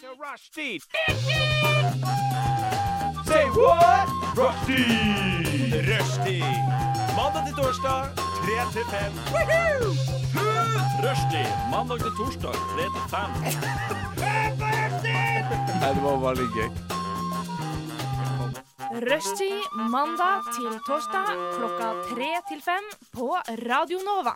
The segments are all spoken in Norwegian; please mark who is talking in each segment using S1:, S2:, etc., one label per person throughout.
S1: to Rushdie. Say what? Rushdie! Rushdie. Mandag til torsdag, 3 til 5. Rushdie. Mandag til torsdag, 3 til 5.
S2: Rushtid mandag til torsdag klokka tre til fem på Radio Nova.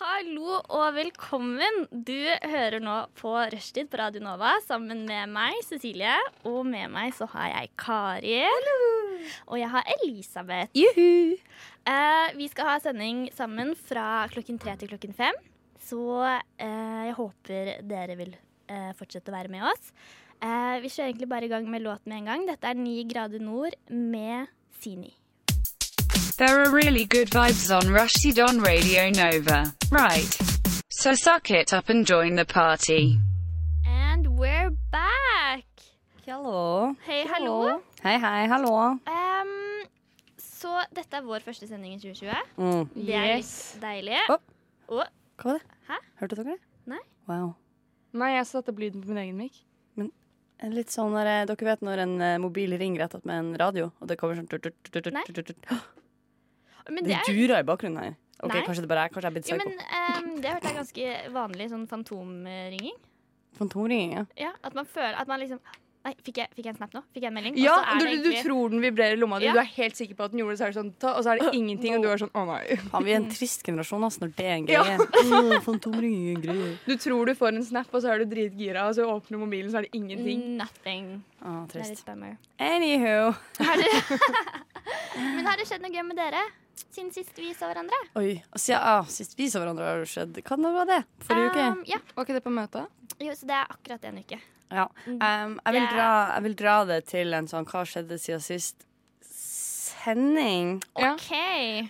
S3: Hallo og velkommen. Du hører nå på Rushtid på Radio Nova sammen med meg, Cecilie. Og med meg så har jeg Kari. Og jeg har Elisabeth. Juhu. Eh, vi skal ha sending sammen fra klokken tre til klokken fem. Så eh, jeg håper dere vil eh, fortsette å være med oss. Eh, vi kjører egentlig bare i gang med låt med en gang. Dette er 9 grader nord med Sini.
S4: There are really good vibes on Rushdie on Radio Nova. Right. So suck it up and join the party.
S3: And we're back!
S5: Hallo.
S3: Hei, hallo.
S5: Hei, hei, hallo.
S3: Ehm, så dette er vår første sending i 2020.
S5: Mm.
S3: Det er litt deilig.
S5: Oh.
S3: Å,
S5: Hva var det?
S3: Hæ?
S5: Hørte dere det?
S3: Nei.
S5: Wow.
S6: Nei, jeg satte opp lyden på min egen mic.
S5: En Litt sånn der, eh, Dere vet når en eh, mobil ringer etter med en radio, og det kommer sånn tut, tut, tut, tut,
S3: Nei.
S5: tut, tut. Hå,
S3: men det
S5: Det
S3: er,
S5: durer i bakgrunnen her. Ok,
S3: Nei.
S5: Kanskje det bare er Kanskje jeg er blitt
S3: jo, men
S5: psyko.
S3: ehm, det hørte jeg ganske vanlig sånn fantomringing.
S5: Fantomringing, ja.
S3: Ja, at man føler at man liksom Nei, fikk jeg, fikk jeg en snap nå? Fikk jeg en melding?
S6: Ja,
S3: Og så er
S6: du,
S3: det
S6: du
S3: egentlig-
S6: tror den vibrerer i lomma di.
S3: Ja.
S6: Du er helt sikker på at den gjorde det, så er det sånn, ta, og så er det ingenting, og du er sånn å nei.
S5: Faen, vi er en
S3: Mm.
S5: trist generasjon altså, når det er en
S6: Ja.
S5: greie. Åh, Fantomringing er en greie.
S6: Du tror du får en snap, og så er du dritgira, og så åpner du mobilen, så er det ingenting.
S3: Nothing.
S5: Ah,
S3: Det er litt
S5: trist.
S3: bummer.
S5: Anywho.
S3: Men har det skjedd noe gøy med dere siden sist vi så hverandre?
S5: Oi. Og siden ah, sist vi så hverandre, har det skjedd Hva var det? Forrige uke?
S3: Ehm, ja,
S6: Mm, Var ikke det på møtet?
S3: jo, så det er akkurat en uke.
S5: Ja. Um, jeg, vil
S3: Det-
S5: dra, jeg vil dra det til en sånn Hva skjedde siden sist sending?
S6: Ja.
S3: OK.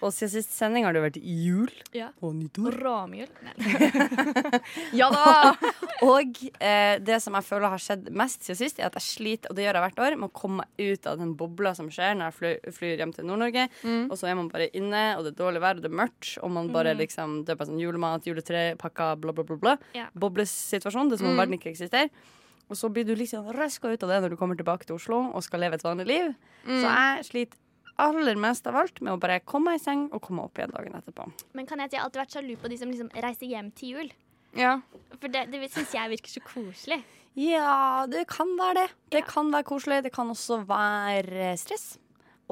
S5: Og siden sist sending har det vært jul
S3: Ja.
S5: og nyttår.
S3: Råmjul. Nei.
S6: Ja da!
S5: Og eh, det som jeg føler har skjedd mest siden sist, er at jeg sliter, og det gjør jeg hvert år, med å komme meg ut av den bobla som skjer når jeg flyr, flyr hjem til Nord-Norge. Og så er man bare inne, og det er dårlig vær, og det er mørkt, og man bare liksom Det er bare sånn julemat, juletre, pakka, bla, bla, bla. bla.
S3: Ja.
S5: Boblesituasjon. Det er som om verden ikke eksisterer. Og så blir du liksom røska ut av det når du kommer tilbake til Oslo og skal leve et vanlig liv. Så jeg sliter aller mest av alt med å bare komme meg i seng og komme opp igjen dagen etterpå.
S3: Men kan jeg si jeg har alltid vært sjalu på de som liksom reiser hjem til jul?
S6: Ja.
S3: For det, det syns jeg virker så koselig.
S5: Ja, det kan være det. Det kan være koselig. Det kan også være eh, stress.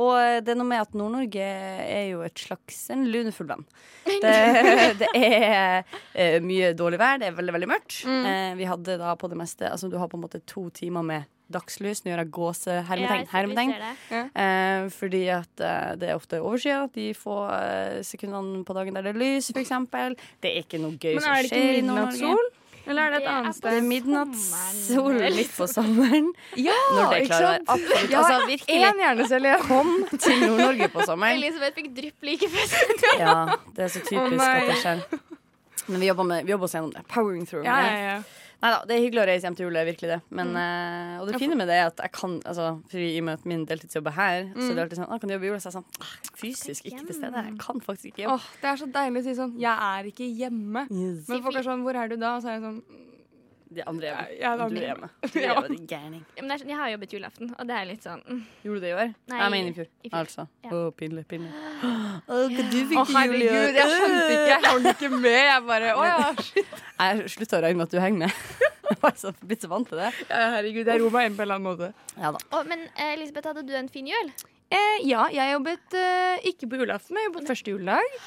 S5: Og eh, det er noe med at Nord-Norge er jo et slags en lunefull venn. Det, det er eh, mye dårlig vær, det er veldig, veldig mørkt. Eh, vi hadde da på det meste Altså du har på en måte to timer med dagslys. Nå gjør jeg gåsehermetegn.
S3: Ja, jeg- vi
S5: hermetegn.
S3: ser det.
S5: Eh, fordi at eh, det er ofte overskya. De få eh, sekundene på dagen der det er lys, f.eks. Det er ikke noe gøy
S6: Men
S5: som
S6: er det ikke
S5: skjer i Nord-Norge.
S6: midnattssol? Eller er det
S3: Det
S6: et
S3: er
S6: annet
S3: på
S5: Det er
S6: sted?
S5: midnattssol
S3: sommeren.
S5: litt på sommeren.
S6: Ja,
S5: Når det
S6: ikke
S5: klarer
S6: sant?
S5: absolutt.
S6: Ja,
S5: Altså, virkelig,
S6: Én hjernecelle igjen.
S5: kom til Nord-Norge på sommeren.
S3: Elisabeth fikk drypp like før sending.
S5: Ja, det er så
S6: Å,
S5: typisk
S6: nei.
S5: at det skjer. Men vi jobber, med, vi jobber oss gjennom det. Powering through.
S6: Ja, ja, ja.
S5: Neida, det er hyggelig å reise hjem til jul, det er virkelig det. Men, eh, og det fine med det er at jeg kan altså, fordi I og med at min deltidsjobb er her, så det er alltid sånn ah, Kan du jobbe i jula? Så er jeg sånn ah, Fysisk ikke til stede. Jeg kan faktisk ikke jobbe.
S6: Åh, det er så deilig å si sånn Jeg er ikke hjemme.
S5: Yes.
S6: Men folk er sånn Hvor er du da? Og så er jeg sånn
S5: De andre er
S6: Ja,
S5: hjemme.
S6: da-
S5: Du er hjemme. Du er hjemme, din gærning.
S3: Ja, men det er sånn, Jeg har jobbet julaften, og det er litt sånn mm.
S5: Gjorde du det i år?
S3: Nei,
S5: Nei, jeg mener i fjor.
S3: i fjor.
S5: Altså.
S3: Ja.
S5: Å, pinlig, pinlig. Å, hva du fikk
S6: Å, herregud, jeg skjønte ikke. Jeg hang ikke med. Jeg bare Å ja.
S5: Jeg slutta å regne med at du henger med. Jeg var så blitt så vant til det.
S6: Herregud, jeg roer meg inn på en eller annen måte.
S5: Ja da.
S3: Å, Men eh, Elisabeth, hadde du en fin jul?
S6: Eh, ja, jeg jobbet eh, ikke på julaften, men jeg jobbet første juledag.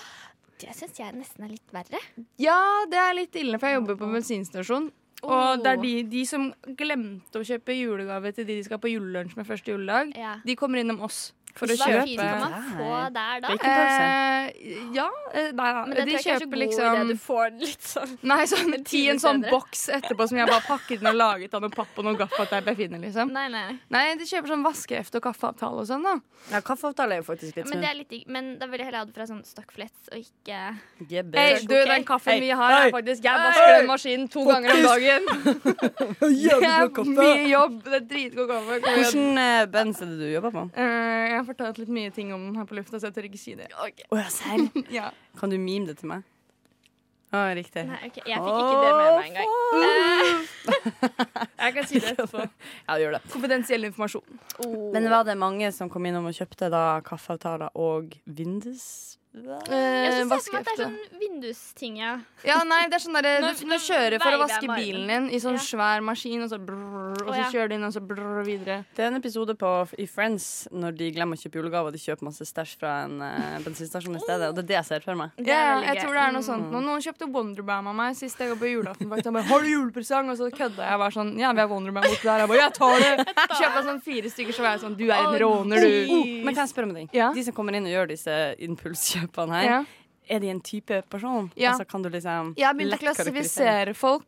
S3: Det syns jeg nesten er litt verre.
S6: Ja, det er litt ille, for jeg jobber på bensinstasjon. Og
S3: Oh,
S6: det er de, de som glemte å kjøpe julegave til de de skal på julelunsj med første juledag,
S3: Ja.
S6: de kommer innom oss for å
S3: Hva
S5: kjøpe-
S3: fint kan man få der da?
S5: Det er ikke pause.
S6: Eh, ja, eh, nei, nei,
S3: Men det
S6: de
S3: tror jeg ikke er så
S6: kjøper
S3: god idé.
S6: liksom
S3: Du får den litt sånn
S6: Nei, sånn
S3: en
S6: ti
S3: time
S6: en sånn
S3: senere.
S6: boks etterpå som jeg bare pakket den og laget av noe papp og noe gaffateip jeg finner, liksom.
S3: Nei, nei.
S6: Nei, de kjøper sånn vaskehefte og kaffeavtale og sånn, da.
S5: Ja, kaffeavtale er jo faktisk litt
S6: sånn.
S3: Men
S5: smooth.
S3: det er litt digg. Men da ville jeg heller ha det fra sånn Stockflets og ikke
S5: Gebbe.
S6: Hei,
S3: Ok.
S6: du, den kaffen vi har,
S5: Hei.
S6: er faktisk Jeg vasker den maskinen to ganger om dagen. Det
S5: Jævlig
S6: er
S5: god kaffe.
S6: mye jobb. Det er dritgod kaffe. Kom igjen.
S5: Hvordan eh, bands er det du jobber på?
S6: Eh, jeg har fortalt litt mye ting om den her på lufta, så jeg tør ikke si det.
S5: Å ja, serr?
S6: Ja.
S5: Kan du mime det til meg? Å, riktig.
S3: Nei, ok, Jeg fikk ikke det med meg engang. Eh.
S6: Jeg kan si det etterpå.
S5: Ja, gjør det.
S6: Konfidensiell informasjon.
S5: Men var det mange som kom innom og kjøpte da kaffeavtaler og Windows?
S3: Jeg
S6: Eh,
S3: synes jeg ser for meg at det er sånn vindusting, ja.
S6: Ja, nei, det er sånn derre
S3: Når-
S6: du, du
S3: når
S6: kjører for å
S3: veiver
S6: vaske
S3: med
S6: bilen din
S3: armen.
S6: i sånn
S3: Ja.
S6: svær maskin, og så brrr, og
S3: Å,
S6: så
S3: ja.
S6: kjører du inn, og så brrr videre.
S5: Det er en episode på, i Friends når de glemmer å kjøpe julegaver. De kjøper masse stæsj fra en eh, bensinstasjon i stedet, og det er det jeg ser for meg.
S3: Det
S6: Ja, ja,
S3: veldig
S6: jeg
S3: gøy.
S6: tror det er Mm. noe sånt nå. Noen kjøpte Wonderbam av meg sist jeg var på julaften. faktisk. Han bare 'Har du julepresang?' Og så kødda jeg. og var sånn 'Ja, vi har Wonderbam borti der.' Jeg bare 'Jeg tar det!' Kjøpte sånn fire stykker, så var jeg sånn 'Du er en
S3: Å,
S6: råner,
S5: Oh,
S6: du'.
S5: men kan jeg spørre om en ting?
S6: Ja.
S5: De som kommer inn og gjør disse impulskjøpene her,
S6: Ja.
S5: er de en type person?
S6: Ja.
S5: Altså, kan du liksom
S6: Jeg har begynt å
S5: lett karakterisere-
S6: klassifisere folk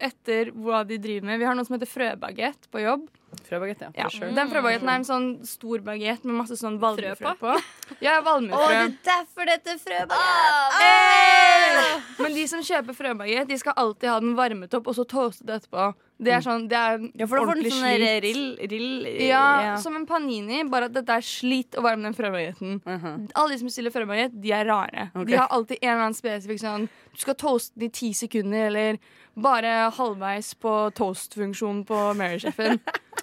S6: etter hva de driver med. Vi har noe som heter frøbagett på jobb.
S5: Frøbaguett, ja.
S6: eh, Ja.
S5: for sure.
S6: Den frøbagetten er en sånn stor bagett med masse sånn valmuefrø på. Ja,
S5: Å,
S6: valmuefrø.
S5: derfor dette
S3: Ah,
S6: Men de som kjøper frøbagett, de skal alltid ha den varmet opp og så toastet etterpå. Det er sånn, det er en
S5: Ja, for da får den
S6: ordentlig
S5: sånn
S6: slit.
S5: der rill, rill eh,
S6: Ja, som en panini, bare at dette er slit å varme den frøbagetten.
S5: Mhm.
S6: Alle de som bestiller frøbagett, de er rare.
S5: Ok.
S6: De har alltid en eller annen spesifikk sånn Du skal toaste den i ti sekunder, eller bare halvveis på toastfunksjonen på Mary-sjefen.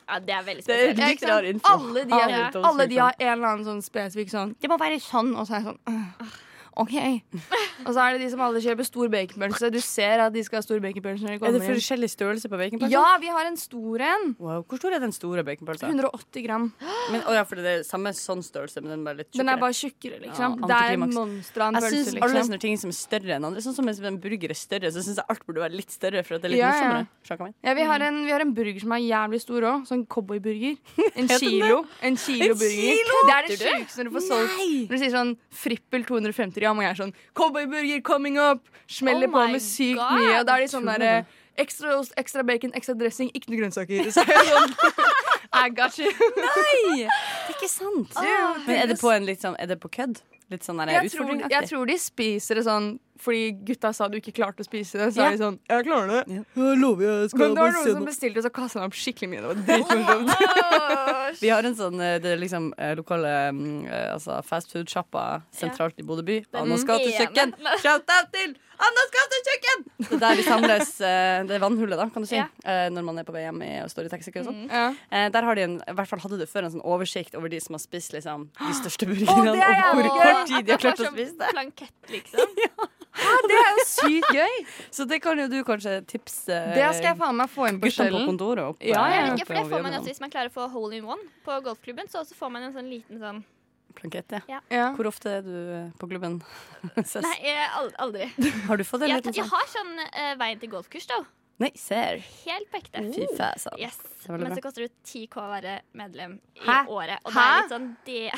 S3: Ja, det er
S5: ah. Det
S3: veldig
S5: er
S3: spesielt.
S6: Ja,
S5: litt
S6: ikke sant?
S5: rar info.
S6: Alle de, har,
S5: Ja.
S6: alle de har en eller annen sånn spesifikk sånn Det må være sånn, og så er jeg sånn «Åh, OK. Og så er det de som alle kjøper stor baconpølse. Du ser at de skal ha stor baconpølse når de
S5: Er det
S6: kommer inn.
S5: forskjellig størrelse på baconpølsa?
S6: Ja, vi har en stor en.
S5: Wow, hvor stor er den store baconpølsa?
S6: 180 gram.
S5: Men, å ja, for det er samme sånn størrelse, men den er bare litt
S6: Den er
S5: tjukkere.
S6: bare tjukkere, liksom.
S5: Ja,
S6: det er
S5: antiklimaks.
S6: monsteret av en
S5: Jeg
S6: pølse,
S5: syns alle
S6: liksom.
S5: sånne ting som er større enn andre. Sånn som hvis en burger er større, så syns jeg alt burde være litt større. For at det er litt
S6: Ja, ja.
S5: morsommere Skjønner du hva jeg mener?
S6: Ja, vi, har en, vi har en burger som er jævlig stor òg. Sånn cowboyburger. En kilo. En kilo burger. Det er det sjukeste når du får solgt Når du sier sånn frippel 250 gram, og jeg er sånn Cowboyburger coming up! Smeller
S3: Oh
S6: på
S3: my
S6: med sykt
S3: God!
S6: mye. Og da er de sånn
S5: Tror du
S6: derre Ekstra ost, ekstra bacon, ekstra dressing, ikke noe grønnsaker. Så jeg er sånn I got you.
S5: Det er ikke sant! Men er det på en litt sånn Er det på kødd? Litt sånn der
S6: Jeg tror, jeg
S5: utfordringaktig?
S6: tror de spiser det sånn fordi gutta sa du ikke klarte å spise det. Så
S5: Ja.
S6: er de sånn Jeg klarer det.
S5: Jeg lover, jeg
S6: Men det var noen som bestilte, og så kasta han opp skikkelig mye. Det var dritmorsomt.
S5: Vi har en sånn eh, Det er liksom eh, lokale mm, eh, altså fastfood-sjappa sentralt i Bodø by. Annas gatekjøkken! Shout out til Annas gatekjøkken! Det er der vi samles eh, Det er vannhullet, da, kan du si.
S3: Ja.
S5: eh, Når man er på vei hjem i- og står i taxikø og sånn.
S6: Ja.
S5: Eh, der har de en, i hvert fall hadde du før en sånn oversikt over de som har spist liksom, de største
S6: Å,
S5: burgerne.
S6: det
S5: og
S6: er
S5: hvor
S6: jævlig gøy!
S5: kort tid de har klart å
S3: Sånn
S5: spise det.
S3: Plankett, liksom.
S6: Det er jo sykt gøy.
S5: Så det kan jo du kanskje tipse eh,
S6: Det skal jeg faen meg få inn på
S5: guttene på
S6: skjellen.
S5: kontoret opp.
S6: Ja,
S5: eh,
S6: ja,
S3: Ikke, for det
S5: på
S3: får man
S5: jobben
S3: også hvis man klarer å få hole in one på golfklubben. Så også får man en sånn liten sånn
S5: om Plankett, ja.
S6: Ja.
S5: Hvor ofte er du eh, på klubben? Ses.
S3: Nei, jeg- al- aldri.
S5: Har du fått en
S3: Jeg,
S5: liten
S3: jeg
S5: sånn?
S3: har sånn eh, veien til golfkurs, da.
S5: Nei, ser.
S3: Helt på ekte.
S5: Fy
S6: Oh,
S5: faen.
S3: Yes.
S5: er veldig
S3: Men
S5: bra.
S3: så koster det 10K å være medlem i
S6: Hæ?
S3: året. Og det
S6: Hæ?
S3: er litt sånn det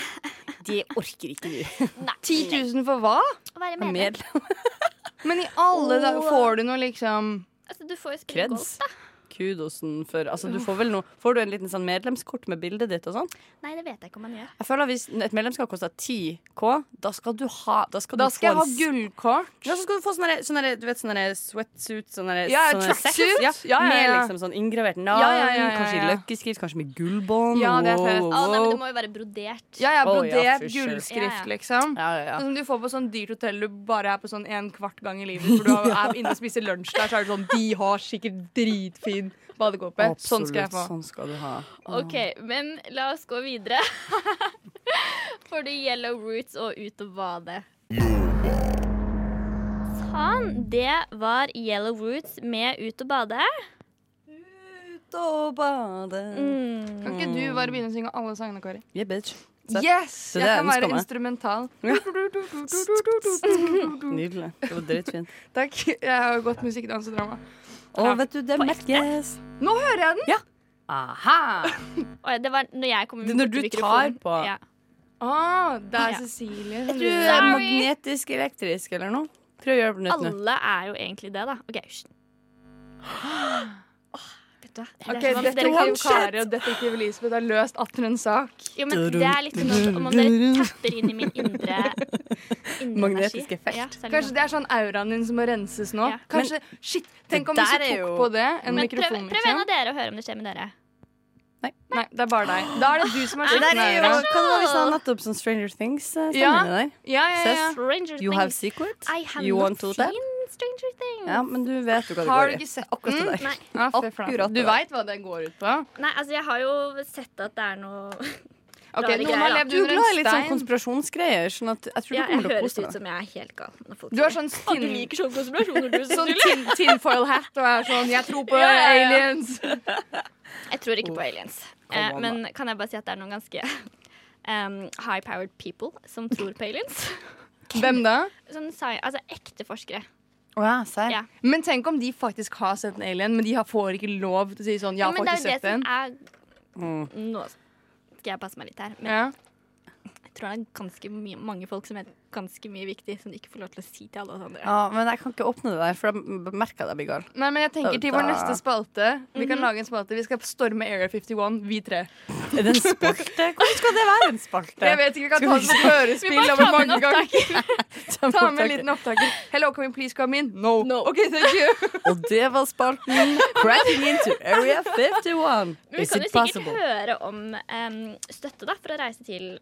S5: Det orker ikke du.
S3: Nei.
S6: 10 000 for hva?
S3: Å være
S5: Med
S3: medlem.
S5: medlem.
S6: Men i alle dager får du noe liksom
S3: Altså, du får jo spille golf,
S5: Kreds.
S3: da.
S5: Kudosen for Altså, du får vel noe Får du en liten sånn medlemskort med bildet ditt og sånn?
S3: Nei, det vet jeg ikke om man gjør.
S5: Jeg føler at Hvis et medlemskap koster 10K, da skal du ha Da skal,
S6: Da
S5: du få
S6: skal jeg ha
S5: en
S6: gullkort.
S5: Ja, så skal du få sånne, der- sånne, der- du vet, sånne der sweatsuit sånne, der-
S6: Ja,
S5: sånne
S6: tracksuit.
S5: sett, Ja,
S6: Ja, ja, ja.
S5: Med liksom sånn inngravert navn,
S6: Ja, ja, ja, ja,
S5: kanskje i
S6: ja.
S5: løkkeskrift, kanskje med gullbånd.
S6: Ja, det er
S5: wow,
S6: fett.
S5: wow,
S3: Å, nei, men
S5: wow.
S3: det må jo være brodert.
S6: Ja, ja,
S5: Oh,
S6: brodert
S5: ja, for sure.
S6: gullskrift,
S3: Ja, ja.
S6: liksom.
S5: ja, ja, ja.
S6: Sånn Som du får på sånn dyrt hotell du bare er på sånn en kvart gang i livet. For du er inne og spiser lunsj der, så er det sånn De har sikkert dritfin badekåpe.
S5: Absolutt,
S6: Sånn skal jeg få.
S5: Sånn skal du ha.
S3: OK, men la oss gå videre. Får du yellow roots og ut og bade? Sånn. Det var yellow roots med ut og bade.
S5: Ut og bade.
S3: Mm.
S6: Kan ikke du bare begynne å synge alle sangene, Kari?
S5: Yeah, bitch. Så-
S6: Yes!
S5: det
S6: Jeg
S5: er
S6: kan være
S5: ønsket meg.
S6: instrumental.
S5: Nydelig. Det var dritfint.
S6: Takk. Jeg har gått musikk, dans og drama.
S5: Å, vet du, det merkes.
S6: Nå hører jeg den!
S5: Aha!
S3: Oi, det var når jeg kom
S5: Det
S3: med
S5: er når du tar
S3: mikrofonen.
S5: på
S3: Ja.
S6: Ah, det er
S3: Ja.
S6: Cecilie.
S5: Jeg tror det er
S3: Sorry.
S5: magnetisk elektrisk eller noe. Prøv å gjøre det på nytt nå.
S3: Alle er jo egentlig det, da. OK. hysj. Åh, vet du hva? Det er
S6: Ok,
S3: som om dere kan-
S6: Detektiv Kari og detektiv Elisabeth har løst atter en sak.
S3: Jo, men det er liksom noe som om dere tapper inn i min indre, indre
S5: Magnetisk
S3: energi.
S5: effekt.
S3: Ja, så er det
S6: Kanskje
S3: sånn.
S6: det er sånn auraen din som må renses nå?
S3: Ja.
S6: Kanskje, shit, Tenk om
S5: Det
S6: hvis du
S5: der er
S6: tok
S5: jo-
S6: på det en
S3: Men prøv,
S6: mikrofon. ikke
S3: prøv en
S6: sant?
S3: av dere å høre om det skjer med dere.
S6: Nei, det er bare deg. Da er det du som har
S5: Ah. Det
S6: skitten
S5: der er jo
S6: aura.
S5: Hva var det vi sa nettopp? Sånn Stranger Things-stemmen
S6: Ja.
S5: der?
S6: Ja, ja, ja.
S5: Ses.
S3: Stranger
S5: You have
S3: things.
S5: secrets?
S3: I have
S5: You
S3: not
S5: want to tell?
S3: seen Stranger Things.
S5: Ja, men du vet jo hva det
S6: Har
S5: går
S6: du
S5: i.
S6: ikke sett
S5: Akkurat det der.
S3: Nei.
S6: Ja, Ah, fy flate.
S5: Akkurat
S6: Du
S5: det.
S6: veit hva den går ut på?
S3: Nei, altså jeg har jo sett at det er noe
S6: Ok,
S3: Rare
S6: Noen
S3: greier,
S6: har
S3: da.
S6: levd
S5: Du er
S6: under
S5: glad i
S6: en
S5: litt sånn
S6: stein.
S5: konspirasjonsgreier, sånn at jeg tror du
S3: ja, Jeg
S5: kommer til å
S3: høres
S5: kose
S3: ut
S5: deg.
S3: som jeg er helt gal. når folk
S6: Du har
S3: sier
S6: sånn
S3: det. Å, du
S6: stinn-
S3: liker sånne konspirasjoner, du.
S6: Sånn tin,
S3: Cecilie.
S6: tinfoil hat og er sånn 'jeg tror på
S3: Ja, ja, ja.
S6: aliens'.
S3: Jeg tror ikke på aliens.
S5: Come
S3: Eh,
S5: on,
S3: men kan jeg bare si at det er noen ganske em, high-powered people som tror på aliens.
S6: Hvem da?
S3: Sånn, sci- altså ekte forskere.
S5: Å ja, serr.
S3: Ja.
S6: Men tenk om de faktisk har sett en alien, men de har- får ikke lov til å si sånn 'jeg har
S3: men det er
S6: faktisk
S3: jo
S6: sett
S3: det
S6: en'.
S3: som er
S5: Mm.
S3: Nå skal jeg passe meg litt her. Men
S6: Ja.
S3: jeg tror det er ganske mye, mange folk som er ganske mye viktig, som de ikke får lov til å si til alle oss andre.
S5: Ja, men jeg kan ikke åpne det der, for jeg merker at jeg blir gal.
S6: Nei, men jeg tenker til vår
S5: Da-
S6: neste spalte. Vi
S5: Mhm.
S6: kan lage en spalte. Vi skal storme Area 51, vi tre.
S5: Er det en spalte? Hvordan skal det være en spalte?
S6: Jeg vet ikke, vi kan
S5: Skal
S6: ta
S5: vi
S6: det på hørespill over mange ganger.
S5: Ta
S6: Ta med en
S5: opptaker.
S6: liten opptaker. Hello, can we please come in? No. OK, thank you.
S5: Og det var spalten Cracking into Area 51.
S3: Men vi
S5: Is
S3: kan jo
S5: it
S3: sikkert
S5: possible?
S3: høre om em, støtte da, for å reise til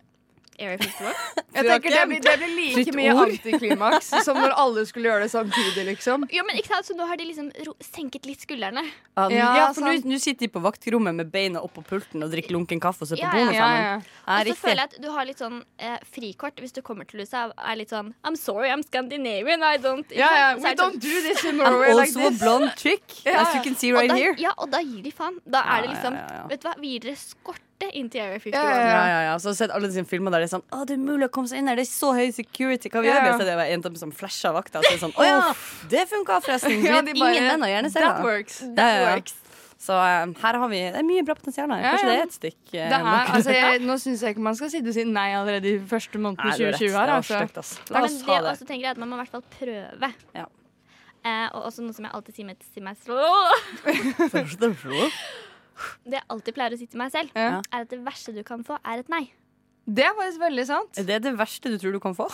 S3: Area 51.
S5: Du
S6: Jeg
S5: har
S6: tenker
S5: ikke
S6: det blir, det blir like
S5: fritt
S6: mye
S5: ord.
S6: antiklimaks som når alle skulle gjøre det samtidig, liksom.
S3: jo, men ikke sant, så nå har de liksom ro senket litt skuldrene.
S5: Ja, nå-
S6: Ja,
S5: Ah, ja, for
S6: sant.
S5: nå- nå sitter de på vaktrommet med beina oppå pulten og drikker lunken kaffe og ser på
S3: Ja,
S5: porno
S3: ja,
S5: sammen. Ja,
S3: Og så
S5: riktig.
S3: føler jeg at du har litt sånn eh, frikort hvis du kommer til USA. Er litt sånn I'm sorry, I'm Scandinavian, I don't
S6: Ja, ja.
S3: ikke sant? Så
S6: We
S3: er det sånn,
S6: don't do this in
S5: I'm
S6: Norway like
S5: also a
S6: this.
S5: blonde chick, as you can see right
S3: og da,
S5: here.
S3: Ja, og da gir de faen. Da er det
S5: Ja,
S3: liksom
S5: ja, ja.
S3: Vet du hva, vi gir dere skorte inn til Area 51.
S6: Ja, ja,
S5: Ja, ja, ja. Så har jeg sett alle sine filmer der det er sånn Å, det er mulig å komme seg inn her, det er så høy security, hva vi
S6: Ja,
S5: gjør vi?
S6: ja.
S5: Og Så er det bare en som flasher vakta, og så er det sånn Å ja, det funka forresten.
S6: Ja,
S5: Vet
S6: de bare,
S5: ingen venner gjerne ser
S6: That
S5: det.
S6: works.
S5: Ja, ja, ja. Så eh, her har vi Det er mye bra potensial her.
S6: Ja,
S5: Kanskje
S6: ja.
S5: det er et stikk. eh,
S6: Det er,
S5: nok.
S6: altså, jeg, nå syns jeg ikke man skal sitte og si nei allerede i første måneden
S5: Nei,
S6: i
S5: du har rett.
S6: 2020.
S5: Det
S6: Her,
S5: var
S6: altså.
S5: stygt, ass. La
S3: Men
S5: oss
S3: det
S5: ha
S3: jeg
S5: det.
S3: også tenker er at man må i hvert fall prøve.
S5: Ja.
S3: Eh, og også noe som jeg alltid sier meg, til meg selv Det jeg alltid pleier å si til meg selv,
S6: Ja.
S3: er at det verste du kan få, er et nei.
S6: Det er faktisk veldig sant.
S5: Er det det verste du tror du kan få?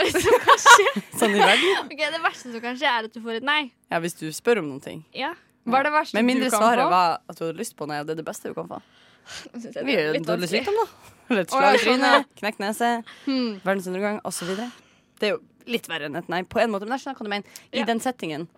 S3: Så kanskje,
S5: Sånn i verden?
S3: ok, det verste som kan skje, er at du får et nei.
S5: Ja, hvis du spør om noen ting.
S3: Ja.
S6: Hva er det verste
S5: Med mindre
S6: du kan
S5: svaret
S6: få?
S5: var at du hadde lyst på nei, og det er det beste du kan få.
S3: Nå
S5: Det
S3: synes jeg
S5: blir
S3: er
S5: jo en
S3: litt
S5: dårlig
S3: vanskelig.
S5: sykdom, da. Eller et
S6: Å,
S5: slag
S6: ja,
S5: i
S6: sånn, ja.
S5: trynet, knekt nese,
S6: Hmm.
S5: verdensundergang osv. Det er jo litt verre enn et nei, på en måte, men jeg skjønner hva du mener. I
S3: Ja.
S5: den settingen.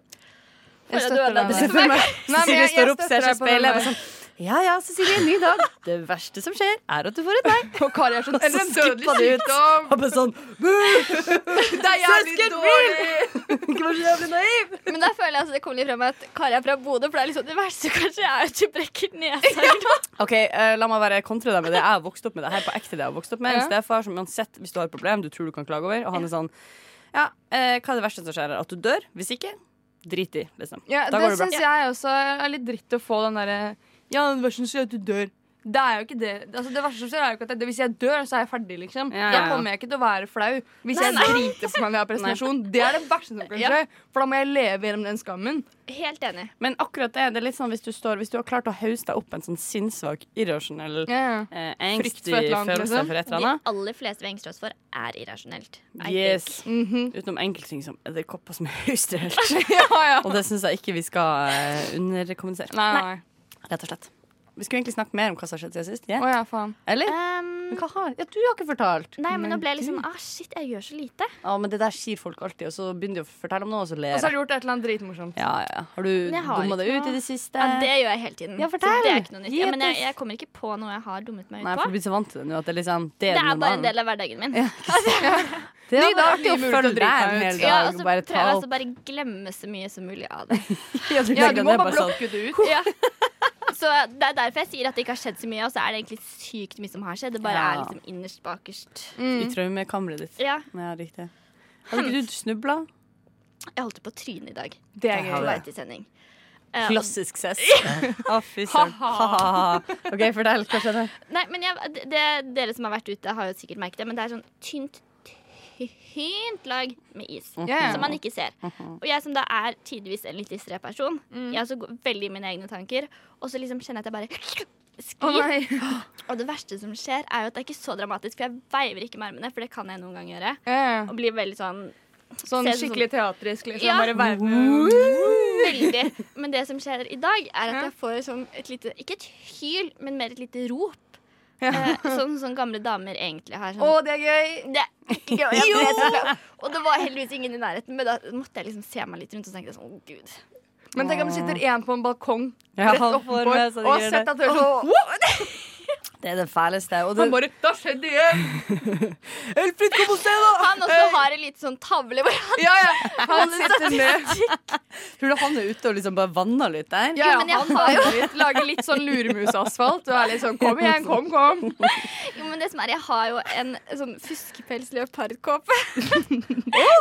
S6: Jeg
S3: Føler du
S6: støtter
S3: at
S6: deg.
S3: det
S5: Jeg ser for meg Cecilie
S6: jeg- jeg
S5: står opp,
S6: støtter
S5: ser seg i
S6: deg på den
S5: speilet og bare
S6: der.
S5: sånn Ja ja, Cecilie, en ny dag. Det verste som skjer, er at du får et nei.
S6: Og Kari er sånn
S5: Og så
S6: Eller en
S5: skipper
S6: dødelig
S5: de ut.
S6: sykdom!
S5: Og bare sånn «Buh,
S6: Det er jævlig
S5: Søsken
S6: dårlig!
S5: Ikke vær så jævlig naiv!
S3: Men der føler jeg altså, det kommer litt frem at Kari er fra Bodø, for det er liksom det verste som kan skje, er at du brekker nesa.
S5: OK, eh, la meg være kontra deg med det. Jeg har vokst opp med det her på ekte. det jeg har vokst opp med En
S6: Ja.
S5: stefar som uansett, hvis du har et problem du tror du kan klage over, og han er sånn Ja, eh, hva er det verste som skjer? her? At du dør? Hvis ikke, drit i, liksom.
S6: Ja,
S5: Da
S6: det
S5: går det bra.
S6: syns jeg også er litt dritt å få den derre Ja, det verste som skjer, er at du dør. Det er jo ikke det. Altså, det verste som skjer, er jo ikke at jeg, hvis jeg dør, så er jeg ferdig, liksom.
S5: Ja, ja,
S6: Da
S5: ja.
S6: kommer jeg ikke til å være flau. Hvis
S3: Nei,
S6: jeg
S3: nei.
S6: driter på meg når jeg har presentasjon, det er det verste som kan
S3: Ja.
S6: skje. For da må jeg leve gjennom den skammen.
S3: Helt enig.
S5: Men akkurat det, det er litt sånn hvis du, står, hvis du har klart å hauste deg opp en sånn sinnssvak, irrasjonell
S6: Ja, ja.
S5: eh,
S6: Frykt
S5: angstig
S6: for et eller annet,
S5: følelse
S6: liksom.
S5: for et eller
S3: De
S5: annet
S3: aller fleste vi engster oss for, er irrasjonelt. I
S5: Yes.
S6: Mhm.
S5: Utenom enkeltting som er det kopper som er høyesterelt.
S6: ja, ja.
S5: Og det syns jeg ikke vi skal eh, underkommunisere.
S6: Nei, nei.
S5: Rett og slett. Vi skulle egentlig snakke mer om hva som har skjedd siden sist.
S6: Å
S5: Yeah.
S6: ja, faen.
S5: Eller?
S3: think. Um,
S5: Men hva har Ja, du har ikke fortalt.
S3: nei, men nå ble jeg liksom sånn, ah shit, jeg gjør så lite.
S5: Ja, men det der sier folk alltid, og så begynner de å fortelle om noe, og så
S6: Og
S5: ler
S6: så
S5: jeg.
S6: har du gjort et eller annet dritmorsomt.
S5: Ja, ja. Har du
S3: Men jeg har
S5: dumma
S3: ikke
S5: deg
S3: noe.
S5: ut i det siste?
S3: Eh, Ja, det gjør jeg hele tiden.
S5: Ja,
S3: Så
S5: fortell.
S3: det er ikke noe nytt.
S5: Gi
S3: Ja,
S5: et
S3: men jeg,
S5: tips.
S3: jeg kommer ikke på noe jeg har dummet meg ut
S5: Nei, for du
S3: på.
S5: blir så vant til det nå at det er liksom Det
S3: Det
S5: er,
S3: er bare en
S5: normalen.
S3: del av hverdagen min.
S5: Det
S6: Ny
S5: hadde
S6: dag,
S5: vært
S6: ny
S5: artig å
S6: mulighet til å
S5: følge
S6: drite
S5: deg en
S6: meg ut.
S5: hel
S3: Ja,
S5: dag
S3: og
S5: og
S3: så
S5: bare
S3: prøver
S5: ta
S3: jeg
S5: opp
S3: altså bare glemme så mye som mulig av det.
S5: Ja, du
S6: Ja, du
S5: legger
S6: må
S5: ned
S6: bare
S5: bare sånn.
S6: blokke det ut.
S3: Ja. Så Det er derfor jeg sier at det ikke har skjedd så mye, og så er det egentlig sykt mye som har skjedd. Det bare
S5: Ja.
S3: er liksom innerst bakerst.
S5: I traumekammeret ditt.
S3: Ja,
S5: Ja, riktig. Hadde ikke du snubla?
S3: jeg holdt på trynet i dag
S6: Det er
S5: Ja,
S3: på
S5: det-
S6: gøy.
S3: vei til sending. Eh, og-
S5: Klassisk cess. Å, fy søren. Ha-ha-ha. OK, fortell. Hva skjedde?
S3: Nei, men jeg, det, det- dere som har vært ute, har jo sikkert merket det, men det er sånn tynt, tynt lag med is.
S6: Mhm. Ja, Mhm. ja.
S3: Som man ikke ser. Og jeg som da er tidvis en litt distré person,
S6: Mm.
S3: jeg er også go- veldig i mine egne tanker, og så liksom kjenner jeg at jeg bare
S6: Å
S3: sklir.
S6: nei.
S3: og det verste som skjer, er jo at det er ikke så dramatisk, for jeg veiver ikke med armene, for det kan jeg noen gang gjøre.
S6: Ja, ja.
S3: Og blir veldig sånn
S6: Sånn
S3: Ser ut som
S6: skikkelig teatrisk, liksom.
S3: Ja.
S6: Bare være med.
S3: veldig. Men det som skjer i dag, er at jeg får sånn et lite Ikke et hyl, men mer et lite rop. Eh, sånn som gamle damer egentlig har. Sånn,
S6: Å, det er gøy!
S3: det er ikke gøy, jeg ble så flau. Og det var heldigvis ingen i nærheten, men da måtte jeg liksom se meg litt rundt og tenke sånn, å gud.
S6: Men tenk om det sitter en på en balkong
S5: Ja,
S6: rett
S5: han får
S6: oppenfor
S5: med seg de
S6: og har
S5: greiene.
S6: sett at det er sånn «Wow!»
S5: Det er det fæleste. Og
S6: Han
S5: det,
S6: bare 'Da skjedde det igjen!'
S5: Elfrid, kom og se, da!
S3: Han også har en liten sånn tavle hvor han
S6: Ja, ja. Han sitter med
S5: Tror du han er ute og liksom bare vanner litt der?
S6: ja, ja,
S3: Jo, men jeg
S6: Han
S3: har
S6: har litt, lager litt sånn luremusasfalt og er litt sånn 'Kom igjen, kom, kom'.
S3: Jo, men det som er, jeg har jo en sånn fuskepels leopardkåpe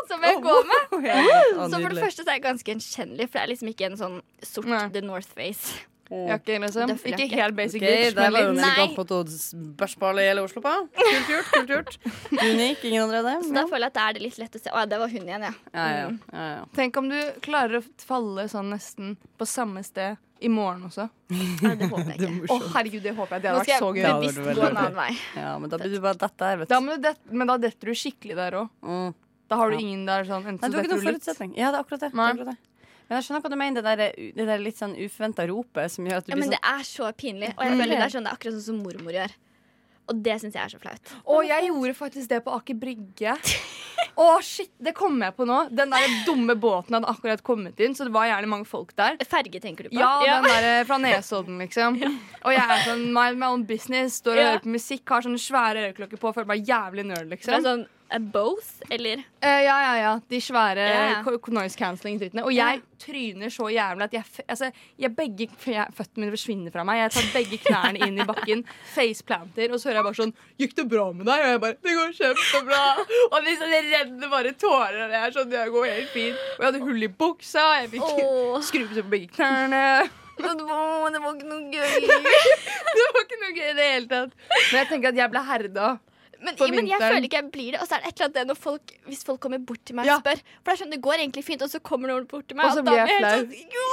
S3: som jeg går med.
S5: Ja,
S3: Så for det
S5: nydelig.
S3: første så er jeg ganske gjenkjennelig, for det er liksom ikke en sånn sort
S6: Nei.
S3: The North Face.
S6: Jakken, liksom.
S3: Døff
S6: Ikke
S3: jakke.
S6: helt basic
S5: Ok,
S6: bitch,
S5: der
S6: men
S5: var jo
S6: litt.
S3: Nei.
S5: Nikon på Børsball i hele Oslo på. Kult gjort, kult gjort. Unik, ingen andre det?
S3: Så da føler jeg at det er det litt lett å se. Å ja, det var hun igjen, ja.
S5: Ja, ja, ja, ja.
S6: Tenk om du klarer å falle sånn nesten på samme sted i morgen også.
S3: Nei, det håper jeg
S6: Å,
S3: ikke.
S6: herregud, det håper jeg. Det
S3: Nå
S6: hadde
S3: skal
S6: vært så
S3: jeg
S6: gøy.
S5: Ja, det
S3: bevisst
S5: var
S3: gå en
S5: veldig
S3: annen vei.
S5: Ja, men da blir du bare dette her, vet
S6: Da
S5: du.
S6: må du det, men da detter du skikkelig der òg.
S5: Mm.
S6: Da har du
S5: Ja.
S6: ingen der sånn enten
S5: Nei, du har
S6: så
S5: ikke
S6: detter
S5: noen
S6: du litt.
S5: forutsetning. Ja, det er akkurat det. det,
S6: Nei.
S5: er akkurat det. Men jeg skjønner hva du mener, det der, det der litt sånn uforventa ropet som gjør at du
S3: Ja,
S5: blir
S3: men
S5: sånn
S3: det er så pinlig. Og jeg føler det er sånn, det er akkurat sånn som mormor gjør. Og det syns jeg er så flaut.
S6: Og jeg gjorde faktisk det på Aker Brygge. Å, shit, det kom jeg på nå. Den der dumme båten hadde akkurat kommet inn, så det var gjerne mange folk der.
S3: Ferge tenker du på?
S6: Ja, den der eh, fra Nesodden, liksom. Og jeg er sånn mind my own business, står og
S3: Ja.
S6: hører på musikk, har sånne svære øreklokker på, føler meg jævlig nerd,
S3: Det er
S6: liksom.
S3: sånn eh, both, eller
S6: Eh, ja, ja, ja. De svære
S3: Ja, ja.
S6: ko- noise cancelling-drittene. Og jeg tryner så jævlig at jeg, f- altså, jeg begge f- jeg, føttene mine forsvinner fra meg. Jeg tar begge knærne inn i bakken, faceplanter, og så hører jeg bare sånn 'Gikk det bra med deg?' Og jeg bare 'Det går kjempebra'. Og liksom, det renner bare tårer. Og jeg er sånn, det går helt fint. Og jeg hadde hull i buksa, jeg fikk
S3: Åh.
S6: skrubbe på begge knærne.
S3: Det var, det var ikke noe gøy.
S6: Det var ikke noe gøy i det hele tatt. Men jeg tenker at jeg ble herda.
S3: Men,
S6: På
S3: men jeg
S6: vinteren.
S3: føler ikke jeg blir det. Og så er det et eller annet det når folk, hvis folk kommer bort til meg og
S6: Ja.
S3: spør. For det er sånn, det går egentlig fint, og så kommer noen bort til meg,
S6: Og så
S3: da
S6: blir jeg
S3: helt
S6: flau.
S3: sånn, jo!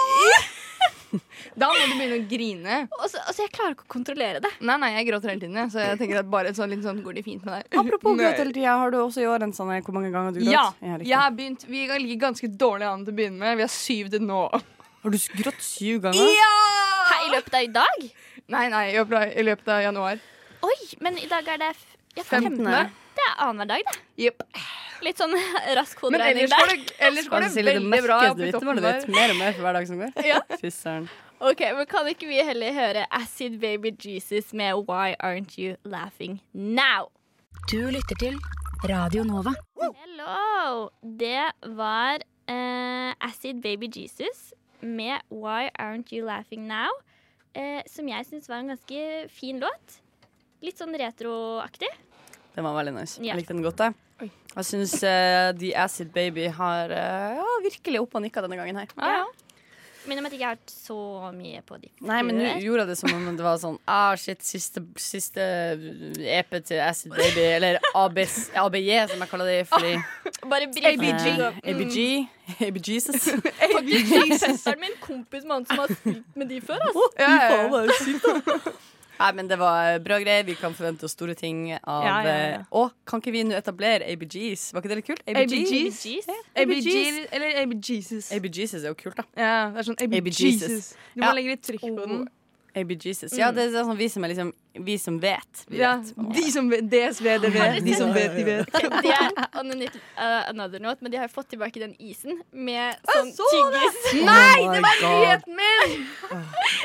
S6: Da må du begynne å grine.
S3: Og så, og så jeg klarer ikke å kontrollere det.
S6: Nei, nei, jeg gråter hele tiden, jeg, så jeg tenker at bare sånn, litt sånn går det fint med deg.
S5: Apropos
S6: Nei.
S5: gråt hele tida, har du også i år en sånn eh, Hvor mange ganger har du
S6: Ja,
S5: grått? riktig.
S6: jeg har begynt Vi ligger ganske dårlig an til å begynne med. Vi har syv til nå.
S5: Har du grått syv ganger?
S3: Her i løpet av i dag?
S6: Nei, nei, i løpet av, i løpet av januar.
S3: Oi, men i dag er det f- ja, 15.
S5: Femtende.
S3: Det er annenhver dag, det.
S6: Jepp.
S3: Litt sånn rask
S6: Men
S3: hoderegning
S6: ellers
S3: der.
S6: går det, ellers går det
S5: Cecilie, det
S6: veldig bra.
S5: merkes
S6: oppe
S5: du
S6: i
S5: vet,
S6: toppen
S5: bare du vet
S6: der.
S5: mer og mer for hver dag som går.
S3: Ja.
S5: Fy søren.
S3: Ok, men Kan ikke vi heller høre Acid Baby Jesus med Why Aren't You Laughing Now?
S7: Du lytter til Radio Nova.
S3: Hello! Det var eh, Acid Baby Jesus med Why Aren't You Laughing Now? eh, som jeg syns var en ganske fin låt. Litt sånn retroaktig.
S5: Den var veldig nice.
S3: Ja.
S5: Jeg likte den godt, jeg. Jeg syns The Acid Baby har eh, ja, virkelig opp og nikka denne gangen her.
S3: Ja. Men om at jeg ikke har hørt så mye på de
S5: Nei, men nå
S3: før.
S5: gjorde jeg det som om det var sånn Ah, shit, siste, siste EP til Acid Baby, eller ABS, ABJ, som jeg kaller det, fordi
S3: Bare bringer
S5: eh, ABG. ABJesus.
S3: Søsteren min, kompis med han som har spilt med de før. Altså.
S6: Ja, ja, ja.
S5: Nei, men det var eh, bra greier. Vi kan forvente oss store ting av
S6: Ja, ja, ja.
S5: eh, Å, kan ikke vi nå etablere ABGs? Var ikke det litt kult?
S6: ABGs?
S3: Jeez.
S6: ABG eller ABJesus.
S5: ABGs er jo kult, da.
S6: Ja, det er sånn ABJesus. Du må
S5: Ja.
S6: legge litt trykk på den.
S5: ABGs.
S6: Mm.
S5: Ja, det er sånn vi som er liksom Vi som vet. Vi
S6: Ja,
S5: vet. på en måte.
S6: de som vet, DSV, det vet. De som vet, de vet.
S3: De er on an- uh, another note, men de har fått tilbake den isen med sånn
S6: så
S3: tyggis.
S6: Nei,
S5: Oh my
S6: det var
S5: God.
S6: nyheten min!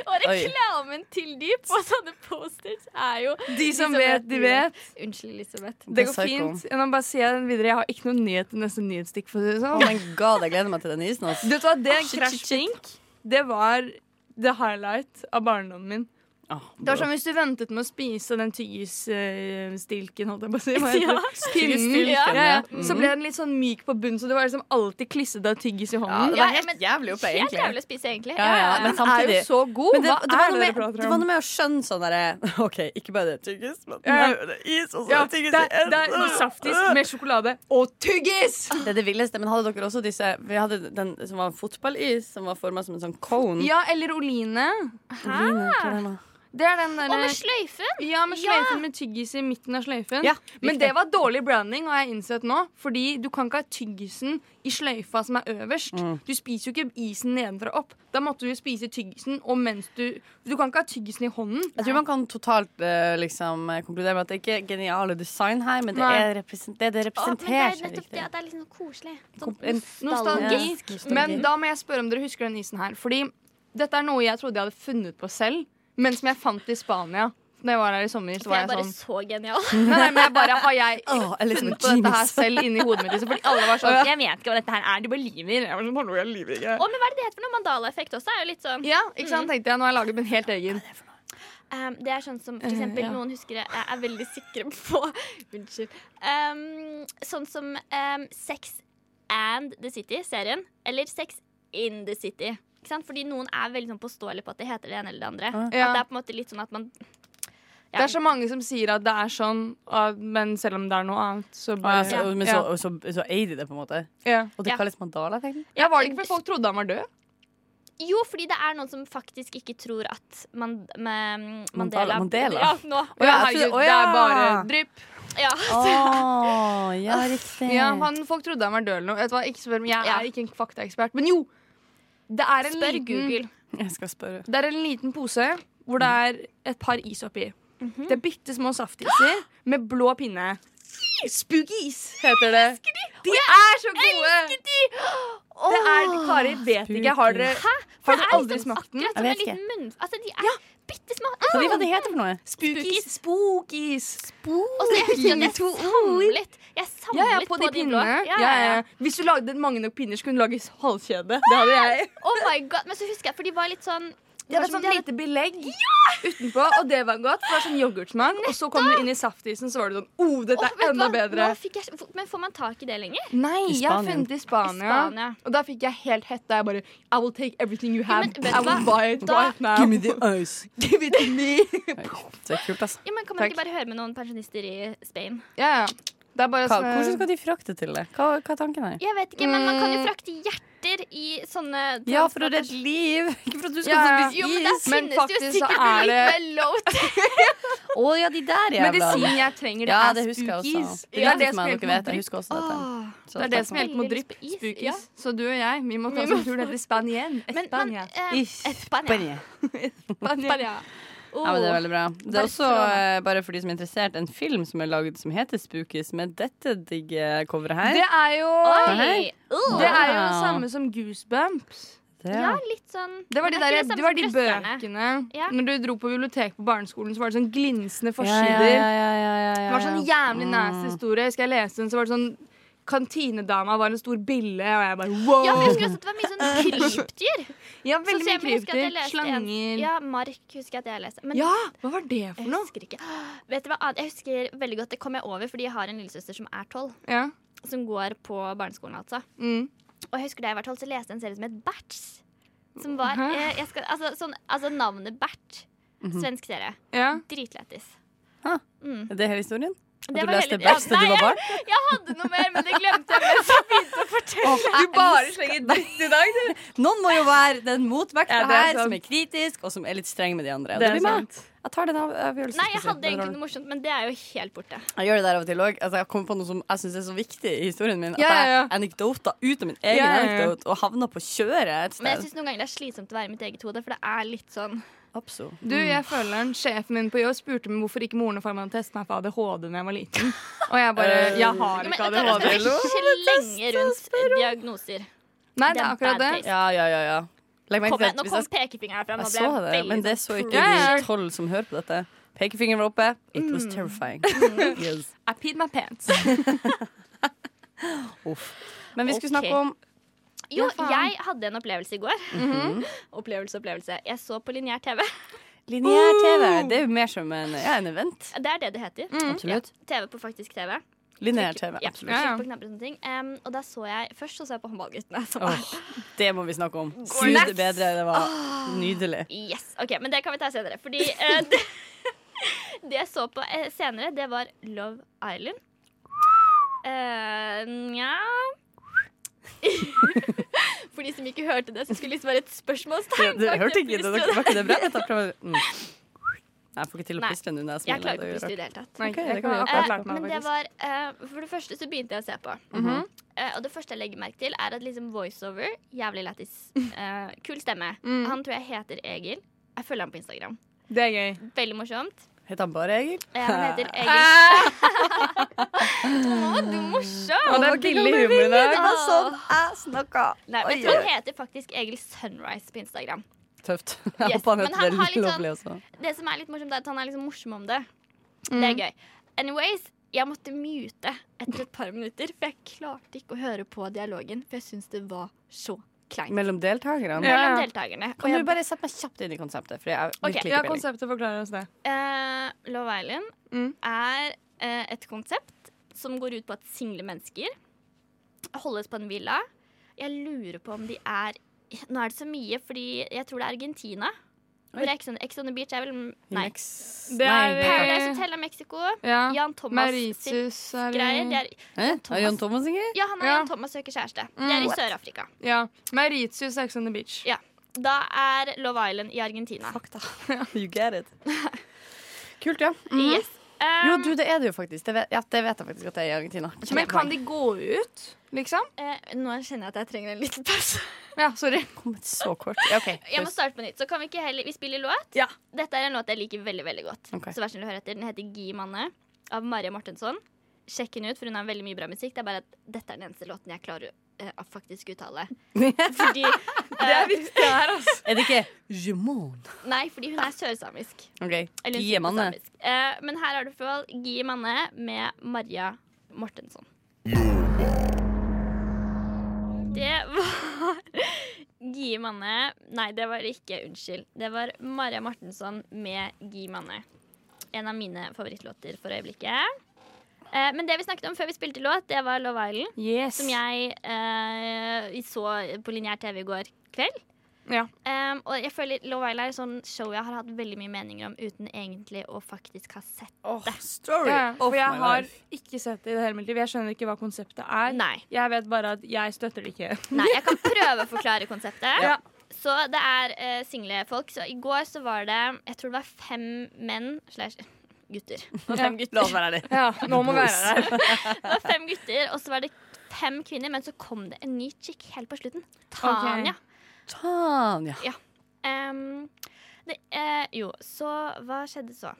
S3: Og reklamen til de på sånne posters er jo
S6: De som vet, de vet.
S3: Unnskyld, Elisabeth.
S6: Det går
S5: Det er psycho.
S6: fint. Jeg må bare si den videre. Jeg har ikke noen nyhet til neste nyhetsstikk. For å si det
S5: Å,
S6: sånn.
S5: men Oh god, jeg gleder meg til den isen. Altså.
S6: Du vet hva, det krasjblink, det var the highlight av barndommen min.
S5: Ah,
S6: Det var sånn Hvis du ventet med å spise den tyggistilken, holdt jeg på å si, hva
S3: Ja.
S6: heter det? Pinnen.
S5: Tyggistilken,
S6: ja,
S5: ja.
S6: ja. så ble den litt sånn myk på bunnen, så det var liksom alltid klissete av tyggis i hånden.
S5: det var
S3: Ja,
S5: helt
S3: men-
S5: jævlig oppe,
S3: Helt
S5: egentlig.
S3: jævlig å spise, egentlig.
S5: Ja, ja,
S3: Ja,
S5: men
S6: Den er jo
S5: samtidig
S6: så god!
S5: Men det,
S6: Hva
S5: det, var noe
S6: er det dere
S5: med, det
S6: prater
S5: var
S6: om?
S5: noe med å skjønne sånn derre OK, ikke bare det er tyggis, men
S6: Ja.
S5: nei, det er is, og så
S6: Ja,
S5: er det tyggis
S6: det,
S5: i
S6: er- det er noe
S5: enden.
S6: saftis med sjokolade og tyggis!
S5: Det er det villeste. Men hadde dere også disse Vi hadde den som var fotballis, som var forma som en sånn cone.
S6: Ja, eller Oline.
S5: Viner, hva er det nå?
S6: Det er den
S3: Og
S6: derre
S3: med sløyfen!
S6: ja, med sløyfen med tyggis i midten av sløyfen.
S5: Ja,
S6: Men
S5: riktig.
S6: det var dårlig branding, har jeg innsett nå. Fordi du kan ikke ha tyggisen i sløyfa som er øverst.
S5: Mm.
S6: Du spiser jo ikke isen nedenfra og opp. Da måtte du spise tyggisen, og mens du Du kan ikke ha tyggisen i hånden.
S5: Jeg tror man kan totalt eh, liksom, eh, konkludere med at det ikke er geniale design her, men det,
S6: Nei.
S5: er represent det det
S3: Å, men det er
S5: representerer seg
S3: nettopp
S5: riktig.
S3: det at det er litt sånn koselig. Sånn
S5: Kom- en-
S3: nostalgi.
S6: Nostalgi. Men da må jeg spørre om dere husker den isen her. Fordi dette er noe jeg trodde jeg hadde funnet på selv, men som jeg fant i Spania. Da jeg var her i sommer, så
S3: For
S6: var
S3: jeg
S6: jeg
S3: bare
S6: sånn
S3: så genial.
S6: Nei, nei, men jeg bare har jeg
S5: Åh, jeg er litt som en
S6: funnet på dette her
S5: genius.
S6: selv inni hodet mitt. liksom, Fordi alle var sånn
S3: Jeg vet ikke hva dette her er. Du bare lyver.
S6: Jeg var sånn, «Hallo, jeg lyver ikke.
S3: Å, men hva er det det heter for noe? Mandala-effekt også er jo litt sånn
S6: Ja, ikke sant, tenkte jeg. Nå har jeg laget min helt egen.
S3: Um, det er sånn som
S6: Eh,
S3: for eksempel, noen huskere jeg er veldig sikre på Unnskyld. Um, sånn som um, Sex and the City-serien. Eller Sex in the City. Ikke sant? Fordi noen er veldig sånn påståelige på at det heter det ene eller det andre.
S6: Ja.
S3: At det er på en måte litt sånn at man ja,
S6: Det er så mange som sier at det er sånn, og- men selv om det er noe annet, så
S5: Å, ja,
S6: bare
S5: så,
S6: ja.
S5: Men så, og så, så, eier de det, på en måte.
S6: Ja.
S5: Og det
S3: Ja.
S5: kalles mandala-effekten.
S6: ja, Var det ikke fordi folk trodde han var død?
S3: Jo, fordi det er noen som faktisk ikke tror at man, med,
S5: Mandela-
S3: Mandela
S5: Mandela?
S3: Ja, nå.
S6: Å ja, Ah. herregud,
S5: å
S6: det
S5: ja.
S6: er bare drypp.
S3: Ja.
S5: Å, ja, riktig.
S6: Ja, han, folk trodde han var død eller noe. Vet du hva, ikke spør, meg, jeg
S3: Ja.
S6: er ikke en faktaekspert. Men jo! Det er en
S3: Spør
S6: liten
S3: Google.
S5: Jeg skal spørre.
S6: Det er en liten pose hvor det er et par is oppi.
S3: Mhm.
S6: Det er bitte små saftiser med blå pinne. Spookies heter det. De er så gode! Det er, Kari, vet ikke. Har dere, har dere aldri smakt den?
S3: liksom Akkurat som
S5: Jeg
S3: en
S5: vet
S3: liten munn... Altså, de er Ah! bitte små.
S5: Så vi hva det heter for noe?
S6: Spookies. Spookies.
S3: Og så Altså, jeg husker at jeg samlet Jeg samlet
S6: Ja, ja, på de
S3: blå.
S6: pinnene.
S3: Ja,
S6: Ja,
S3: ja,
S6: ja.
S3: ja.
S6: Hvis du lagde mange nok pinner, så kunne du lage halskjede. Det hadde jeg.
S3: Oh my god, Men så husker jeg, for de var litt sånn
S6: Det var
S3: som
S6: sånn
S3: de hadde-
S6: lite belegg utenpå, og det var godt. For det var sånn yoghurtsmak. Og så kom du inn i saftisen, så var det sånn oh, dette
S3: Åh,
S6: er
S3: vet du
S6: enda
S3: hva?
S6: bedre.
S3: Nå fikk jeg, men får man tak i det lenger?
S6: Nei,
S5: I
S6: jeg har
S5: Spanien.
S6: funnet det i Spania.
S3: I Spania.
S6: Og da fikk jeg helt hett da jeg bare I will take everything you have.
S3: men vet
S6: I
S3: du
S6: will
S3: hva?
S6: buy it
S3: Da-
S6: right now.
S5: Give me the ice.
S6: Give it to me.
S5: Det er kult, altså.
S3: Ja, men Kan man
S6: Takk.
S3: ikke bare høre med noen pensjonister i Spain?
S6: ja, ja. Det er bare
S5: Hva,
S6: sånn
S5: hvordan skal de frakte til det? Hva, hva er tanken her?
S3: Jeg vet ikke, men man kan jo frakte hjerter i sånne
S5: Ja, for å redde liv. Ikke for at du skal
S6: Ja, ja.
S5: få
S3: Jo,
S5: spise
S3: men der
S5: is.
S6: Men
S3: finnes det jo
S6: faktisk så
S3: sikkert
S6: er
S3: noe
S6: det-
S3: med low tech.
S5: Å ja, de der jævla.
S6: Medisin jeg trenger, det
S5: Ja,
S6: er
S5: det husker jeg
S6: spookies.
S5: også.
S6: Det er det som
S5: meg, dere
S6: hjelper mot
S5: vet. Jeg
S6: drypp.
S5: husker også dette. Så
S6: Det er det som
S5: takk.
S6: hjelper mot drypp.
S3: Veldig lyst på is.
S6: Spookies.
S3: Ja.
S6: Så du og jeg, vi må ta oss en tur ned til Spania.
S3: Men, men
S6: Spania.
S3: eh,
S5: Is.
S3: Spania.
S5: Spania.
S3: Spania.
S5: Ja, men det er veldig bra. Det er også,
S6: Barcelona.
S5: eh, bare for de som er interessert, en film som er laget som heter Spookies, med dette digge coveret her.
S6: Det er jo
S3: Oi! Uh.
S6: Det er jo det
S5: Wow.
S6: samme som goosebumps.
S5: Det-
S3: Ja, litt sånn
S6: Det var de,
S3: Men er
S6: der,
S3: ikke det samme
S6: det var
S3: som
S6: de
S3: Trøsterne?
S6: bøkene.
S3: Ja.
S6: Når du dro på biblioteket på barneskolen, så var det sånn
S5: Ja, ja,
S6: glinsende forsider.
S5: ja, ja, ja, ja, Mm. ja.
S6: Det var sånn jævlig nasty historie. Skal jeg lese den, så var det sånn Kantinedama var en stor bille, og jeg bare wow!
S3: Ja, for jeg husker også at det var mye sånn krypdyr.
S6: Ja,
S3: Sånn
S6: veldig mye
S3: som jeg husker at jeg
S6: krypdyr.
S3: leste en-
S6: Slanger. Ja.
S3: Ja, mark husker jeg at jeg leste. Men
S6: hva var det for
S3: jeg
S6: noe?
S3: husker ikke. Vet du hva, annet? jeg husker veldig godt, det kom jeg over fordi jeg har en lillesøster som er tolv.
S6: Ja.
S3: Som går på barneskolen, altså.
S6: Mm.
S3: Og jeg husker da jeg var tolv, så leste jeg en serie som het Berts. Som var eh, jeg skal, altså, sånn, altså navnet Bert. Svensk serie.
S6: ja.
S3: Dritlættis.
S5: Er det hele historien? At
S3: Det
S5: du
S3: var
S5: leste
S3: hele-
S5: best da
S3: Ja,
S5: du
S3: nei,
S5: var barn?
S3: Jeg, jeg hadde noe mer, men det glemte jeg mens jeg begynte å fortelle.
S6: Du bare slenger dritt i dag, du.
S5: Noen må jo være den motvekta
S6: Ja, det er
S5: her, som
S6: sant.
S5: er kritisk, og som er litt streng med de andre. Og det, blir meg. Jeg tar den av- avgjørelsen.
S3: Nei, jeg
S5: skal si. sånn.
S3: hadde egentlig noe morsomt, men det er jo helt borte.
S5: Jeg gjør det der av og til òg. Altså, jeg kommer på noe som jeg syns er så viktig i historien min. At
S6: Ja, ja, ja.
S5: jeg anekdoter ut av min egen
S6: Ja, ja, ja.
S5: anekdote og havner på kjøret et
S3: Men jeg
S5: sted.
S3: syns noen ganger det er slitsomt å være i mitt eget hode, for det er litt sånn
S5: Abso.
S6: Du, jeg føler den. Sjefen min på jobb spurte meg hvorfor ikke moren og faren min hadde testet meg for ADHD da jeg var liten. Og jeg bare Jeg har
S3: Eh, Men
S6: ikke
S3: det er
S6: ADHD.
S3: ikke lenge rundt diagnoser.
S6: Nei,
S3: Det
S6: det
S3: er
S6: er akkurat
S3: bad
S6: det.
S3: taste.
S5: Ja, ja, ja, ja. Legg merke
S3: Kom
S5: til
S3: igjen,
S5: at
S3: nå
S5: hvis
S3: kom
S5: jeg,
S3: pekefingeren fram.
S5: jeg
S3: og
S5: så
S3: ble
S5: det,
S3: veldig
S5: men det
S3: sånn
S5: så ikke
S6: Ja, ja.
S5: de tolv som hører på dette. Pekefingeren var oppe. It
S3: Mm.
S5: was terrifying. Yes.
S6: I peed my pants.
S5: Uff. Men vi skulle
S3: Ok.
S5: snakke om
S3: sånn, Jo,
S6: Ja, faen. Mhm.
S3: jeg hadde en opplevelse i går.
S5: Mhm.
S3: Opplevelse, opplevelse. Jeg så på lineær TV.
S5: lineær TV. Det er jo mer som en, ja, en event.
S3: Det er det det heter.
S5: Absolutt.
S3: Ja, TV på faktisk TV.
S5: Mm-hmm. Lineær TV.
S3: Ja,
S5: Absolutt.
S6: Mhm. Ja, ja.
S3: Trykk på knapper og sånne ting. Em, og da så jeg Først så så jeg på Håndballguttene. Som er
S5: Åh, det må vi snakke om. Gud, det bedre. Det var
S3: Ah.
S5: nydelig.
S3: Yes, ok, men det kan vi ta senere. Fordi eh, det, det jeg så på eh, senere, det var Love Island. Eh, Nja For de som ikke hørte det, så skulle det liksom være et spørsmålstegn.
S5: Du
S3: bak
S5: hørte ikke
S3: plutselig
S5: det?
S3: stod
S5: Var ikke det bra? Jeg tar prøve. Mm. Jeg får ikke til å
S3: Nei,
S5: puste nå når jeg
S3: Jeg
S5: smiler.
S3: klarer ikke å
S5: det er
S3: puste
S5: rart.
S3: i det hele tatt.
S6: Nei,
S5: Ok,
S6: jeg
S5: det
S6: kan
S5: kan vi
S6: akkurat
S3: Eh,
S6: lært meg,
S3: men
S6: faktisk. Mhm.
S3: det var eh, For det første så begynte jeg å se på. Eh, og det første jeg legger merke til, er at liksom voiceover Jævlig lættis. Eh, kul stemme.
S6: Mm.
S3: Han tror jeg heter Egil. Jeg følger ham på Instagram.
S6: Det er gøy.
S3: Veldig morsomt.
S5: Heter han bare Egil?
S3: Eh, han heter Egil.
S6: Ah,
S3: Å, du er morsom!
S6: og det er billig humor i dag.
S5: Det var sånn jeg snakka.
S3: Nei, men jeg tror han heter faktisk Egil Sunrise på Instagram.
S5: Tøft. Jeg
S3: Yes,
S5: håper han
S3: men
S5: heter
S3: han
S5: det
S3: har litt sånn-
S5: lovlig også.
S3: Det som er litt morsomt, er at han er liksom morsom om det. Det er gøy. Anyways, jeg måtte mute etter et par minutter, for jeg klarte ikke å høre på dialogen, for jeg syntes det var så kleint.
S5: Mellom deltakerne.
S6: Ja.
S3: Mellom deltakerne. Og
S5: Kan
S3: jeg
S5: du bare sette meg kjapt inn i konseptet? For jeg har
S3: Ok,
S5: virkelig
S6: Ja,
S5: ikke peiling.
S6: konseptet forklarer oss det.
S3: Eh, Love Island
S6: Mm.
S3: er eh, et konsept som går ut på at single mennesker holdes på en villa. Jeg lurer på om de er Nå er det så mye, fordi jeg tror det er Argentina. Hvor Ex on Ex on the Beach er vel Nei.
S5: Mex-
S6: Det
S5: Nei,
S6: er-
S5: hva-
S3: Paradise Hotel er Mexico.
S6: Ja.
S3: Jan Thomas sitt
S6: Mauritius er
S3: greier. Det
S6: i-
S3: er,
S5: Hæ? Er Jan Thomas Inger?
S3: ja, han er
S6: Ja.
S3: Jan Thomas søker kjæreste. Det er i
S6: What?
S3: Sør-Afrika.
S6: Ja. Mauritius er Ex on the Beach.
S3: Ja. Da er Love Island i Argentina.
S5: Fakta. You get it. Kult, ja.
S3: Yes. Um,
S5: Mm. Jo, du, det er det jo faktisk. Det vet, ja, det vet jeg faktisk at det er i Argentina.
S6: Men kan de gå ut, liksom?
S3: eh, nå kjenner jeg at jeg trenger en liten pause.
S6: Ja, sorry.
S5: Kommet så kort. Ja, OK.
S3: Jeg må starte på nytt. Så kan vi ikke heller Vi spiller låt.
S5: Ja.
S3: Dette er en låt jeg liker veldig veldig godt.
S5: Ok.
S3: Så vær snill å høre etter. Den heter Gi manne av Maria Mortensson. Sjekk henne ut, for hun har veldig mye bra musikk. Det er bare at dette er den eneste låten jeg klarer eh, å faktisk uttale. Fordi Det er viktig her, altså.
S5: Er det ikke Jumon?
S3: Nei, fordi hun er sørsamisk.
S5: OK.
S3: Eller hun
S5: Gi
S3: sier på
S5: mann det.
S3: samisk. Eh, men her har du for all Gi manne med Maria Mortensson. Det var Gi manne Nei, det var det ikke. Unnskyld. Det var Maria Mortensson med Gi manne. En av mine favorittlåter for øyeblikket. Eh, men det vi snakket om før vi spilte låt, det var Love Island.
S6: Yes.
S3: Som jeg eh, så på lineær TV i går kveld.
S6: Ja.
S3: Um, og jeg føler Love Island er et sånn show jeg har hatt veldig mye meninger om uten egentlig å faktisk ha sett.
S5: Story
S6: Ja, ja. For
S5: of
S6: jeg
S5: my
S6: har
S5: life.
S6: ikke sett det i det hele mitt liv. Jeg skjønner ikke hva konseptet er.
S3: Nei.
S6: Jeg vet bare at jeg støtter det ikke.
S3: Nei, jeg kan prøve å forklare konseptet.
S6: Ja.
S3: Så det er eh, single folk. Så i går så var det Jeg tror det var fem menn slash gutter. Det var
S5: La
S3: fem gutter.
S5: oss være ærlige.
S6: Ja, nå må vi være der.
S3: Det var fem gutter, og så var det fem kvinner, men så kom det en ny chick helt på slutten. Tanja.
S5: Tanja.
S3: Um, det, eh, jo, så hva skjedde så?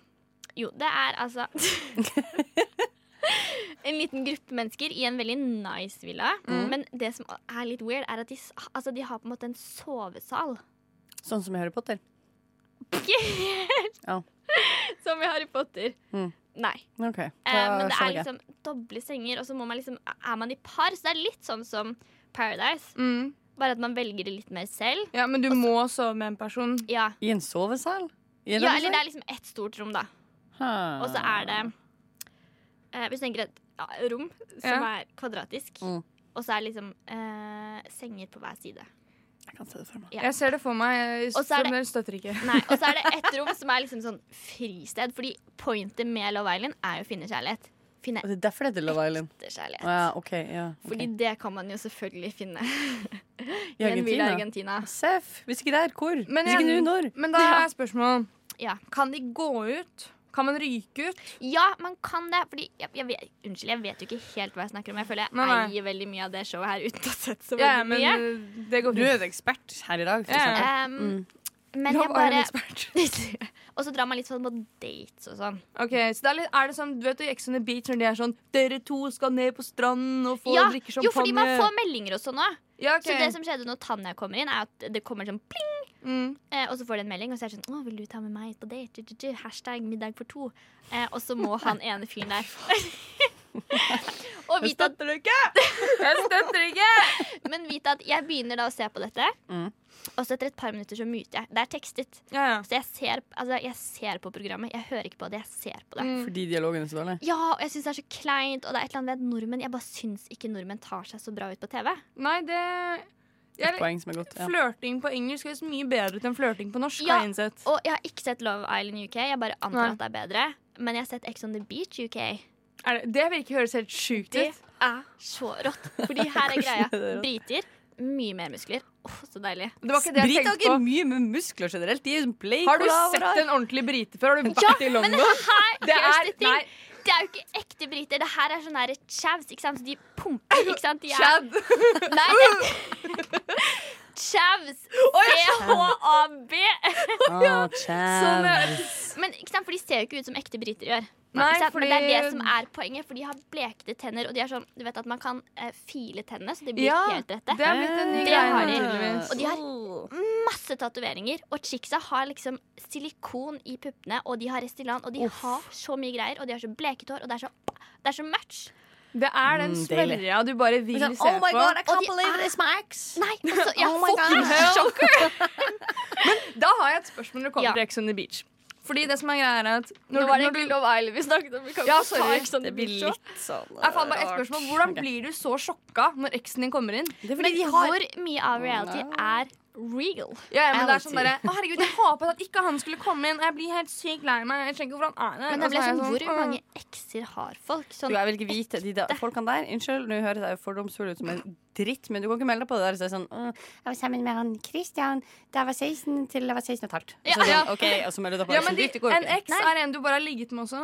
S3: Jo, det er altså En liten gruppe mennesker i en veldig nice villa. Men det som er litt weird, er at de, s- altså, de har på en måte en sovesal.
S5: Sånn som i Harry Potter.
S3: Ikke helt
S5: Ja.
S3: som i Harry Potter.
S5: Mm.
S3: Nei.
S5: OK.
S3: Eh, men det er
S5: skjønner jeg.
S3: liksom doble senger, og så må man liksom, er man i par. Så det er litt sånn som Paradise,
S6: Mm.
S3: bare at man velger det litt mer selv.
S6: Ja, men du må sove med en person.
S3: Ja,
S5: I en sovesal? I en Ah.
S3: ja eller det
S5: sovesal?
S3: er liksom ett stort rom, da.
S5: Ha.
S3: Og så er det eh, Hvis du tenker et ja, rom som
S6: Ja.
S3: er kvadratisk,
S5: Mm.
S3: og så er det liksom eh, senger på hver side.
S5: Jeg kan se det for meg.
S3: Ja.
S6: Jeg ser det for meg.
S3: Og så er det-
S6: Som dere støtter ikke.
S3: Nei, Og så er det ett rom som er liksom sånn fristed, fordi pointet med Love Island er jo å finne kjærlighet. Finne
S5: Og det er derfor det heter Love Island.
S3: ekte kjærlighet.
S5: Å Ja, OK. Ja. ok.
S3: Fordi det kan man jo selvfølgelig finne
S5: I
S3: i en villa i
S5: Argentina.
S3: Argentina.
S5: Seff. Hvis ikke der, hvor?
S6: Men
S5: Hvis ikke
S6: jeg-
S5: nå, når?
S6: Men da
S3: Ja.
S6: er spørsmålet
S3: Ja.
S6: Kan de gå ut? Kan man ryke ut?
S3: ja, man kan det. Fordi jeg, jeg vet, unnskyld, jeg vet jo ikke helt hva jeg snakker om. Jeg føler jeg
S6: Nei, nei.
S3: eier veldig mye av det showet her uten å ha sett så veldig
S6: Ja, men
S3: mye.
S6: uh, det går
S5: Du er
S6: fint.
S5: jo ekspert her i dag, for
S6: Ja.
S5: eksempel.
S3: Um, Men
S6: Love
S3: jeg bare
S6: Island ekspert.
S3: Og så drar man litt sånn på dates og sånn.
S6: Ok, så det er, litt, er det sånn, du vet i Ex on the Beach når de er sånn Dere to skal ned på stranden og få
S3: Ja,
S6: drikke champagne.
S3: jo, fordi man får meldinger og sånn òg.
S6: ja, ok.
S3: Så det som skjedde når Tanja kommer inn, er at det kommer sånn pling,
S6: mm.
S3: eh, og så får de en melding, og så er det sånn Å, vil du ta med meg på date? Ju, ju, ju. Hashtag middag for to. Eh, og så må han ene fyren der Og vite at
S6: Jeg støtter ikke!
S3: Men vite at jeg begynner da å se på dette,
S5: Mm.
S3: og så etter et par minutter så muter jeg. Det er tekstet.
S6: Ja, ja.
S3: Så jeg ser, altså, jeg ser på programmet. Jeg hører ikke på det, jeg ser på det.
S6: Mm.
S5: Fordi dialogen er så dårlig?
S3: Ja, og jeg syns det er så kleint. Og det er et eller annet ved at nordmenn Jeg bare syns ikke nordmenn tar seg så bra ut på TV.
S6: Nei, det
S5: Et
S6: jeg,
S5: poeng som er godt. Ja.
S6: Flørting på engelsk høres mye bedre ut enn flørting på norsk.
S3: Ja.
S6: har jeg innsett
S3: Og jeg har ikke sett Love Island UK, jeg bare
S6: Nei.
S3: antar at det er bedre. Men jeg har sett Ex on the Beach UK.
S6: er det, det virker høres helt sjukt
S3: Det
S6: ut.
S3: er så rått. Fordi her er greia.
S5: er det rått?
S3: Briter mye mer muskler. Åh, så deilig.
S6: Det var ikke det jeg
S5: Briter har
S6: tenkte
S5: ikke
S6: på.
S5: mye med muskler generelt. De er jo sånn bleike
S6: Har du
S5: og
S6: sett
S5: rar.
S6: en ordentlig brite før? Har du vært i
S3: Men
S6: London?
S3: det her,
S6: Det er-
S3: here's the
S6: nei.
S3: thing. Det er jo ikke ekte briter. Det her er sånn her chavs, ikke sant. Så de pumper, ikke sant. De er Nei, men Chavs. C-h-a-b.
S5: Å,
S6: Sånn,
S5: tjæv.
S6: eh,
S3: Men ikke sant, for de ser jo ikke ut som ekte briter gjør.
S6: Nei,
S3: Ikke sant? Men det er det
S6: fordi-
S3: som er poenget, for de har blekte tenner. Og de er sånn, du vet at man kan eh, file tennene, så de blir
S6: Ja,
S3: helt rette.
S6: Det er blitt en ny
S3: Det
S6: greie.
S3: har de.
S6: tydeligvis.
S3: Og de har masse tatoveringer. Og chicksa har liksom silikon i puppene, og de har Restylane, og de har så mye greier. Og de har så bleket hår, og det er så, det er så match.
S6: Det er den
S5: Mm, deilig.
S6: smørja du bare vil se
S3: Liksom,
S5: Sånn,
S6: på.
S5: oh my god, I
S3: Og
S5: can't
S3: de
S5: believe
S3: er-
S5: this, Max!
S3: Nei, altså, jeg
S5: Oh
S3: oh
S5: my
S3: fucking
S5: God.
S3: sjokker!
S6: Da har jeg et spørsmål når det kommer
S3: Ja.
S6: til Ex on the Beach. Fordi det som er greia er at når
S3: Nå
S6: du,
S3: var det
S6: når du,
S3: egentlig Love Island vi snakket om. Vi kan
S6: Ja,
S3: ikke ta
S6: sorry.
S3: Ex on the
S5: Det blir
S3: Beach nå.
S5: litt sånn
S6: Nei, faen, bare et
S5: rart.
S6: spørsmål. Hvordan blir du så sjokka når eksen din kommer inn?
S5: Det er fordi
S3: Men
S5: de har
S3: hvor mye av reality er real?
S6: Ja, ja, men det er sånn
S5: Reality.
S6: derre Å, herregud, jeg håpet at ikke han skulle komme inn. Jeg blir helt sykt lei meg. Jeg skjønner ikke hvordan han er Og
S3: Men det
S6: så er altså, mm.
S3: ble
S6: jeg
S3: sånn, hvor
S6: «Åh».
S3: mange ekser har folk?
S5: Du,
S3: Sånn,
S5: jeg vil ikke vite de der, folkene der. Unnskyld, nå høres jeg jo fordomsfull ut som en dritt, men du kan ikke melde deg på det der. Så det er sånn, «Åh, jeg var sammen med han Christian da jeg var 16 til jeg var 16 og et halvt. Og så, er det
S6: Ja.
S5: sånn, ok, og så melder du deg på.
S6: Ja,
S5: Så
S6: men de,
S5: dit, det går jo
S6: En
S5: ikke.
S6: eks er en du bare har ligget med også.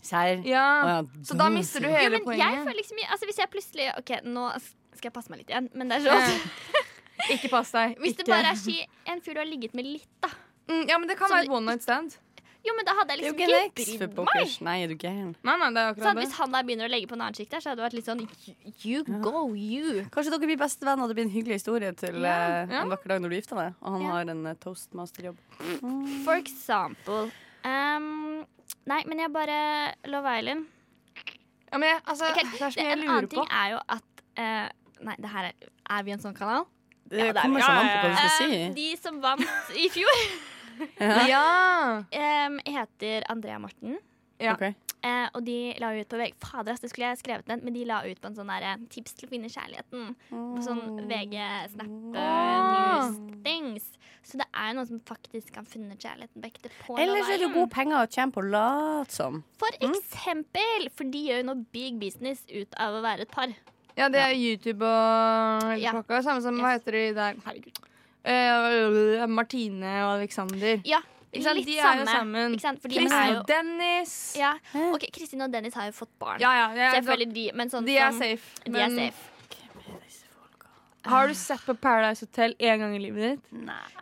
S5: Sær.
S6: Ja.
S5: Å, ja.
S6: Så da mister du
S3: jo,
S6: hele
S3: men jeg
S6: poenget.
S3: føler liksom, altså, hvis jeg plutselig Ok, nå skal jeg passe meg litt igjen, men det er sånn
S6: Ikke pass deg.
S3: Hvis det
S6: Ikke.
S3: bare er si, en fyr du har ligget med litt, da.
S6: Mm, Ja, men det kan
S3: Så
S6: være et
S3: du-
S6: one night stand.
S3: Jo, men da hadde
S5: Det er
S3: jeg
S5: jo ikke en eks
S3: liksom ikke
S5: for
S3: brydd meg.
S5: pokkers. Nei, er du gæren?
S6: Nei, nei, det er
S3: Sånn,
S6: akkurat det.
S3: hvis han der begynner å legge på en annen sjikt der, så hadde det vært litt sånn you- You go, you.
S5: Kanskje dere blir bestevenn, og det blir en hyggelig historie til eh,
S6: ja.
S5: en vakker dag når du gifter deg, og han
S3: Ja.
S5: har en eh, toastmasterjobb.
S3: For example. Um, nei, men jeg bare Love Island.
S6: Ja, men jeg, altså,
S3: Ok,
S6: det er så
S3: det,
S6: mye jeg
S3: en
S6: lurer
S3: annen
S6: på.
S3: ting er jo at eh, Nei, det her er, er vi en sånn kanal?
S5: Det
S3: det er-
S5: kommer sånn an på hva du skal si.
S3: Eh, de som vant i fjor,
S6: Ja.
S3: em, heter Andrea Morten.
S6: ja.
S5: Ok.
S3: eh, og de la jo ut på VG Fader, ass, det skulle jeg skrevet ned, men de la ut på en sånn derre tips til å finne kjærligheten. På
S6: Mm.
S3: sånn
S6: Åh.
S3: VG-snap-news-things. eh, Så det er jo noen som faktisk kan finne kjærligheten på ekte. på
S5: Ellers er det jo
S3: Love
S5: gode
S3: Island.
S5: penger å tjene på å late som.
S3: For
S6: Mm.
S3: eksempel, for de gjør jo noe big business ut av å være et par.
S6: Ja, det er YouTube og hele
S3: Ja.
S6: pakka. Samme som hva
S3: Yes.
S6: heter de der Herregud. Eh, Martine og Alexander.
S3: Ja,
S6: Ikke sant?
S3: litt
S6: De er
S3: samme.
S6: jo sammen.
S3: Ikke sant? For de
S6: Chris
S3: er jo
S6: og Dennis.
S3: ja. OK, Kristin og Dennis har jo fått barn.
S6: ja, ja, ja,
S3: Så jeg
S6: da-
S3: føler de Men sånn
S6: de er
S3: som-
S6: safe.
S3: De er
S6: men
S3: safe.
S6: har du sett på Paradise Hotel én gang i livet ditt?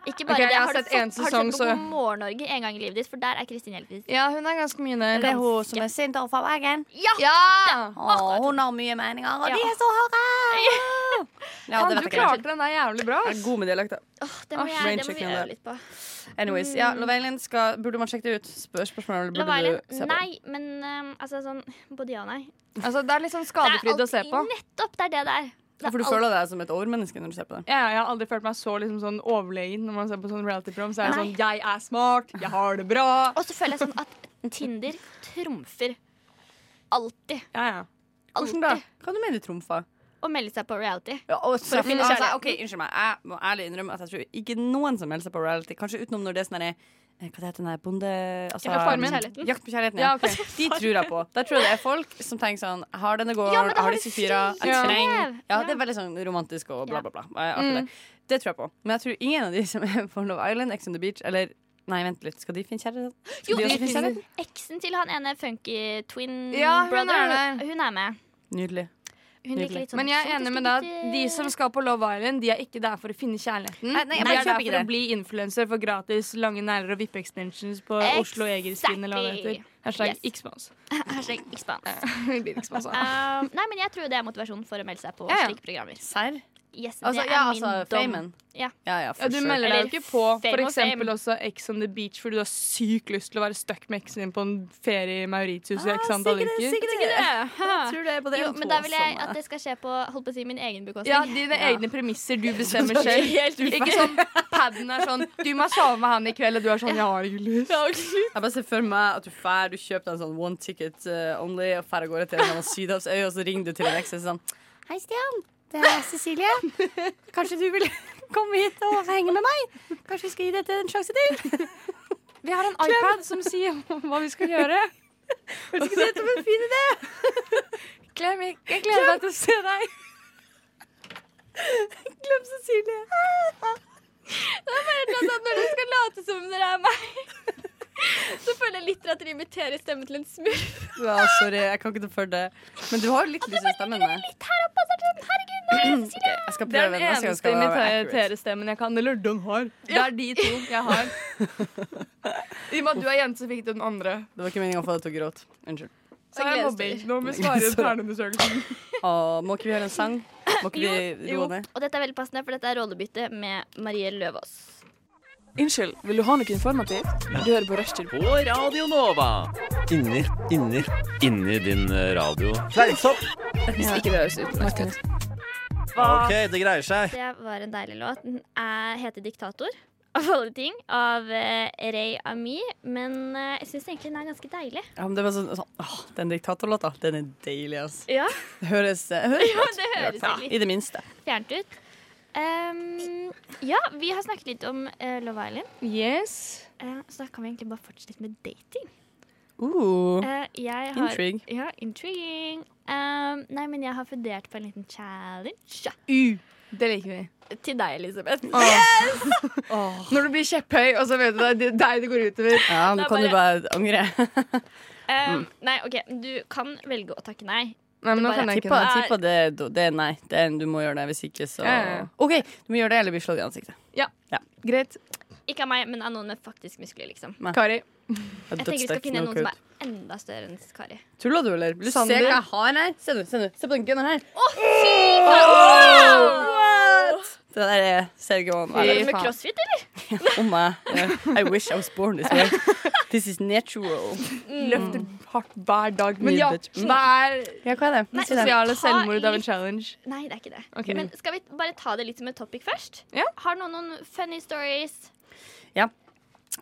S3: Ikke bare
S6: Ok, jeg
S3: det,
S6: har
S3: har, du
S6: sett
S3: fått,
S6: en
S3: har
S6: sesong,
S3: du sett
S6: så-
S3: på God morgen Norge en gang i livet ditt? For der er Kristin Hjeltvis.
S6: Ja, hun er ganske mye der.
S5: Det er hun som er sint overfor veggen.
S3: Ja!
S6: Ja!
S5: Å, hun har mye meninger, og
S3: Ja.
S5: de er så harde! Ja,
S6: Faen,
S5: det
S6: du
S5: vet jeg ikke.
S6: klarte den der jævlig bra.
S5: Jeg
S6: ass.
S5: er god med dialekter.
S3: Åh, det må,
S6: Åh,
S3: jeg, det må
S5: raincheck
S3: vi
S5: igjen
S3: øve
S5: der.
S3: litt på.
S5: Anyways, ja, Love Island skal, burde man sjekke det ut? Spør, spørsmål, eller
S3: Love
S5: burde
S3: Island?
S5: du se på?
S3: Nei, men um, altså sånn Både ja og nei.
S6: Altså, det er litt sånn
S3: Det er
S6: skadefryd å se
S3: alltid-
S6: på.
S3: Nettopp! Det er det det er. Det er
S5: For du
S3: alt-
S5: føler deg som et overmenneske når du ser på det.
S6: Ja, jeg har aldri følt meg så liksom, sånn overlegen når man ser på sånn reality-program. Så er jeg
S3: Nei.
S6: sånn Jeg er smart, jeg har det bra.
S3: Og så føler jeg sånn at Tinder trumfer. Alltid.
S6: Ja, ja.
S5: Hvordan da?
S3: Alltid.
S5: Hva du mener du trumfa?
S3: Å melde seg på reality.
S5: Ja, og
S3: å finne
S5: altså,
S3: kjærligheten.
S5: ok, Unnskyld meg, jeg må ærlig innrømme at jeg tror ikke noen som melder seg på reality, kanskje utenom når det er sånn herre eh, Hva det heter den der bonde... Altså,
S6: Jakt på farmen.
S3: Kjærligheten.
S5: Jakt på kjærligheten.
S6: Ja, ok.
S5: De tror jeg på. Da tror jeg det er folk som tenker sånn Jeg har denne gården,
S3: Ja, men da
S5: jeg
S3: har
S5: har
S3: du
S5: disse fyra, jeg
S6: fri
S5: trenger
S3: brev.
S5: Ja,
S3: Ja. Mm.
S5: det er veldig sånn romantisk og bla,
S3: Ja.
S5: bla, bla. Eh, akkurat det. Det tror jeg på. Men jeg tror ingen av de som er på Love Island, Ex on the Beach eller Nei, vent litt. Skal de finne kjærligheten? Skal
S3: Jo,
S5: de også finne kjærligheten?
S3: eksen til han ene funky twin
S6: sånn Ja, hun
S3: brother,
S6: er der.
S3: hun er med.
S5: Nydelig.
S3: Hun
S5: Nydelig.
S3: virker litt sånn
S6: Men jeg er
S3: eksotisk
S6: enig med deg
S3: gutter.
S6: at de som skal på Love Island, de er ikke der for å finne kjærligheten.
S5: Nei, nei, jeg
S6: de
S5: bare
S6: er der
S5: kjøper ikke
S6: for å
S5: det.
S6: bli influenser for gratis lange negler og vippe-extensions på
S3: Exactly.
S6: Oslo Egerstien eller hva det heter. Hashtag
S3: Yes.
S6: Xmans.
S3: Hashtag expand.
S6: Blir Xmans,
S5: altså.
S6: ja.
S3: Um, nei, men jeg tror det er motivasjon for å melde seg på
S6: Ja, ja.
S3: slike programmer.
S5: Serr?
S3: Yes,
S5: Altså,
S3: det er
S5: ja,
S3: min
S5: altså
S3: dom.
S5: famen.
S3: Ja.
S5: ja, ja, for
S6: Ja, du
S5: sure.
S6: melder deg jo
S3: Eller
S6: ikke på
S3: fame
S6: for
S3: og
S6: eksempel
S3: fame.
S6: også Ex on the Beach fordi du har sykt lyst til å være stuck med eksen din på en ferie i Mauritius i
S5: Ah,
S6: x antall
S5: sikkert det,
S6: uker.
S5: sikkert det. Jeg tror det er på det
S3: Jo,
S5: en
S3: men
S5: tå
S3: da vil jeg
S5: som er-
S3: at det skal skje på holdt på å si, min egen bekostning.
S6: Ja, dine egne premisser. Du bestemmer selv. Ikke sånn paden er sånn Du må sove med han i kveld, og du er sånn Jeg har ikke lyst.
S5: Jeg bare ser for meg at du fær, du kjøper en sånn one ticket eh, only og fær av gårde til en eller annen sydhavsøy, og så ringer du til en eks og sånn Hei, Stian. Det er Cecilie. Kanskje du vil komme hit og henge med meg? Kanskje vi skal gi dette en sjanse til?
S6: Vi har en iPad som sier hva vi skal gjøre.
S5: Høres ikke det ut som en fin idé?
S6: Klem, jeg gleder meg til å se deg.
S5: Glem Cecilie.
S3: Blant annet når dere skal late som om dere er meg. Så føler jeg litt at dere imiterer stemmen til en smurf.
S5: Ja, sorry, jeg kan ikke ta for det. Men du har jo litt
S3: Altså,
S5: lys i stemmen.
S3: Litt her oppe, og så er det sånn, herregud, nei, Cecilie.
S5: Jeg skal
S6: Det er
S5: prøve
S6: den
S5: neste gang.
S6: eneste
S5: Skal jeg være accurate.
S6: imiterestemmen jeg kan. Eller den har. Det er de to jeg har. I og med at du er jente, så fikk du den andre.
S5: Det var ikke meningen å få deg til å gråte. Unnskyld.
S6: Så er jeg mobbing. Nå må vi svare
S5: Sorry.
S6: internundersøkelsen.
S5: Å, Ah, må ikke vi høre en sang? Må ikke vi
S3: Jo,
S5: roe ned?
S3: og dette er veldig passende, for dette er rollebytte med Marie Løvaas.
S8: Unnskyld, vil du ha noe informativt? Du hører på Rushtid.
S9: På Radio Nova. Inni, inni, inni din eh, radio. Fleinsopp.
S8: Hvis ikke det høres ut Martin.
S9: OK, det greier seg.
S3: Det var en deilig låt. Den er, heter 'Diktator', av alle ting, av eh, Ray Ami. Men eh, jeg syns egentlig den er ganske deilig.
S5: Ja, men det var sånn, sånn åh, Den diktatorlåta, den er deilig, ass.
S3: Ja,
S5: Det høres, eh, det høres godt
S3: det høres
S5: Ja,
S3: veldig
S5: I det minste.
S3: fjernt ut. Ehm, ja, vi har snakket litt om eh, Love Island,
S6: Yes.
S3: eh, så da kan vi egentlig bare fortsette med dating.
S5: Uh,
S3: Eh, jeg har,
S5: intrigue.
S3: Ja, intriguing. Ehm, nei, men jeg har fundert på en liten challenge.
S6: Det liker vi.
S3: Til deg, Elisabeth.
S6: Når du blir kjepphøy, og så vet du det er deg det går utover.
S5: Ja, nå
S3: Det er
S5: kan du Eh, bare angre.
S3: Ehm, Nei, OK, du kan velge å takke nei.
S6: Nei, men nå
S3: Det bare
S6: kan jeg
S5: Tippa,
S6: ikke det.
S5: tippa det, det er nei. Det er, du må gjøre det, hvis ikke så
S6: Ja, ja, ja.
S5: OK, du må gjøre det, eller bli slått i ansiktet.
S6: Greit.
S3: Ikke av meg, men av noen med faktisk muskler, liksom.
S6: Kari.
S3: Jeg tenker vi skal finne noen som er enda større enn Kari.
S5: Tulla du, eller? Vil du
S6: Sander.
S5: se hva jeg har her? Se, du, se, du. se på den gunneren her. Det der er Sergio
S3: Gjør
S5: Vanvær.
S3: du med
S6: faen.
S3: crossfit, eller?
S5: Om meg. I wish I was born this way. This is natural.
S6: Løfter hardt hver dag. Mm. Men
S5: Mye
S6: ja,
S5: bitch.
S6: hver
S5: Ja, hva er det?
S3: Nei,
S5: Si det.
S6: sosiale
S3: ta
S6: selvmord av
S3: litt-
S6: en challenge.
S3: Nei, det er ikke det.
S6: Ok.
S3: Men skal vi bare ta det litt som et topic først?
S6: Ja.
S3: Har noen noen funny stories?
S5: Eh,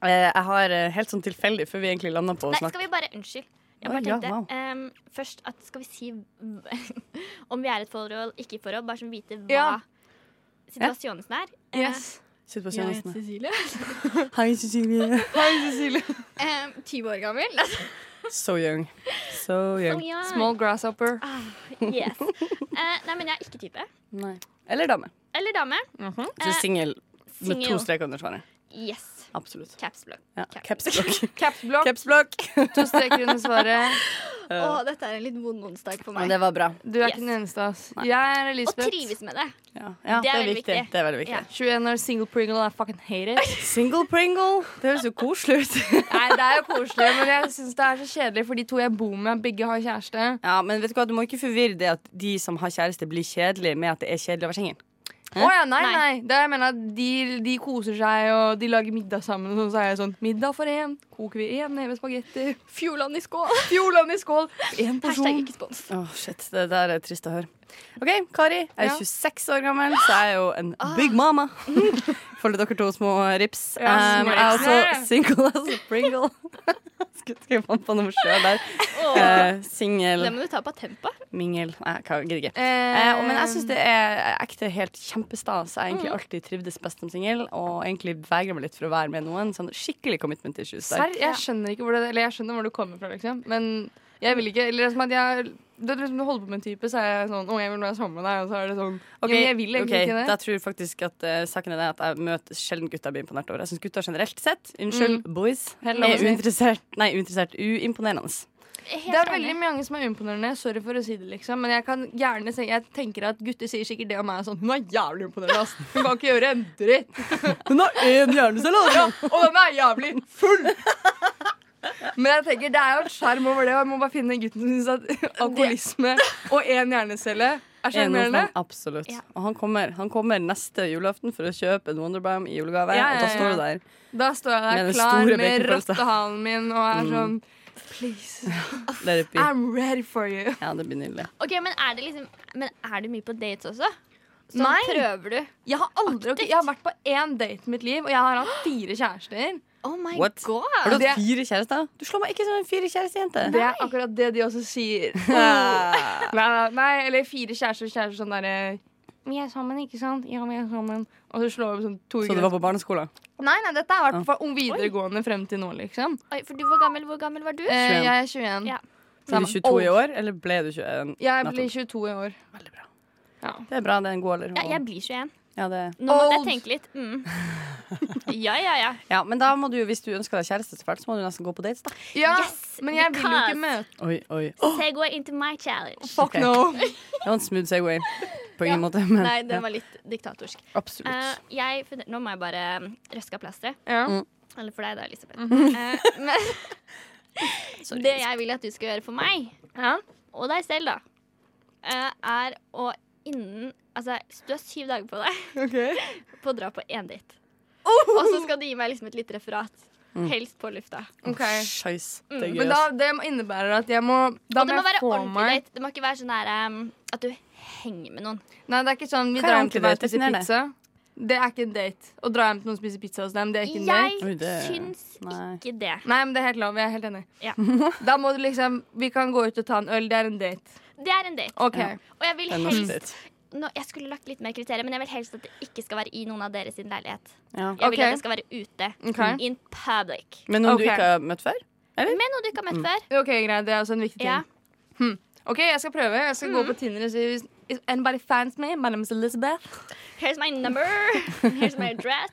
S5: Jeg har eh, helt sånn tilfeldig, før vi egentlig landa på å
S3: Nei,
S5: snakke
S3: skal vi bare Unnskyld.
S5: Oi,
S3: Jeg bare
S5: ja,
S3: tenkte
S5: wow.
S3: ehm, først at skal vi si om vi er et forhold, ikke i forhold, bare sånn vite hva
S6: Ja.
S3: situasjonen er. Eh,
S5: situasjonen.
S6: Cecilie.
S5: Hei, Cecilie.
S6: Hei, Cecilie.
S3: ehm, 20 år gammel.
S5: So young. So
S3: Som
S5: young.
S3: jeg.
S6: Small grasshopper.
S3: Yes. Eh, nei, men jeg er ikke type.
S5: Nei. Eller dame.
S3: Eller dame.
S5: Så singel med to
S3: Single.
S5: streker under svaret.
S3: Yes.
S5: Absolutt.
S3: Caps block.
S5: Ja.
S3: Cap-
S5: Capsblock.
S6: Caps block. To streker under svaret.
S3: Å, dette er en litt vond onsdag for
S5: Men
S3: meg.
S5: det var bra.
S6: Du er
S3: Yes.
S6: ikke den eneste, ass. Jeg er
S3: Og
S6: Elisabeth.
S3: trives med det.
S5: Ja, ja det, er
S3: veldig
S5: viktig.
S3: viktig.
S5: Det er veldig viktig.
S3: Ja.
S6: 21 år, single pringle, I fucking hate it.
S5: Single Pringle. Det høres jo koselig ut.
S6: Nei, det er jo koselig, men jeg syns det er så kjedelig for de to jeg bor med, begge har kjæreste.
S5: Ja, men vet Du hva, du må ikke forvirre det at de som har kjæreste, blir kjedelige med at det er kjedelig å være singel.
S6: Å ja, nei, nei. Det er, jeg mener at de, de koser seg, og de lager middag sammen. Og sånn, så er jeg sånn Middag for én. Koker vi én neve spagetti?
S3: Fjordland i skål.
S6: Fjordland i skål. Én
S3: Hashtag
S6: porsjon.
S3: ikke spons.
S5: Åh, shit, Det der er trist å høre. OK, Kari. Jeg er
S6: Ja. Ah.
S5: 26 år gammel, så jeg er jo en big mama. Følger dere to små rips.
S6: Ja,
S5: Um,
S6: små
S5: jeg er
S6: rips.
S5: også single as a pringle. Skulle skrive an på noe sjøl der. Uh,
S3: Det
S5: Singel,
S3: må du ta patent på.
S5: mingel Nei, jeg kan- gidder ikke. Eh,
S6: Eh,
S5: og- men jeg syns det er ekte helt kjempestas. Jeg har egentlig
S6: Mm.
S5: alltid trivdes best som singel, og egentlig vegrer meg litt for å være med noen. Sånn skikkelig commitment issues der.
S6: Serr, jeg skjønner ikke hvor det Eller jeg skjønner hvor du kommer fra, liksom. Men jeg vil ikke Eller liksom at jeg det er liksom Du holder på med en type, så er jeg sånn Å, jeg vil være sammen med deg. Og så er det sånn
S5: Ok,
S6: ja, men Jeg vil egentlig
S5: ok,
S6: ikke
S5: Da
S6: det.
S5: tror jeg faktisk at eh, saken er det at jeg møter sjelden gutter jeg blir imponert over. Jeg syns gutter generelt sett, unnskyld, boys,
S6: Mm. Helt lov å
S5: er
S6: si.
S5: uinteressert, nei, uinteressert, uimponerende.
S3: Helt
S6: Det er
S3: enig.
S6: veldig mange som er uimponerende. Sorry for å si det, liksom. Men jeg kan gjerne se, jeg tenker at gutter sier sikkert det om meg. Sånn, Hun er jævlig imponerende, ass. Hun kan ikke gjøre en dritt.
S5: Hun har én hjernecelle! altså.
S6: Og den er jævlig full! Men jeg tenker, det er jo et skjerm over det, og jeg må bare finne gutten som syns at alkoholisme og én hjernecelle er
S5: Er noe
S6: sjarmerende.
S5: sånn, Absolutt.
S3: Ja.
S5: Og han kommer, han kommer neste julaften for å kjøpe en Wonderbam i julegave,
S6: Ja,
S5: og da
S6: ja,
S5: står du
S6: ja.
S5: der.
S6: Da står jeg
S5: Med
S6: der
S5: den
S6: klar
S5: store Mm.
S6: med
S5: baconpølsa.
S6: rottehalen min og er sånn Please,
S5: Let it be.
S6: I'm ready for you.
S5: Ja, det blir nydelig.
S3: Ok, men er, det liksom, men er du mye på dates også? Sånn
S6: Nei.
S3: prøver du?
S6: Jeg har aldri ok, Jeg har vært på én date i mitt liv, og jeg har hatt fire kjærester.
S3: Oh my
S5: What? Har
S3: god!
S5: du
S6: Det-
S5: hatt fire kjærester? Du slår meg ikke som en fire kjærestejente.
S6: Det er akkurat det de også sier.
S5: Ah.
S6: Nei, nei, nei, eller fire kjærester kjærester sånn derre Vi er sammen, ikke sant? Ja, vi er sammen. Og så slår vi opp sånn to
S5: Så det var Ah. på barneskolen?
S6: Nei, nei, dette har vært fra ung videregående frem til nå, liksom.
S3: Oi, for du, hvor, gammel, hvor gammel var du?
S6: Eh, jeg er 21.
S3: Ja.
S5: Blir du 22 i år, eller ble du 21?
S6: Jeg blir
S5: nettopp?
S6: 22 i år.
S5: Veldig bra.
S6: Ja.
S5: Det er bra. Det er en god alder.
S3: Ja, jeg blir 21.
S5: Ja, det...
S3: Nå måtte jeg tenke litt. Mm. Ja, ja, ja.
S5: ja, men da må du, hvis du ønsker deg kjæreste, så fælt, så må du nesten gå på dates, da.
S6: Ja,
S3: Yes,
S6: men jeg vil jo
S3: because-
S6: ikke møte
S5: Oi, oi.
S3: Segway into my challenge.
S6: Fuck
S5: Ok.
S6: no.
S5: Det var en smooth segway. På ingen måte, men
S3: Nei, den
S5: ja,
S3: var litt diktatorsk.
S5: absolutt.
S3: Eh, jeg funner, nå må jeg bare mm, røske av plasteret.
S6: Ja.
S5: Mm.
S3: Eller for deg, da, Elisabeth.
S6: Mhm.
S3: Eh, men det jeg vil at du skal gjøre for meg, og deg selv, da, eh, er å innen Altså, du har syv dager på deg på å dra på én date. Og så skal du gi meg liksom et lite referat. Helst på lufta.
S6: Ok.
S5: Scheisse. Det er gøy.
S6: Men da, det innebærer at jeg må Da
S3: Og det
S6: må
S3: må være
S6: jeg få
S3: ordentlig
S6: meg
S3: date. Det må ikke være sånn der um, at du henger med noen.
S6: Nei, det er ikke sånn
S5: Hva
S6: vi
S5: er
S6: drar hjem
S5: ordentlig
S6: til hver og
S5: date?
S6: spiser
S5: Definer det.
S6: pizza. Det er ikke en date. Å dra hjem til noen og spise pizza hos dem, det er ikke en date.
S3: Jeg
S5: Oi, det-
S3: syns
S5: nei.
S3: ikke det.
S6: Nei, men det er helt lov. Jeg er helt enig.
S3: Ja.
S6: da må du liksom Vi kan gå ut og ta en øl. Det er en date.
S3: Det er en date.
S6: OK.
S3: Og jeg vil
S5: Det er en norsk
S3: helst
S5: date.
S3: nå, Jeg skulle lagt litt mer kriterier, men jeg vil helst at det ikke skal være i noen av deres sin leilighet.
S5: Ja.
S3: Jeg vil
S6: Ok.
S3: at det skal være ute.
S6: Ok.
S3: In public.
S5: Men noen
S6: Ok.
S5: du ikke har møtt før?
S3: Med noe du ikke har møtt før.
S6: Ok, Greit. Det er også en viktig ting.
S3: Ja. Mm.
S6: OK, jeg skal prøve. Jeg skal gå på Tinder og si hvis if anybody finds me, my name is Elizabeth.
S3: Here's my number. Here's my address.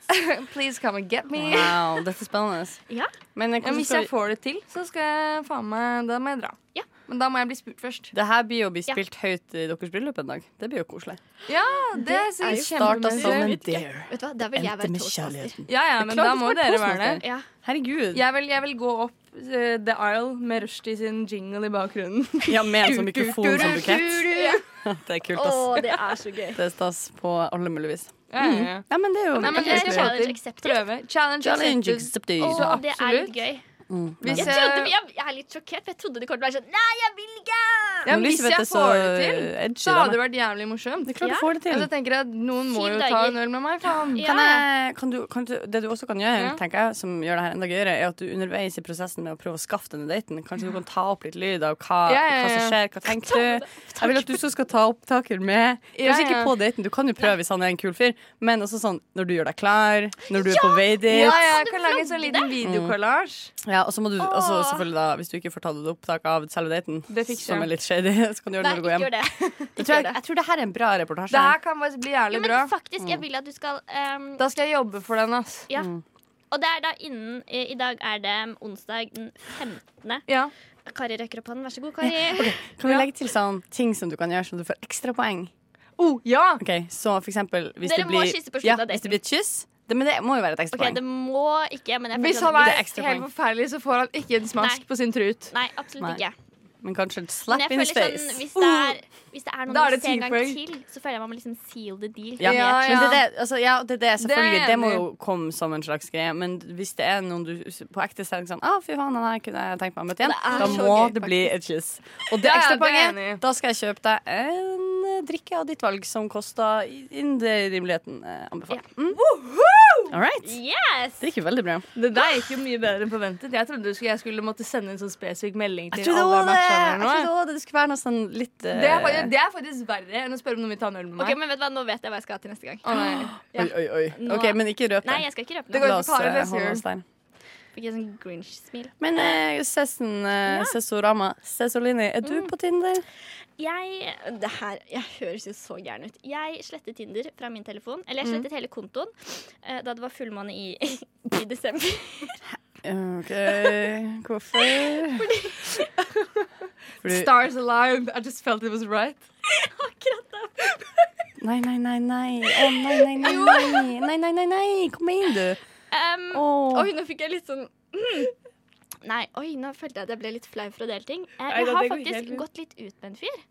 S6: Please come and get me.
S5: Wow, dette er spennende.
S3: Ja.
S5: Men
S6: Ja, men
S5: hvordan
S6: hvis
S5: skal
S6: jeg
S5: vi
S6: får det til, så skal jeg faen meg Da må jeg dra.
S3: Ja.
S6: Men da må jeg bli spurt først.
S5: det her blir jo bli
S3: Ja.
S5: spilt høyt i deres bryllup en dag. Det blir jo koselig.
S6: Ja, det, er
S5: Vi
S6: sikkert
S5: starta som
S6: kjempemessig.
S5: en dare.
S3: Vet du hva, da vil jeg
S5: Endte
S3: være
S5: med
S3: toastmaster.
S5: kjærligheten.
S6: Ja, ja, men
S5: klart
S6: da
S5: du
S6: må
S5: skal være
S6: dere være
S5: postmaster.
S6: der.
S3: Ja.
S5: Herregud.
S6: Jeg vil, jeg vil gå opp eh, The Isle med Rushdie sin jingle i bakgrunnen.
S5: Ja, med en sånn mikrofon som bukett. Det er kult,
S3: Å,
S5: ass.
S3: det er så gøy.
S5: Det er stas på alle mulige vis.
S6: Ja, ja,
S3: Mm.
S6: ja.
S5: Nei, men det er jo
S6: Nei, men det
S3: Ok,
S6: skal vi
S3: challenge
S6: alltid
S3: accepted.
S6: prøve. Challenge
S5: Challenge
S6: accepted.
S5: accepted.
S3: Å,
S6: Så
S3: det er
S6: absolutt.
S3: litt gøy.
S5: Mm,
S6: Hvis
S3: Jeg,
S6: jeg-
S3: trodde, jeg, jeg er litt sjokkert, for jeg trodde du kom til å være sånn Nei, jeg vil ikke!
S6: Ja,
S5: Men
S6: hvis
S5: Elisabeth er
S6: jeg
S5: så
S6: får det til,
S5: edgy,
S6: så
S5: da,
S6: hadde det
S5: men-
S6: vært jævlig morsomt.
S5: Det er klart
S3: Ja.
S5: du får det
S6: Altså,
S5: til.
S6: jeg tenker at Noen må
S3: Syv
S6: jo ta
S3: dager.
S6: en øl med meg, faen.
S3: Ja.
S5: Kan jeg, kan du, kan du, det du også kan gjøre,
S6: Ja.
S5: tenker jeg, som gjør det her enda gøyere, er at du underveis i prosessen med å prøve å skaffe denne daten, kanskje du kan ta opp litt lyd av hva,
S6: Ja, ja,
S5: hva
S6: ja.
S5: som skjer, hva tenker du? Jeg vil at du så skal ta opptaker med Kanskje
S6: Ja,
S5: ikke
S6: ja.
S5: på daten, du kan jo prøve hvis han er en kul fyr, men også sånn når du gjør deg klar, når du er på vei dit. Ja.
S6: Ja,
S5: Mm.
S6: jeg
S3: du
S6: kan lage en sånn
S3: vlogge
S6: liten videokollasj.
S5: og så må du og så selvfølgelig da, hvis du ikke får tatt et opptak av selve daten,
S6: Det fikser
S5: som
S6: jeg.
S5: er litt shady, så kan du gjøre
S3: Nei,
S5: det når du
S3: ikke
S5: går hjem.
S3: gjør det.
S5: Jeg tror, jeg, jeg tror det her er en bra reportasje.
S6: Det her kan faktisk bli
S3: Jo,
S6: jævlig
S3: men
S6: bra.
S3: faktisk, jeg vil at du skal ehm,
S6: Da skal jeg jobbe for den, ass.
S3: Ja. Og det er da innen I i dag er det onsdag den 15.
S6: Ja.
S3: Kari rekker opp hånden. Vær så god, Kari.
S5: Kan vi legge til sånn ting som du kan gjøre, så du får ekstra poeng?
S6: Oh, ja!
S5: Ok, så for eksempel hvis
S3: Dere
S5: det
S3: må
S5: blir,
S3: kysse på slutten
S5: ja,
S3: av
S5: Hvis
S3: daten.
S5: det blir et kyss det, Men det må jo være et ekstra
S3: OK, det
S5: poeng
S3: må ikke, men jeg
S6: Hvis
S3: føler
S6: han
S5: Det
S6: er
S3: at-
S5: er
S6: helt
S5: ekstra poeng.
S6: forferdelig, så får han ikke en smask
S3: Nei.
S6: på sin trut.
S3: Nei, absolutt
S5: Nei.
S3: ikke.
S5: Men kanskje et
S3: Men
S5: slap
S3: jeg
S5: in his
S3: føler
S5: face Uh,
S3: sånn, hvis det er, hvis det er noen
S6: Da er
S3: du
S6: det
S3: ser en gang
S6: teamwork.
S3: til, så føler jeg man må liksom seal the deal.
S5: ja.
S6: Ja,
S5: Men det, er det, altså, ja, det, er det, selvfølgelig, det,
S6: Det er jeg
S5: må
S6: enig i.
S5: jo komme som en slags greie Men hvis det er noen du på ekte ser sånn, Å fy faen, han her kunne jeg tenkt meg å møte igjen
S6: Det er
S5: Da
S6: så
S5: må
S6: gøy,
S5: det bli et kyss Og det
S6: Ja, ja,
S5: ekstra
S6: det er jeg enig i.
S5: poenget, da skal jeg kjøpe deg en eh, drikke av ditt valg Som koster innen det rimeligheten eh, anbefaler mm. All right,
S3: Yes!
S5: det gikk jo veldig bra
S6: Det der gikk jo mye bedre enn forventet. Jeg trodde du skulle, jeg skulle måtte sende en sånn spesifikk melding
S5: Jeg
S6: til
S5: trodde
S6: alle
S5: også det,
S6: matchene
S5: jeg
S6: eller noe.
S5: trodde også det, det skulle være noe sånn litt eh,
S6: Det er, faktisk, det er faktisk verre enn å spørre om noen vil ta en øl med
S3: OK,
S6: meg.
S3: men vet du hva, nå vet jeg hva jeg skal ha til neste gang.
S6: Å, nei.
S5: Oi, oi, oi.
S3: Nå-
S5: Ok, men ikke røp det.
S3: Nei, jeg skal ikke røpe
S6: Det
S3: noe.
S6: går-
S5: La oss
S6: ikke farlig,
S5: eh,
S6: det sier
S5: holde
S6: du.
S5: oss der.
S3: Fikk jeg sånn Grinch-smil.
S5: Men eh, Cessen, eh, Cesorama, Cesolini, er
S3: Mm.
S5: du på Tinder?
S3: Jeg det her, jeg høres jo så gæren ut. Jeg slettet Tinder fra min telefon. Eller jeg slettet hele kontoen eh, da det var fullmåne i, i desember.
S5: OK, hvorfor? Fordi
S6: Stars alive. I just felt it was right.
S5: Nei, nei, nei, nei. Å, nei, nei, nei. nei. Nei, nei, nei, nei. Kom inn, du.
S3: Um,
S5: Åh.
S3: Oi, nå fikk jeg litt sånn Nei, oi, nå følte jeg at jeg ble litt flau for å dele ting. Eh, jeg har faktisk gått litt ut med en fyr.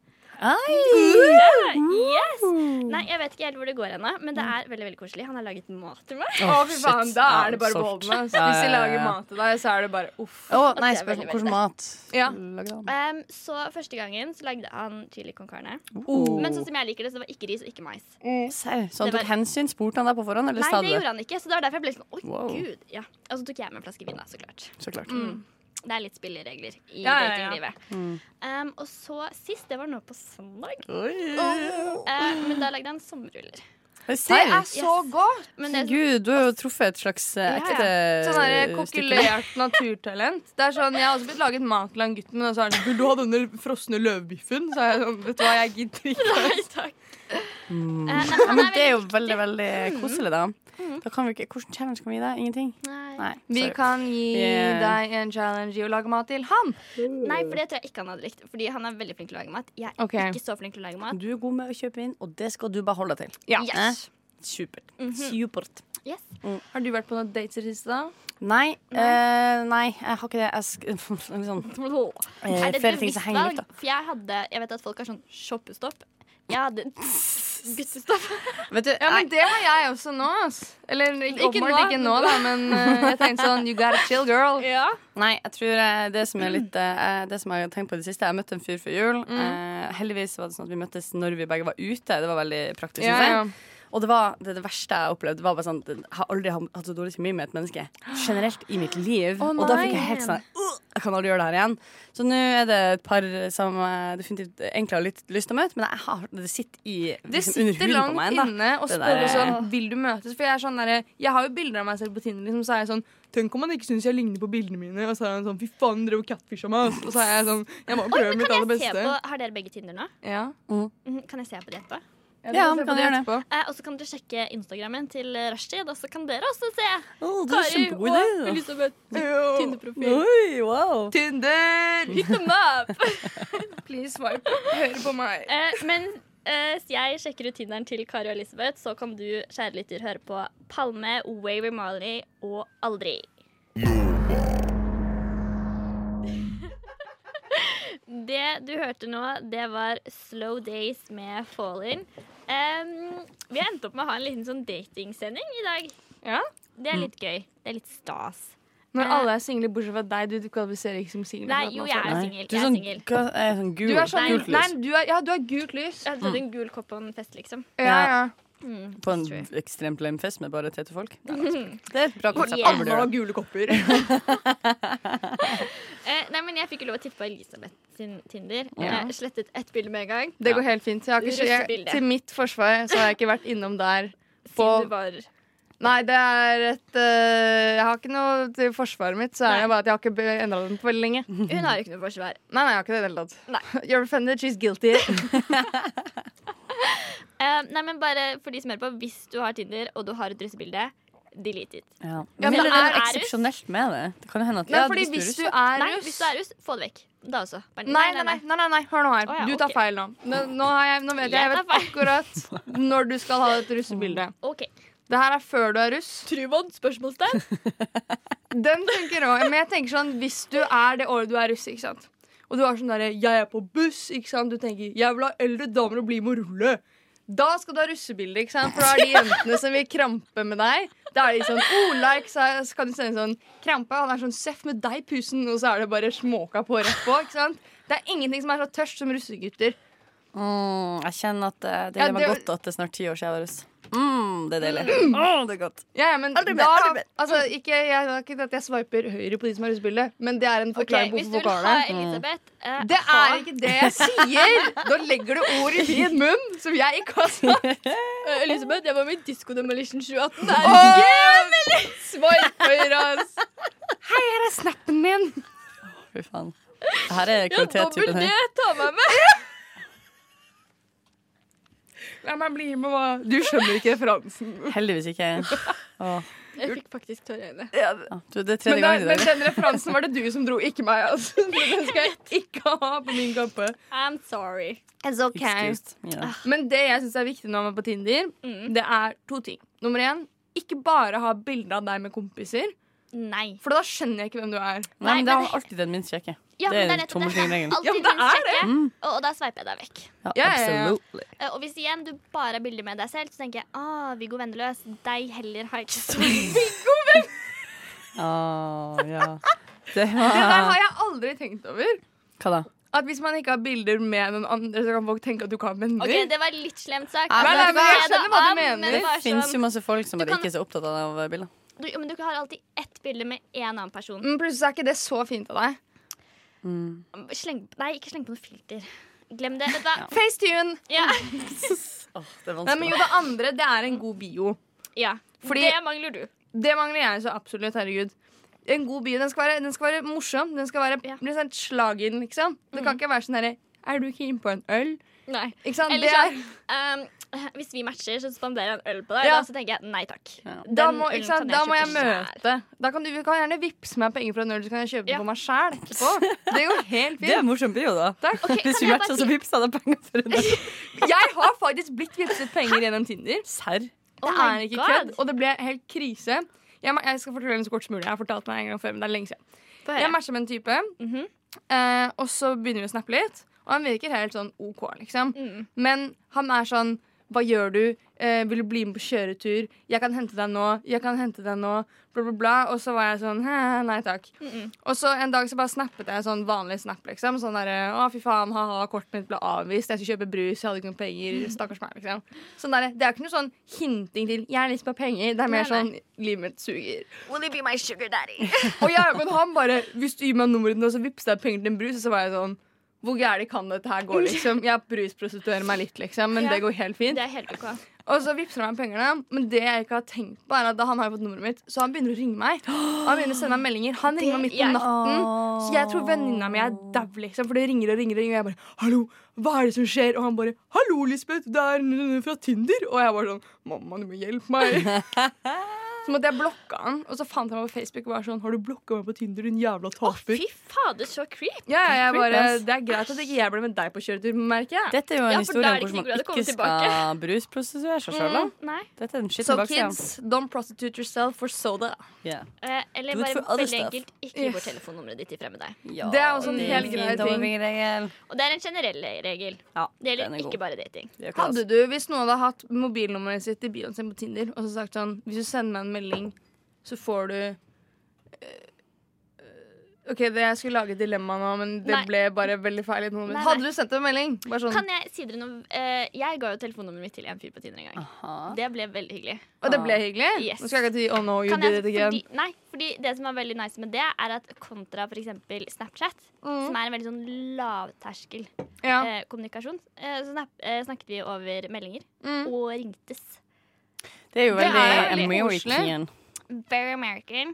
S5: Ai.
S3: Ja, yes! Nei, jeg vet ikke helt hvor det går ennå, men det er veldig veldig koselig. Han har laget mat til meg.
S6: Å, fy
S5: shit.
S6: faen, da
S5: Ja,
S6: er det bare
S5: solgt.
S6: beholden.
S3: altså.
S6: ass.
S5: Ja,
S6: Hvis
S5: ja,
S6: de
S5: ja,
S6: lager
S5: ja.
S6: mat til deg, så er det bare uff.
S5: Å, nei,
S3: det er
S5: spørsmål
S3: veldig,
S5: hvordan
S3: veldig.
S5: mat
S6: Ja.
S5: lagde han?
S3: Um, så første gangen så lagde han chili con carne.
S5: Oh.
S3: Men sånn som jeg liker det, så det var ikke ris og ikke mais.
S5: Serr? Så han
S3: Det var-
S5: tok sånn hensyn? Spurte han deg på forhånd, eller
S3: Nei,
S5: sa
S3: det
S5: du det?
S3: gjorde han ikke, så det var derfor jeg ble sånn Oi,
S5: Wow.
S3: gud. Ja. Og så tok jeg med en flaske vin, da, så klart.
S5: Så klart.
S3: Mm. Det er litt spilleregler i
S6: Ja, ja, ja.
S3: datinglivet.
S5: Mm.
S3: Um, og så sist, det var nå på søndag,
S5: Oi.
S3: eh, men da lagde han sommerruller.
S6: Det
S5: Serr?
S6: er så godt!
S3: Men det, sånn
S5: Gud, du har jo truffet et slags eh,
S3: Ja, ja.
S5: ekte
S6: Sånn her
S5: stykke.
S6: kokkelert naturtalent. Det er sånn, Jeg har også blitt laget mat til han gutten, men så er han sånn 'Vil du ha denne frosne løvbiffen?' Så er jeg sånn Vet du hva, jeg gidder ikke.
S3: Nei, takk. Eh, nei,
S5: Mm. Ja,
S3: han
S5: men
S3: er
S5: det er jo
S3: veldig
S5: veldig veldig
S3: Mm.
S5: koselig, da. da kan vi ikke, Hvordan challenge kan vi gi deg? Ingenting?
S3: viktig. Nei.
S5: Nei.
S6: Vi
S5: sorry.
S6: kan gi
S5: Yeah.
S6: deg en challenge i å lage mat til han.
S3: Nei, for det tror jeg ikke han hadde likt. Fordi han er veldig flink til å lage mat. Jeg er
S6: Ok.
S3: ikke så flink til å lage mat.
S5: Du er god med å kjøpe inn, og det skal du bare holde til. Eh?
S6: Ja.
S3: Yes.
S5: Supert.
S3: Mhm.
S5: Supert.
S3: Yes.
S6: Har du vært på noen dates i det siste, da?
S5: Nei, eh, nei, jeg har ikke det. Jeg sk litt sånn eh,
S3: Er det et
S5: Flere ting som
S3: bevisst
S5: henger i
S3: valg?
S5: lufta.
S3: For jeg hadde Jeg vet at folk har sånn shoppestopp. Jeg hadde guttestopp.
S5: Vet du,
S6: Ja,
S5: nei,
S6: men det har jeg også nå, ass. Eller ikke,
S3: Ikke
S6: åpenbart
S3: nå.
S6: ikke nå, da, men eh, jeg tenkte sånn You gotta chill, girl.
S3: Ja.
S5: Nei, jeg tror eh, det som er litt eh, Det som jeg har tenkt på i det siste Jeg møtte en fyr før
S6: Mm.
S5: jul eh, Heldigvis var det sånn at vi møttes når vi begge var ute Det var veldig praktisk
S6: Ja,
S5: synes jeg.
S6: ja.
S5: Og det var det, det verste jeg opplevde Det var bare sånn Jeg har aldri hatt hatt så dårlig kjemi med et menneske Generelt i mitt liv
S6: Å,
S5: Og da fikk
S6: nei.
S5: jeg helt sånn «Åh, Jeg kan aldri gjøre det her igjen Så nå er det et par som jeg definitivt egentlig har litt lyst til å møte Men jeg har, det sitter, i,
S6: Det
S5: liksom,
S6: sitter
S5: under huden
S6: langt
S5: på meg enda.
S6: inne og
S5: Det
S6: spør
S5: der-
S6: sånn Vil du møtes? For jeg er sånn derre- Jeg har jo bilder av meg selv på Tinder, liksom, så er jeg sånn Tenk om han ikke syns jeg ligner på bildene mine. Og så er han sånn Fy faen, dere var catfish av meg. ass." Og så er jeg sånn Jeg må prøve mitt aller
S3: Kan jeg se
S6: beste.
S3: på, har dere begge Tinder nå?
S6: Ja,
S3: Mhm, Kan jeg se på de etterpå?
S5: Ja,
S6: vi
S5: vi kan gjøre det.
S6: etterpå.
S3: Eh, og så kan dere sjekke Instagrammen til Rushtid, og så kan dere også se.
S5: Åh, det er kjempegod
S3: og
S5: idé, da.
S3: Elisabeth.
S6: Jo.
S3: Tinder-profil.
S5: Oi, wow
S6: Tinder!
S3: Hit them up!
S6: Please swipe. Hør på meg.
S3: Eh, men eh, jeg sjekker ut Tinderen til Kari og Elisabeth, så kan du, kjære lytter, høre på Palme, Waver Marley og Aldri. Det du hørte nå, det var Slow Days med Fallin. Um, vi har endt opp med å ha en liten sånn datingsending i dag.
S6: Ja.
S3: Det er litt gøy. Det er litt stas.
S6: Når alle er single, bortsett fra deg, du, du kvalifiserer ikke som singel.
S3: Nei, jo, jeg er
S5: Nei.
S3: singel.
S5: Du
S3: Jeg
S5: er
S3: er
S5: sånn,
S3: singel.
S5: hva, er sånn gul
S6: Du er sånn,
S5: gult lys
S6: nei, du er, ja, du har gult lys.
S3: Jeg hadde
S5: Mm.
S3: tatt en gul kopp på en fest, liksom.
S6: Ja, ja.
S3: Mm,
S5: På en
S3: that's true.
S5: ekstremt lame fest med bare tete folk. Det er et bra konsept.
S3: Yeah.
S5: alle burde gjøre det.
S6: gule kopper.
S3: Eh, nei, men jeg fikk jo lov å titte på Elisabeth sin Tinder.
S6: Ja.
S3: Jeg slettet ett bilde med en gang.
S6: Det går helt fint. Jeg har ikke, jeg,
S3: Russebilde.
S6: til mitt forsvar så har jeg ikke vært innom der.
S3: Siden
S6: På-
S3: du var
S6: Nei, det er et øh, Jeg har ikke noe til forsvaret mitt, så
S3: Nei.
S6: er det bare at jeg har ikke endra den på veldig lenge. Nei,
S3: Hun har jo ikke noe forsvar.
S6: nei, jeg har ikke det i det hele tatt.
S3: Nei.
S6: You're offended, she's guilty.
S3: Eh, nei, men bare for de som hører på, hvis du har Tinder og du har et russebilde, delete it.
S5: Ja.
S6: Ja,
S5: men
S6: men
S5: det er
S3: er
S5: noe
S3: du-
S5: eksepsjonelt med det. Det kan jo hende at
S6: Nei,
S5: ja,
S6: fordi
S5: du er
S6: hvis du
S5: russ,
S6: er
S3: Nei, hvis
S6: russ
S3: du er russ, få det vekk. Da også.
S6: Nei,
S3: Bare-
S6: nei, nei, nei, nei, nei, hør nå her.
S3: Å, ja,
S6: du tar
S3: ok.
S6: feil nå. Nå, nå, har jeg, nå vet jeg, jeg
S3: Jeg
S6: vet akkurat når du skal ha et russebilde.
S3: OK.
S6: Det her er før du er russ.
S3: Truvon? Spørsmålstegn?
S6: Den tenker også, men jeg tenker sånn Hvis du er det året du er russ, ikke sant Og du har sånn derre 'jeg er på buss', ikke sant Du tenker 'jeg vil ha eldre damer og bli med og rulle'. Da skal du ha russebilde, ikke sant? for da er de jentene som vil krampe med deg. Da er de sånn oh, like, så så kan du sende sånn 'Krampe', han er sånn 'seff med deg, pusen', og så er det bare småka på rett på. ikke sant? Det er ingenting som er så tørst som russegutter.
S5: Mm, jeg kjenner at eh, det
S6: Ja,
S5: gleder meg
S6: det-
S5: godt at det er snart ti år siden jeg var russ. Mm, det er deilig. Å, det er godt.
S6: Ja, ja, men
S5: Aldri mer, aldri
S6: da,
S5: mer.
S6: altså, ikke, jeg, det er ikke at jeg sveiper høyre på de som har russebilde, men det er en
S3: Ok,
S6: forklaring
S3: Hvis du
S6: på
S3: vil
S6: hvorfor
S3: ha
S6: vokalen.
S3: Elisabeth eh,
S6: Det
S3: ha-
S6: er ikke det jeg sier! Nå legger du ord i min munn som jeg ikke har sagt.
S3: Eh, Elisabeth, jeg var med i Disco Demolition 2018. Det
S6: Åh,
S3: er
S6: Sveiper, ass. Hei, her er snappen min.
S5: Fy faen. Det her er kvalitetstypen her.
S3: ta meg med!
S6: La meg bli med, hva? Du skjønner ikke referansen.
S5: Heldigvis ikke. Å,
S3: Jeg fikk faktisk tårer i øynene.
S5: ja. du, det er
S6: Men,
S5: tredje
S6: da,
S5: gangen i
S6: men
S5: dag.
S6: den referansen var det du som dro, ikke meg. ass. Den skal jeg ikke ha på min kappe.
S3: I'm sorry.
S5: Excused. Ja.
S6: Men det jeg syns er viktig når man er på Tinder,
S3: Mm.
S6: det er to ting. Nummer én, ikke bare ha bilde av deg med kompiser,
S3: Nei.
S6: for da skjønner jeg ikke hvem du er.
S5: Nei, men
S3: Nei,
S5: det
S3: men-
S5: er alltid den minst kjekke.
S3: Ja,
S5: Det er
S3: men
S5: en
S3: nettopp det.
S5: tommelfingerregel.
S3: Alltid
S6: Ja, men det
S3: minst
S6: er
S3: sjekke,
S5: Mm.
S3: Og, og da sveiper jeg deg vekk.
S5: Ja,
S6: Ja, ja, ja.
S5: absolutely.
S3: Eh, Og hvis igjen du bare har bilder med deg selv, så tenker jeg ah, Viggo Venneløs, deg heller har jeg ikke så mye.
S5: Å, ja. Det
S6: Det der
S5: var
S6: har jeg aldri tenkt over.
S5: Hva da?
S6: At hvis man ikke har bilder med noen andre, så kan folk tenke at du ikke har venner.
S3: Ok, det var litt slemt sagt.
S5: Ja, men- Nei, nei, men
S6: jeg
S3: Se det
S6: skjønner hva du
S3: an,
S6: mener.
S3: men
S5: Det
S3: bare
S5: finnes jo
S3: sånn-
S5: masse folk som
S3: Du
S5: bare
S3: kan-
S5: ikke er så opptatt av bilder.
S3: du, jo, men du har alltid ett bilde med en annen person.
S6: Men Mm, plutselig er ikke det så fint av deg.
S3: Sleng, nei, ikke sleng på noe filter. Glem det. Vet du hva?
S6: Facetune!
S3: Ja.
S5: Åh, det er
S6: Nei, men
S5: vanskelig.
S6: jo, det andre, det er en god bio.
S3: ja.
S6: Fordi-
S3: det mangler du.
S6: Det mangler jeg så absolutt, herregud. En god bio, den skal være, den skal være morsom. Den skal være
S3: Ja. Mm.
S6: liksom, slagen, sånn liksom. Det kan ikke være sånn herre Er du keen på en øl?
S3: Nei.
S6: Ikke sant?
S3: Eller
S6: Det er,
S3: sånn um, Hvis vi matcher, så spanderer jeg en øl på deg.
S6: Ja.
S3: Da, så tenker jeg nei takk.
S6: Da
S3: Den
S6: må,
S3: ølen
S6: ikke sant?
S3: kan
S6: Da må jeg
S3: kjøpe selv.
S6: møte. Da kan du, du kan gjerne vippse meg penger fra en øl, så kan jeg kjøpe det på meg sjæl etterpå. Det går helt
S5: Det er
S6: fint.
S5: morsomt, det er jo da.
S6: Takk.
S3: Ok,
S5: Hvis
S3: kan
S5: vi
S3: jeg
S5: matcher,
S3: bare
S5: så
S3: si-
S5: vippser jeg deg penger for en dag.
S6: Jeg har faktisk blitt vippset penger gjennom Tinder.
S5: Serr?
S3: Oh
S6: Det
S3: my
S6: er ikke
S3: God.
S6: kødd, og det ble helt krise. Jeg, må- jeg skal fortelle den så kort som mulig. Jeg har fortalt meg en gang før, men det er lenge siden.
S3: Få høre.
S6: Jeg matcha med en type,
S3: Mhm.
S6: eh, og så begynner vi å snappe litt. Og han virker helt sånn OK, liksom.
S3: Mm.
S6: Men han er sånn Hva gjør du? Eh, vil du bli med på kjøretur? Jeg kan hente deg nå. Jeg kan hente deg nå. Bla, bla, bla. Og så var jeg sånn Hæ, nei takk.
S3: Mm-mm.
S6: Og så en dag så bare snappet jeg sånn vanlig snap, liksom. Sånn derre Å, fy faen, ha-ha, kortet mitt ble avvist. Jeg skulle kjøpe brus, jeg hadde ikke noen penger. Stakkars meg, liksom. Sånn derre, det er ikke noe sånn hinting til 'jeg har lyst på penger'. Det er mer
S3: Nei, nei.
S6: sånn 'livet mitt suger'.
S3: Will you be my sugar daddy?
S6: Og jeg, men han bare 'hvis du gir meg nummeret ditt, nå, så vippser jeg penger til en brus', og så var jeg sånn hvor gærent kan dette her gå? liksom? Jeg brusprostituerer meg litt, liksom, men
S3: Ja.
S6: det går helt fint.
S3: Det er helt OK.
S6: Og så vippser han meg pengene, men det jeg ikke har tenkt på, er at da han har fått nummeret mitt, så han begynner å ringe meg. Og han begynner å sende meg meldinger. Han ringer meg midt på
S3: jeg-
S6: natten. Så jeg tror venninna mi er dau, liksom, for det ringer og ringer. Og ringer, og jeg bare 'Hallo, hva er det som skjer?' Og han bare 'Hallo, Lisbeth, det er noen fra Tinder.' Og jeg var sånn 'Mamma, du må hjelpe meg'. Så måtte jeg blokke han, og så fant jeg meg på Facebook og var sånn 'Har du blokka meg på Tinder, din jævla taper?'
S3: Fy fader, så creep.
S6: ja, ja, jeg
S5: Creep,
S6: bare,
S5: ass.
S6: det er greit at ikke jeg ble med deg på kjøretur, merker jeg.
S5: Dette er jo en
S3: Ja, for
S5: historie
S3: da
S5: om
S3: er det ikke
S5: hvordan
S3: sikkert
S5: man
S3: du
S5: ikke
S3: kommer
S5: skal brusprostituere seg sjøl. da.
S3: Nei.
S5: Dette er den skitten
S6: Mm. Så
S5: baksida.
S6: kids, don't prostitute yourself for soda.
S5: Yeah.
S3: Eh, eller
S5: Do it
S3: bare
S5: for other
S3: veldig
S5: stuff.
S3: enkelt, ikke gi bort
S6: Yes.
S3: telefonnummeret ditt til fremmede.
S5: Ja,
S6: Det er også en
S5: er
S6: helt
S5: fin
S6: grei ting.
S5: dommerregel.
S3: Og det er en generell regel.
S5: Ja,
S3: Det
S5: den
S3: gjelder
S5: er god.
S3: ikke bare dating.
S5: Det er jo
S6: Hadde
S5: klasse.
S6: du, hvis noen hadde hatt mobilnummeret sitt i bioen sin på Tinder, og så sagt sånn Hvis du sender meg en melding, så får du eh, eh, OK, det, jeg skulle lage et dilemma nå, men det
S3: Nei.
S6: ble bare veldig feil. i et moment.
S3: Nei, nei.
S6: Hadde du sendt en melding? Bare sånn,
S3: Kan jeg si dere noe? Eh, jeg ga jo telefonnummeret mitt til en fyr på Tinder en gang.
S5: Aha.
S3: Det ble veldig hyggelig.
S6: og det ble hyggelig?
S3: Yes.
S6: Nå skal jeg ikke si 'oh no, you
S3: Kan
S6: did
S3: jeg,
S6: it again'.
S3: fordi, nei, fordi det som er veldig nice med det, er at kontra for eksempel Snapchat,
S5: Mm.
S3: som er en veldig sånn lavterskel
S6: ja.
S3: eh, kommunikasjon, eh, så snap, eh, snakket vi over meldinger
S6: Mm.
S3: og ringtes.
S5: Det er jo
S6: Det er
S5: veldig
S6: veldig koselig.
S5: American.
S3: Very American.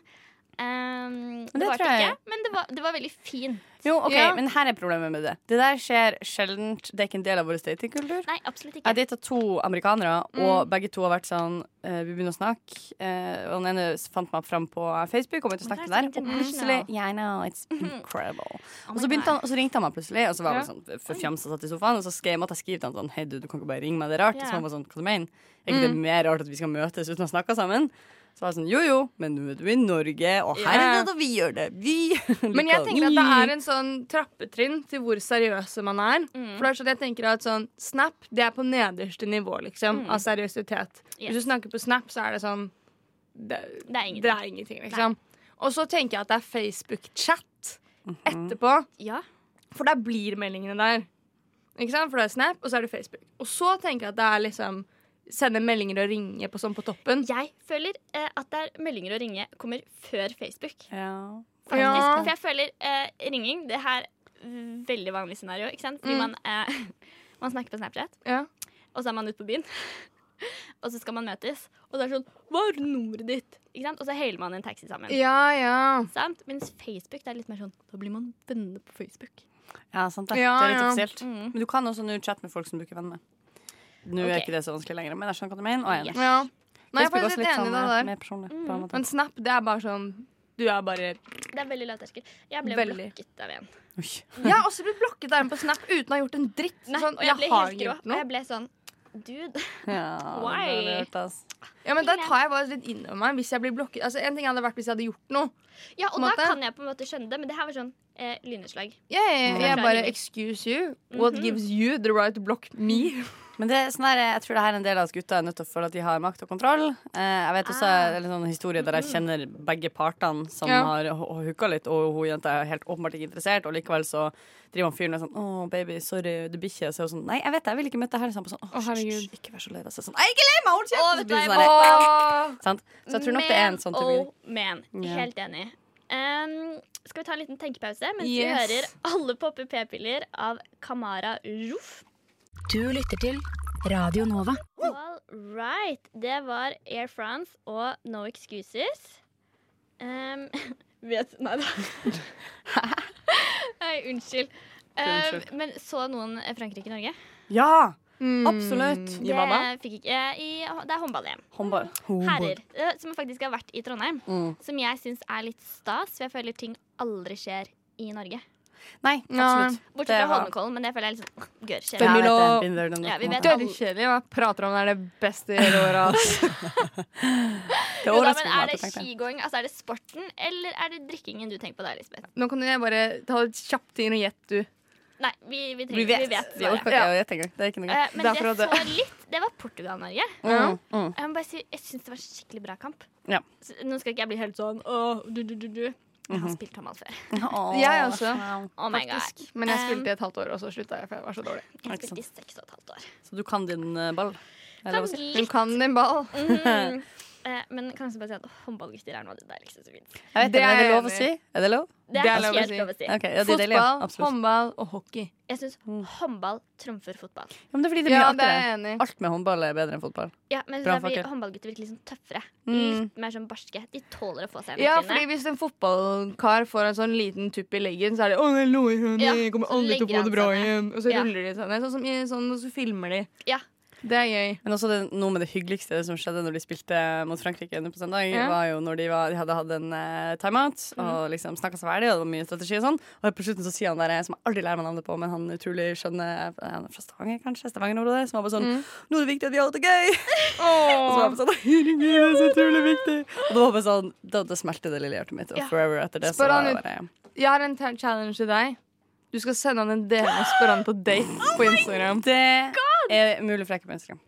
S3: Um, det,
S5: det
S3: var
S5: tror
S3: det
S5: jeg-
S3: ikke, men det var, det var veldig fin.
S5: Jo, ok,
S6: Ja.
S5: Men her er problemet med det. Det der skjer sjeldent. Det er ikke en del av vår datingkultur.
S3: Nei, absolutt
S5: Jeg
S3: ikke.
S5: data to amerikanere, og begge to har vært sånn eh, Vi begynner å snakke. eh, og den ene fant meg fram på Facebook og begynte å
S3: Men
S5: snakke
S3: det
S5: der.
S3: er så
S5: Og plutselig
S3: international.
S5: Yeah, I know, it's incredible.
S3: Oh
S5: og,
S3: my
S5: så begynte
S3: God.
S5: han, og så ringte han meg plutselig, og så var jeg
S6: Ja.
S5: bare sånn forfjamsa satt i sofaen. Og så skrev jeg måtte jeg skrive til han sånn Hei, du, du kan ikke bare ringe meg, det er rart.
S3: Ja.
S5: Så han var sånn Hva du mener Er ikke det mer rart at vi skal møtes uten å snakke sammen? Så var jeg sånn Jo, jo, men nå er du i Norge, og her er
S6: Ja.
S5: det da vi gjør det. Vi
S6: Men jeg tenker at det er en sånn trappetrinn til hvor seriøse man er.
S3: Mm.
S6: For det er sånn at jeg tenker at sånn Snap det er på nederste nivå liksom, av seriøsitet.
S3: Mm. Yes.
S6: Hvis du snakker på Snap, så er det sånn Det,
S3: Det er ingenting.
S6: det er ingenting liksom. Og så tenker jeg at det er Facebook-chat etterpå,
S3: Ja.
S6: for der blir meldingene der. Ikke sant? For det er Snap, og så er det Facebook. Og så tenker jeg at det er liksom sende meldinger og ringe på sånn på toppen.
S3: Jeg føler eh, at det er meldinger å ringe kommer før Facebook.
S5: ja.
S3: Faktisk.
S6: Ja.
S3: For jeg føler eh, ringing Det her mm, veldig vanlig scenario. Ikke
S6: Mm.
S3: sant? Fordi man, eh, man snakker på Snapchat,
S6: Ja.
S3: og så er man ute på byen. og så skal man møtes, og det er sånn Hva er nummeret ditt? Ikke sant? Og så hailer man i en taxi sammen.
S6: ja, ja.
S3: Sant? Mens Facebook det er litt mer sånn Da blir man venner på Facebook.
S5: ja, sant det.
S6: Ja,
S5: det er litt
S6: ja.
S5: offisielt.
S3: Mm.
S5: Men du kan også nå chatte med folk som bruker venner. Nå er
S3: Ok.
S5: ikke det så vanskelig lenger, men jeg skjønner hva du mener. Og jeg er sånn enig.
S6: ja. Nei, jeg er
S5: Facebook
S6: faktisk
S5: også
S6: litt
S5: litt
S6: enig i
S5: sånn,
S6: det
S5: eh,
S6: der. Mm,
S5: Mer personlig, på en måte.
S6: Men Snap, det er bare sånn Du er bare
S3: Det er veldig lavterskel. Jeg ble
S6: Veldig.
S3: blokket av en.
S5: Oi.
S6: Jeg har også blitt blokket der på Snap uten å ha gjort en dritt.
S3: Nei,
S6: sånn,
S3: og jeg ble
S6: har
S3: helt grå.
S6: gjort
S3: Og
S6: noe.
S3: jeg ble sånn Dude.
S5: Ja,
S3: Why?
S5: det er rart, ass.
S6: Ja, men Da tar jeg bare litt inn over meg hvis jeg blir blokket. Altså, En ting hadde vært hvis jeg hadde gjort noe.
S3: Ja, og
S6: På en
S3: da
S6: måte.
S3: kan jeg på en måte skjønne det, men det her var sånn eh, lynnedslag.
S6: Jeg, jeg,
S3: Ja.
S6: bare excuse you.
S3: Mhm.
S6: What gives you the right to block me?
S5: Men det, er sånn der, jeg tror det her er en del av at gutta er nødt til å føle at de har makt og kontroll. Eh, jeg vet også
S3: Ah.
S5: en sånn historie der jeg kjenner begge partene som
S6: Ja.
S5: har ho- hooka litt, og hun jenta er helt åpenbart ikke interessert, og likevel så driver han fyren og er sånn 'Å, baby, sorry, du blir ikke', og så er hun sånn 'Nei, jeg vet det, jeg vil ikke møte deg her', så han bare sånn 'Å,
S6: Å, herregud.
S5: hysj, hysj, ikke vær så lei deg', så er jeg sånn 'Jeg er ikke lei meg, hold
S3: Å,
S5: kjeft',
S3: vet
S5: så
S3: du
S5: blir det
S3: hva
S5: sånn
S3: jeg-
S5: der,
S6: Åh.
S5: sant? Så jeg tror nok det er en sånn type
S3: Men, oh, men.
S5: Ja.
S3: Helt enig. Um, skal vi ta en liten tenkepause mens vi
S6: Yes.
S3: hører alle poppe p-piller av Kamara Roof?
S7: Du lytter til Radio Nova.
S3: All right. Det var Air France og No Excuses. Um, vet Nei da. Nei, unnskyld. Um, men så noen Frankrike-Norge?
S5: Ja! Absolutt.
S6: I hva da?
S3: Det, fikk ikke, i, det er håndball-EM.
S5: Håndball.
S3: Herrer. eh, Som faktisk har vært i Trondheim.
S5: Mm.
S3: Som jeg syns er litt stas, for jeg føler ting aldri skjer i Norge.
S5: Nei, absolutt. Det
S3: Bortsett fra
S5: har-
S3: Holmenkollen, men det føler jeg liksom gør skjer.
S6: Ja.
S5: Jeg vet det.
S6: Benilo-
S5: Been there, done that.
S3: Ja, vi vet
S5: Det
S6: Dørkjedelig. Hva jeg prater om det er det beste i hele året. ass.
S5: er
S3: Jo da,
S5: overraskende at
S3: men er
S5: du
S3: det
S5: tenkte det.
S3: skigåing, altså er det sporten, eller er det drikkingen du tenker på da, Lisbeth?
S6: Nå kan jeg bare ta et kjapt inn og gjette, du.
S3: Nei, vi, vi, trenger,
S5: Vi vet. Vi
S3: svaret.
S5: orker ikke å gjette engang. Det er ikke noe gøy.
S3: Eh, men det
S6: Derfor
S3: jeg
S6: at det-
S3: så litt, det var Portugal-Norge.
S5: Mm, mm.
S3: Jeg må bare si, jeg syns det var en skikkelig bra kamp.
S5: Ja.
S3: Så, nå skal ikke jeg bli helt sånn åh, du, du, du, du. Jeg
S5: Mhm.
S3: har spilt håndball før.
S5: Åh.
S6: Jeg også.
S3: Oh my god.
S6: Faktisk. Men jeg
S3: Um,
S6: spilte i et halvt år, og så slutta jeg, for jeg var så dårlig.
S3: Jeg
S5: Ikke sant.
S3: spilte i seks og et halvt år.
S5: Så du kan din eh, ball? Er det lov å
S3: Kan
S5: si?
S6: Hun
S3: litt.
S6: kan en ball.
S3: Mhm. Eh, men kan jeg også bare si at håndballgutter er noe av det deiligste som fins.
S5: Jeg vet, det, men
S6: Det
S5: er
S6: er
S5: det
S6: jeg
S5: lov å
S6: enig i.
S5: si? Er det lov?
S3: Det
S6: Det
S3: er
S6: er lov å
S3: helt
S6: si.
S3: lov å si.
S5: Ok, ja, det er deilig, ja.
S6: Fotball,
S5: Absolutt.
S6: håndball og hockey.
S3: Jeg syns
S6: Mm.
S3: håndball trumfer fotball.
S5: Ja, men det er fordi det blir
S6: Ja, det er
S5: artigere.
S6: jeg enig i.
S5: Alt med håndball er bedre enn fotball.
S3: Ja, men
S5: Bra
S3: jeg synes det er fordi
S5: fakkel.
S3: håndballgutter virker litt sånn tøffere.
S5: Mm.
S3: Litt mer sånn barske. De tåler å få seg en
S6: Ja,
S3: trynet.
S6: fordi hvis en fotballkar får en sånn liten tupp i leggen, så er det 'Å, det er lårhøne.
S3: Ja,
S6: Jeg kommer
S3: så
S6: aldri til å
S3: legger
S6: få det bra
S3: han seg ned.
S6: igjen.' Og så
S3: Ja.
S6: ruller de seg ned. Sånn som i sånn, og så filmer de.
S3: Ja.
S6: Det er gøy.
S5: Men også det, noe med det hyggeligste som skjedde når de spilte mot Frankrike nå på søndag,
S6: Ja. Mhm.
S5: var jo når de, var, de hadde hatt en eh, timeout og liksom snakka seg ferdig, og det var mye strategi og sånn. Og på slutten så sier han der eh, som jeg aldri lærer meg navnet på, men han utrolig skjønne eh, han er fra Stavanger, kanskje? Stavanger-området? Som var bare
S6: Mhm.
S5: sånn 'Nå er det viktig at vi har det gøy!' Og så var jeg bare sånn Herregud, det er så utrolig viktig! Og det var bare sånn Da, da smelte det lille hjertet mitt, og
S3: Ja.
S5: forever etter det,
S6: Spør
S5: så var
S6: han
S5: jeg
S6: ut-
S5: bare
S6: Jeg har en ta- challenge til deg. Du skal sende han en DM og spørre han på date på Instagram.
S5: Det er mulig for jeg ikke er på Instagram.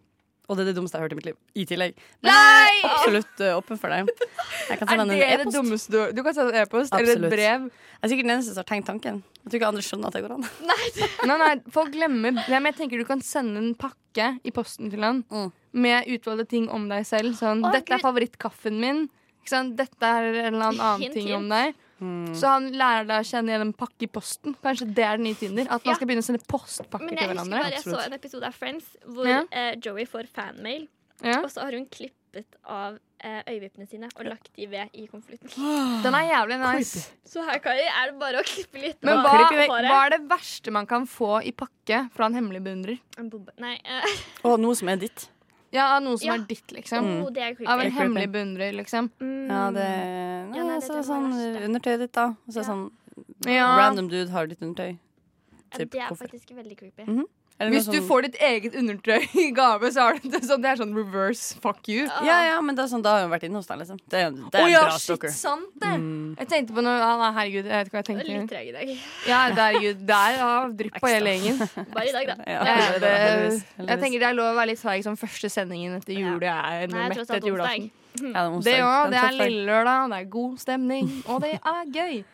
S5: Og det er det dummeste jeg har hørt i mitt liv. I tillegg. Men
S6: Nei!
S5: jeg er absolutt eh, åpen for det. Jeg kan
S6: Er
S5: sende
S6: det
S5: en
S6: det
S5: e-post.
S6: dummeste du Du kan sende en e-post eller et
S5: Absolutt.
S6: brev.
S5: Jeg er sikkert den eneste som har tenkt tanken. Jeg tror ikke andre skjønner at det går an.
S6: Nei, nei, folk glemmer Nei, men jeg tenker du kan sende en pakke i posten til han
S5: Mm.
S6: Med utvalgte ting om deg selv Sånn,
S3: Å,
S6: dette
S3: Gud.
S6: er favorittkaffen min Ikke sant, dette er en eller annen annen
S3: Hint,
S6: ting om
S3: hint.
S6: deg Så han lærer deg å kjenne gjennom pakke i posten Kanskje det er den nye Tinder At man
S3: Ja.
S6: skal begynne å sende postpakker
S3: Men
S6: til
S3: jeg husker
S6: hverandre
S3: bare jeg så en episode av Friends hvor
S6: Ja.
S3: eh, Joey får fanmail,
S6: ja.
S3: og så har hun klippet av eh, øyevippene sine og lagt de ved i konvolutten.
S6: Den er jævlig nice
S3: Så her Kari, er det bare å klippe litt
S6: Men
S3: av
S6: hva,
S3: håret.
S6: hva er det verste man kan få i pakke Fra en hemmelig beundrer?
S3: En bombe. Nei, eh,
S5: Og noe som er ditt.
S6: Ja, av noe som
S3: Ja.
S6: er ditt liksom
S3: oh, det er creepy.
S6: Av
S5: Det
S6: en
S5: er Mm. creepy.
S6: hemmelig beundrer liksom
S3: Mm.
S5: Ja, det Nei,
S3: Ja, nei, det
S5: så er det
S3: tror jeg var
S5: sånn
S3: verst, det.
S5: undertøyet ditt, da. Og så er det
S3: Ja.
S5: sånn
S6: Ja.
S5: random dude har ditt undertøy.
S3: Ja,
S5: typ
S3: det er
S5: koffer.
S3: faktisk veldig creepy.
S6: Mm,
S5: Mhm. Eller
S6: Hvis
S5: noe
S6: du
S5: sånn-
S6: får ditt eget undertøy i gave, så er det sånn, det er sånn reverse fuck you. Å
S5: Ja, ja, men det er sånn, da har hun vært inne hos deg, liksom. Det er, det er en
S6: ja,
S5: bra Mm.
S6: shit, Mm.
S5: stalker.
S6: sant det! Jeg tenkte på noe ja, Nei, herregud, jeg vet ikke hva jeg
S3: Jeg er Litt
S6: tenkte.
S3: treg i dag.
S6: Ja, herregud, der har drypp på hele gjengen.
S3: Bare i dag, da.
S5: Ja,
S6: Ja,
S5: det er det,
S6: det-
S5: heldigvis.
S6: Jeg tenker det er lov å være litt seig som første sendingen etter jul. Jeg er
S3: Nei,
S6: noe mett
S3: tross alt
S6: etter julaften.
S5: Ja,
S3: onsdag.
S5: det er onsdag.
S6: Det òg.
S5: en
S6: Det er
S5: torsdag.
S6: lille lørdag, det er god stemning, og det er gøy.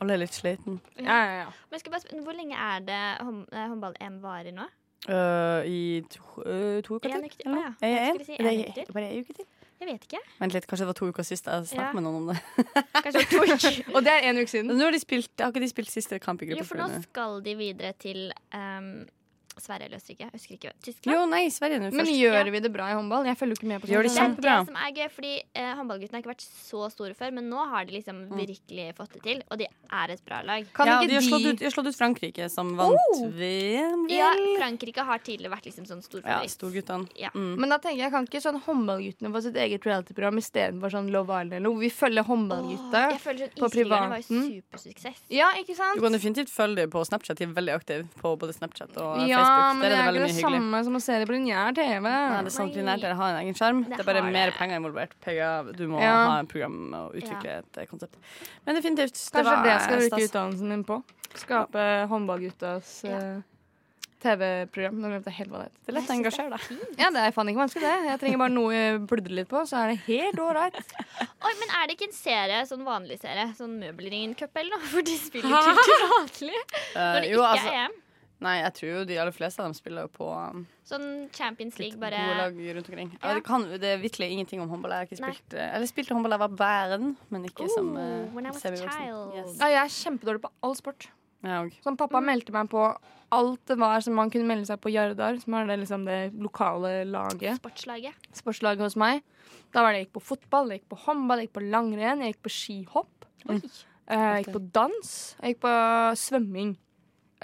S5: Alle er litt sliten.
S6: Ja, ja, ja.
S3: Men jeg skal bare spørre, hvor lenge er det hånd- eh, håndball-EM varer nå?
S5: Øh, I to, øh, to uker
S3: En
S5: til?
S3: uke til,
S5: eller
S3: å
S5: noe?
S3: ja.
S5: Er
S3: Jeg
S5: jeg en?
S3: skulle si
S5: Er det
S3: en uke til.
S5: Bare en uke til?
S3: Jeg vet ikke.
S5: Vent litt, kanskje det var to uker sist jeg snakket
S3: Ja.
S5: med noen om det.
S3: Kanskje to uker.
S6: Og det er en uke siden.
S5: Nå har, de spilt, har ikke de spilt siste kamp i
S3: Jo, for nå
S5: gruppespillet?
S3: skal de videre til ehm, Sverige eller Østerrike. Jeg husker ikke. Tyskland.
S5: Jo, nei, Sverige nå
S6: Men
S5: først.
S6: gjør vi det bra i håndball? Jeg følger jo ikke med på sånn
S5: Gjør de
S3: Det er
S6: sånt.
S5: kjempe-
S3: det
S5: Kjempebra.
S3: som er gøy, fordi eh, håndballguttene har ikke vært så store før, men nå har de liksom
S5: Mm.
S3: virkelig fått det til, og de er et bra lag.
S6: Kan
S5: ja, de
S6: ikke
S5: har, slått ut,
S6: de
S5: de har slått ut Frankrike, som vant VM. vel?
S3: Oh! Ja, Frankrike har tidligere vært liksom sånn
S5: Ja,
S3: storfavoritt.
S5: storguttene.
S3: Ja.
S5: Mm.
S6: Men da tenker jeg, kan ikke sånn håndballguttene få sitt eget reality-program istedenfor sånn Love Island eller noe? Vi følger håndballgutta.
S3: Åh, jeg føler sånn
S6: på
S3: Iskrigerne var jo
S6: privaten.
S3: supersuksess.
S6: Ja,
S5: Du
S6: ikke sant?
S5: kan definitivt følge dem på Snapchat. De er veldig aktive på både Snapchat og Facebook. Der er det veldig
S6: Ja, men det er ikke
S5: mye
S6: det
S5: hyggelig.
S6: samme som å se det på lineær TV.
S5: Nei, det er sånn sant, linært dere har en egen skjerm.
S3: Det
S5: Det er bare
S3: har
S5: mer
S3: det.
S5: penger involvert. Penger, du må
S6: Ja.
S5: ha en program og utvikle et eh, konsept. Men definitivt. Det
S6: Kanskje
S5: var
S6: det skal du bruke
S5: stas.
S6: utdannelsen din på? Skape håndballguttas eh, TV-program. Nå glemte jeg helt hva det heter.
S5: Det er lett å engasjere deg.
S6: Ja, det er faen ikke vanskelig, det. Jeg trenger bare noe å pludre litt på, så er det helt ålreit.
S3: Oi, men er det ikke en serie, sånn vanlig serie, sånn Møbelringen Cup eller noe? For de spiller ikke til vanlig når
S5: Eh,
S3: det
S5: jo,
S3: ikke
S5: altså,
S3: er EM.
S5: nei, jeg tror jo de aller fleste av dem spiller jo på um,
S3: Sånn Champions League, bare
S5: gode lag rundt omkring.
S3: Ja.
S5: Ja. Det, kan, det er virkelig ingenting om håndball. Jeg har ikke
S3: Nei.
S5: spilt eh, Eller spilte håndball da jeg var bæren, men ikke
S3: Ooh,
S5: som eh,
S3: when I was a
S5: semivoksen.
S3: child.
S5: Yes.
S6: Ja, jeg er kjempedårlig på all sport.
S5: Ja, og-
S6: Sånn,
S10: Mm.
S6: pappa meldte meg på alt det var som man kunne melde seg på Jardar, som er det, liksom, det lokale laget.
S3: sportslaget.
S6: sportslaget hos meg. Da var det jeg gikk på fotball, jeg gikk på håndball, jeg gikk på langrenn, jeg gikk på skihopp. Eh, Jeg gikk på dans, jeg gikk på svømming.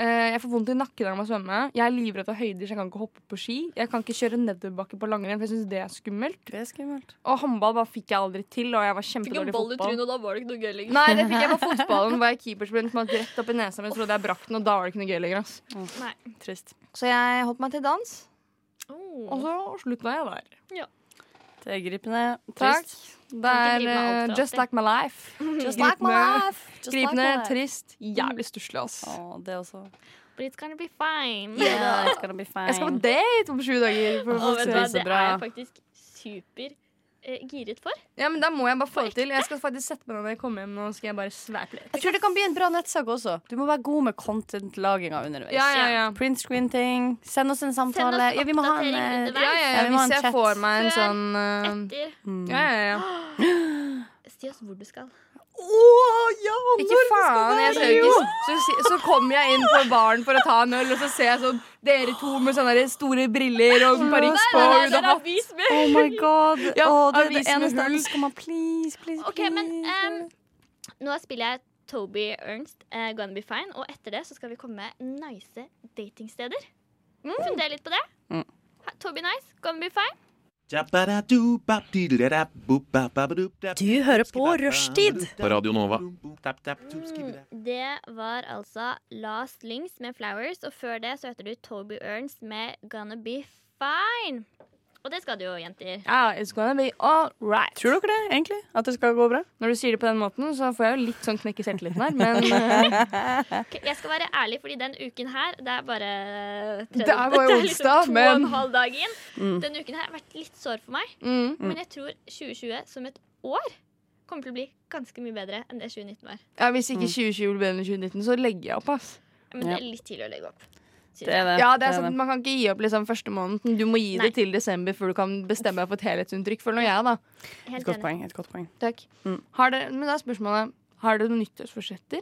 S6: Eh, jeg får vondt i nakken av å svømme. Jeg er livredd av høyder, så jeg kan ikke hoppe på ski. Jeg kan ikke kjøre nedoverbakke på langrenn, for jeg syns det er skummelt.
S5: Det er skummelt.
S6: Og håndball bare fikk jeg aldri til, og jeg var
S10: Fikk en
S6: kjempedårlig i
S10: ball i
S6: fotball.
S10: trynet, og da var det ikke noe gøy lenger.
S6: Nei, det fikk jeg på fotballen. Var jeg keepersprint som hadde rett opp i nesa, men jeg trodde jeg brakk den, og da var det ikke noe gøy lenger. Ass.
S5: Trist.
S6: Så jeg holdt meg til dans,
S3: Oh.
S6: og så slutta jeg der.
S5: Det er gripende.
S6: Takk.
S5: Trist.
S6: Det
S3: Kan ikke
S6: er
S3: drive med alt
S6: eh,
S3: for
S6: just like my life.
S5: Just like my
S6: Gripende.
S5: life. Just like my
S6: Gripende,
S5: life.
S6: trist, jævlig stusslig, ass.
S5: Å, det også.
S3: But it's gonna be fine.
S5: Yeah, it's gonna be fine.
S6: Jeg skal på date om sju dager. For
S3: Og vet du hva,
S5: så
S3: det er
S5: bra.
S3: jeg faktisk super eh, giret for.
S6: Ja, men Da må jeg bare få det til. Jeg skal faktisk sette meg ned når jeg kommer hjem. Nå skal jeg bare svæpe litt.
S5: Jeg tror det kan bli en bra nettsak også. Du må være god med content-laginga underveis.
S6: Ja, ja, ja.
S5: Print screen-ting. Send oss en samtale.
S3: Send oss
S5: ja, vi må ha en
S3: oppdatering
S5: eh,
S3: underveis.
S6: Ja, ja, ja,
S5: Ja, vi må ha en
S6: Hvis jeg
S5: chat.
S6: får meg en
S3: Før,
S6: sånn eh,
S3: Etter
S6: Ja, ja, ja.
S3: Si oss hvor du skal.
S6: Ikke faen, jeg skal jo ikke så, si- så kommer jeg inn på baren for å ta en øl, og så ser jeg sånn dere to med sånne der store briller og parykk på.
S3: Nei,
S6: og
S3: dere
S6: da-
S3: har vist meg.
S5: Oh my god.
S6: Ja,
S5: Å, det er det
S6: avis med
S5: eneste jeg
S6: hull.
S5: ønsker meg. Please, please, please.
S3: Ok, men em, nå spiller jeg Toby Ernst, eh, Gonna Be Fine, og etter det så skal vi komme med nice datingsteder. Funder litt på det.
S5: Mm.
S3: Ha- Toby Nice, Gonna Be Fine.
S1: Du hører på Rushtid
S9: På Radio Nova.
S3: Mm, Det var altså Last Links med Flowers, og før det så heter du Toby Ernst med Gonna Be Fine. Og det skal du jo, jenter.
S6: Ja, it's gonna be all right.
S5: Tror dere det, egentlig? At det skal gå bra?
S6: Når du sier det på den måten, så får jeg jo litt sånn knekke selvtilliten her, men eh,
S3: Ok, Jeg skal være ærlig, fordi den uken her Det er bare eh,
S6: Det er bare onsdag,
S3: liksom to og
S6: men-
S3: en halv dag inn. Den uken her har vært litt sår for meg.
S6: mm.
S3: Men jeg tror 2020 som et år kommer til å bli ganske mye bedre enn det 2019 var.
S6: ja, Hvis ikke 2020 blir bedre enn 2019, så legger jeg opp, ass.
S3: Men
S5: Ja.
S3: det er litt tidlig å legge opp. synes
S5: Det er sånn- det.
S6: Ja, det er
S5: Det er
S6: sant, Man kan ikke gi opp liksom første måneden. Du må gi
S3: Nei.
S6: det til desember før du kan bestemme deg for et helhetsinntrykk. Føler nå jeg, da.
S3: jeg. Helt
S5: Et godt
S3: enig.
S5: poeng. et godt poeng
S6: Takk.
S5: Mm.
S6: Har dere, men da er spørsmålet Har dere noen nyttårsforsetter?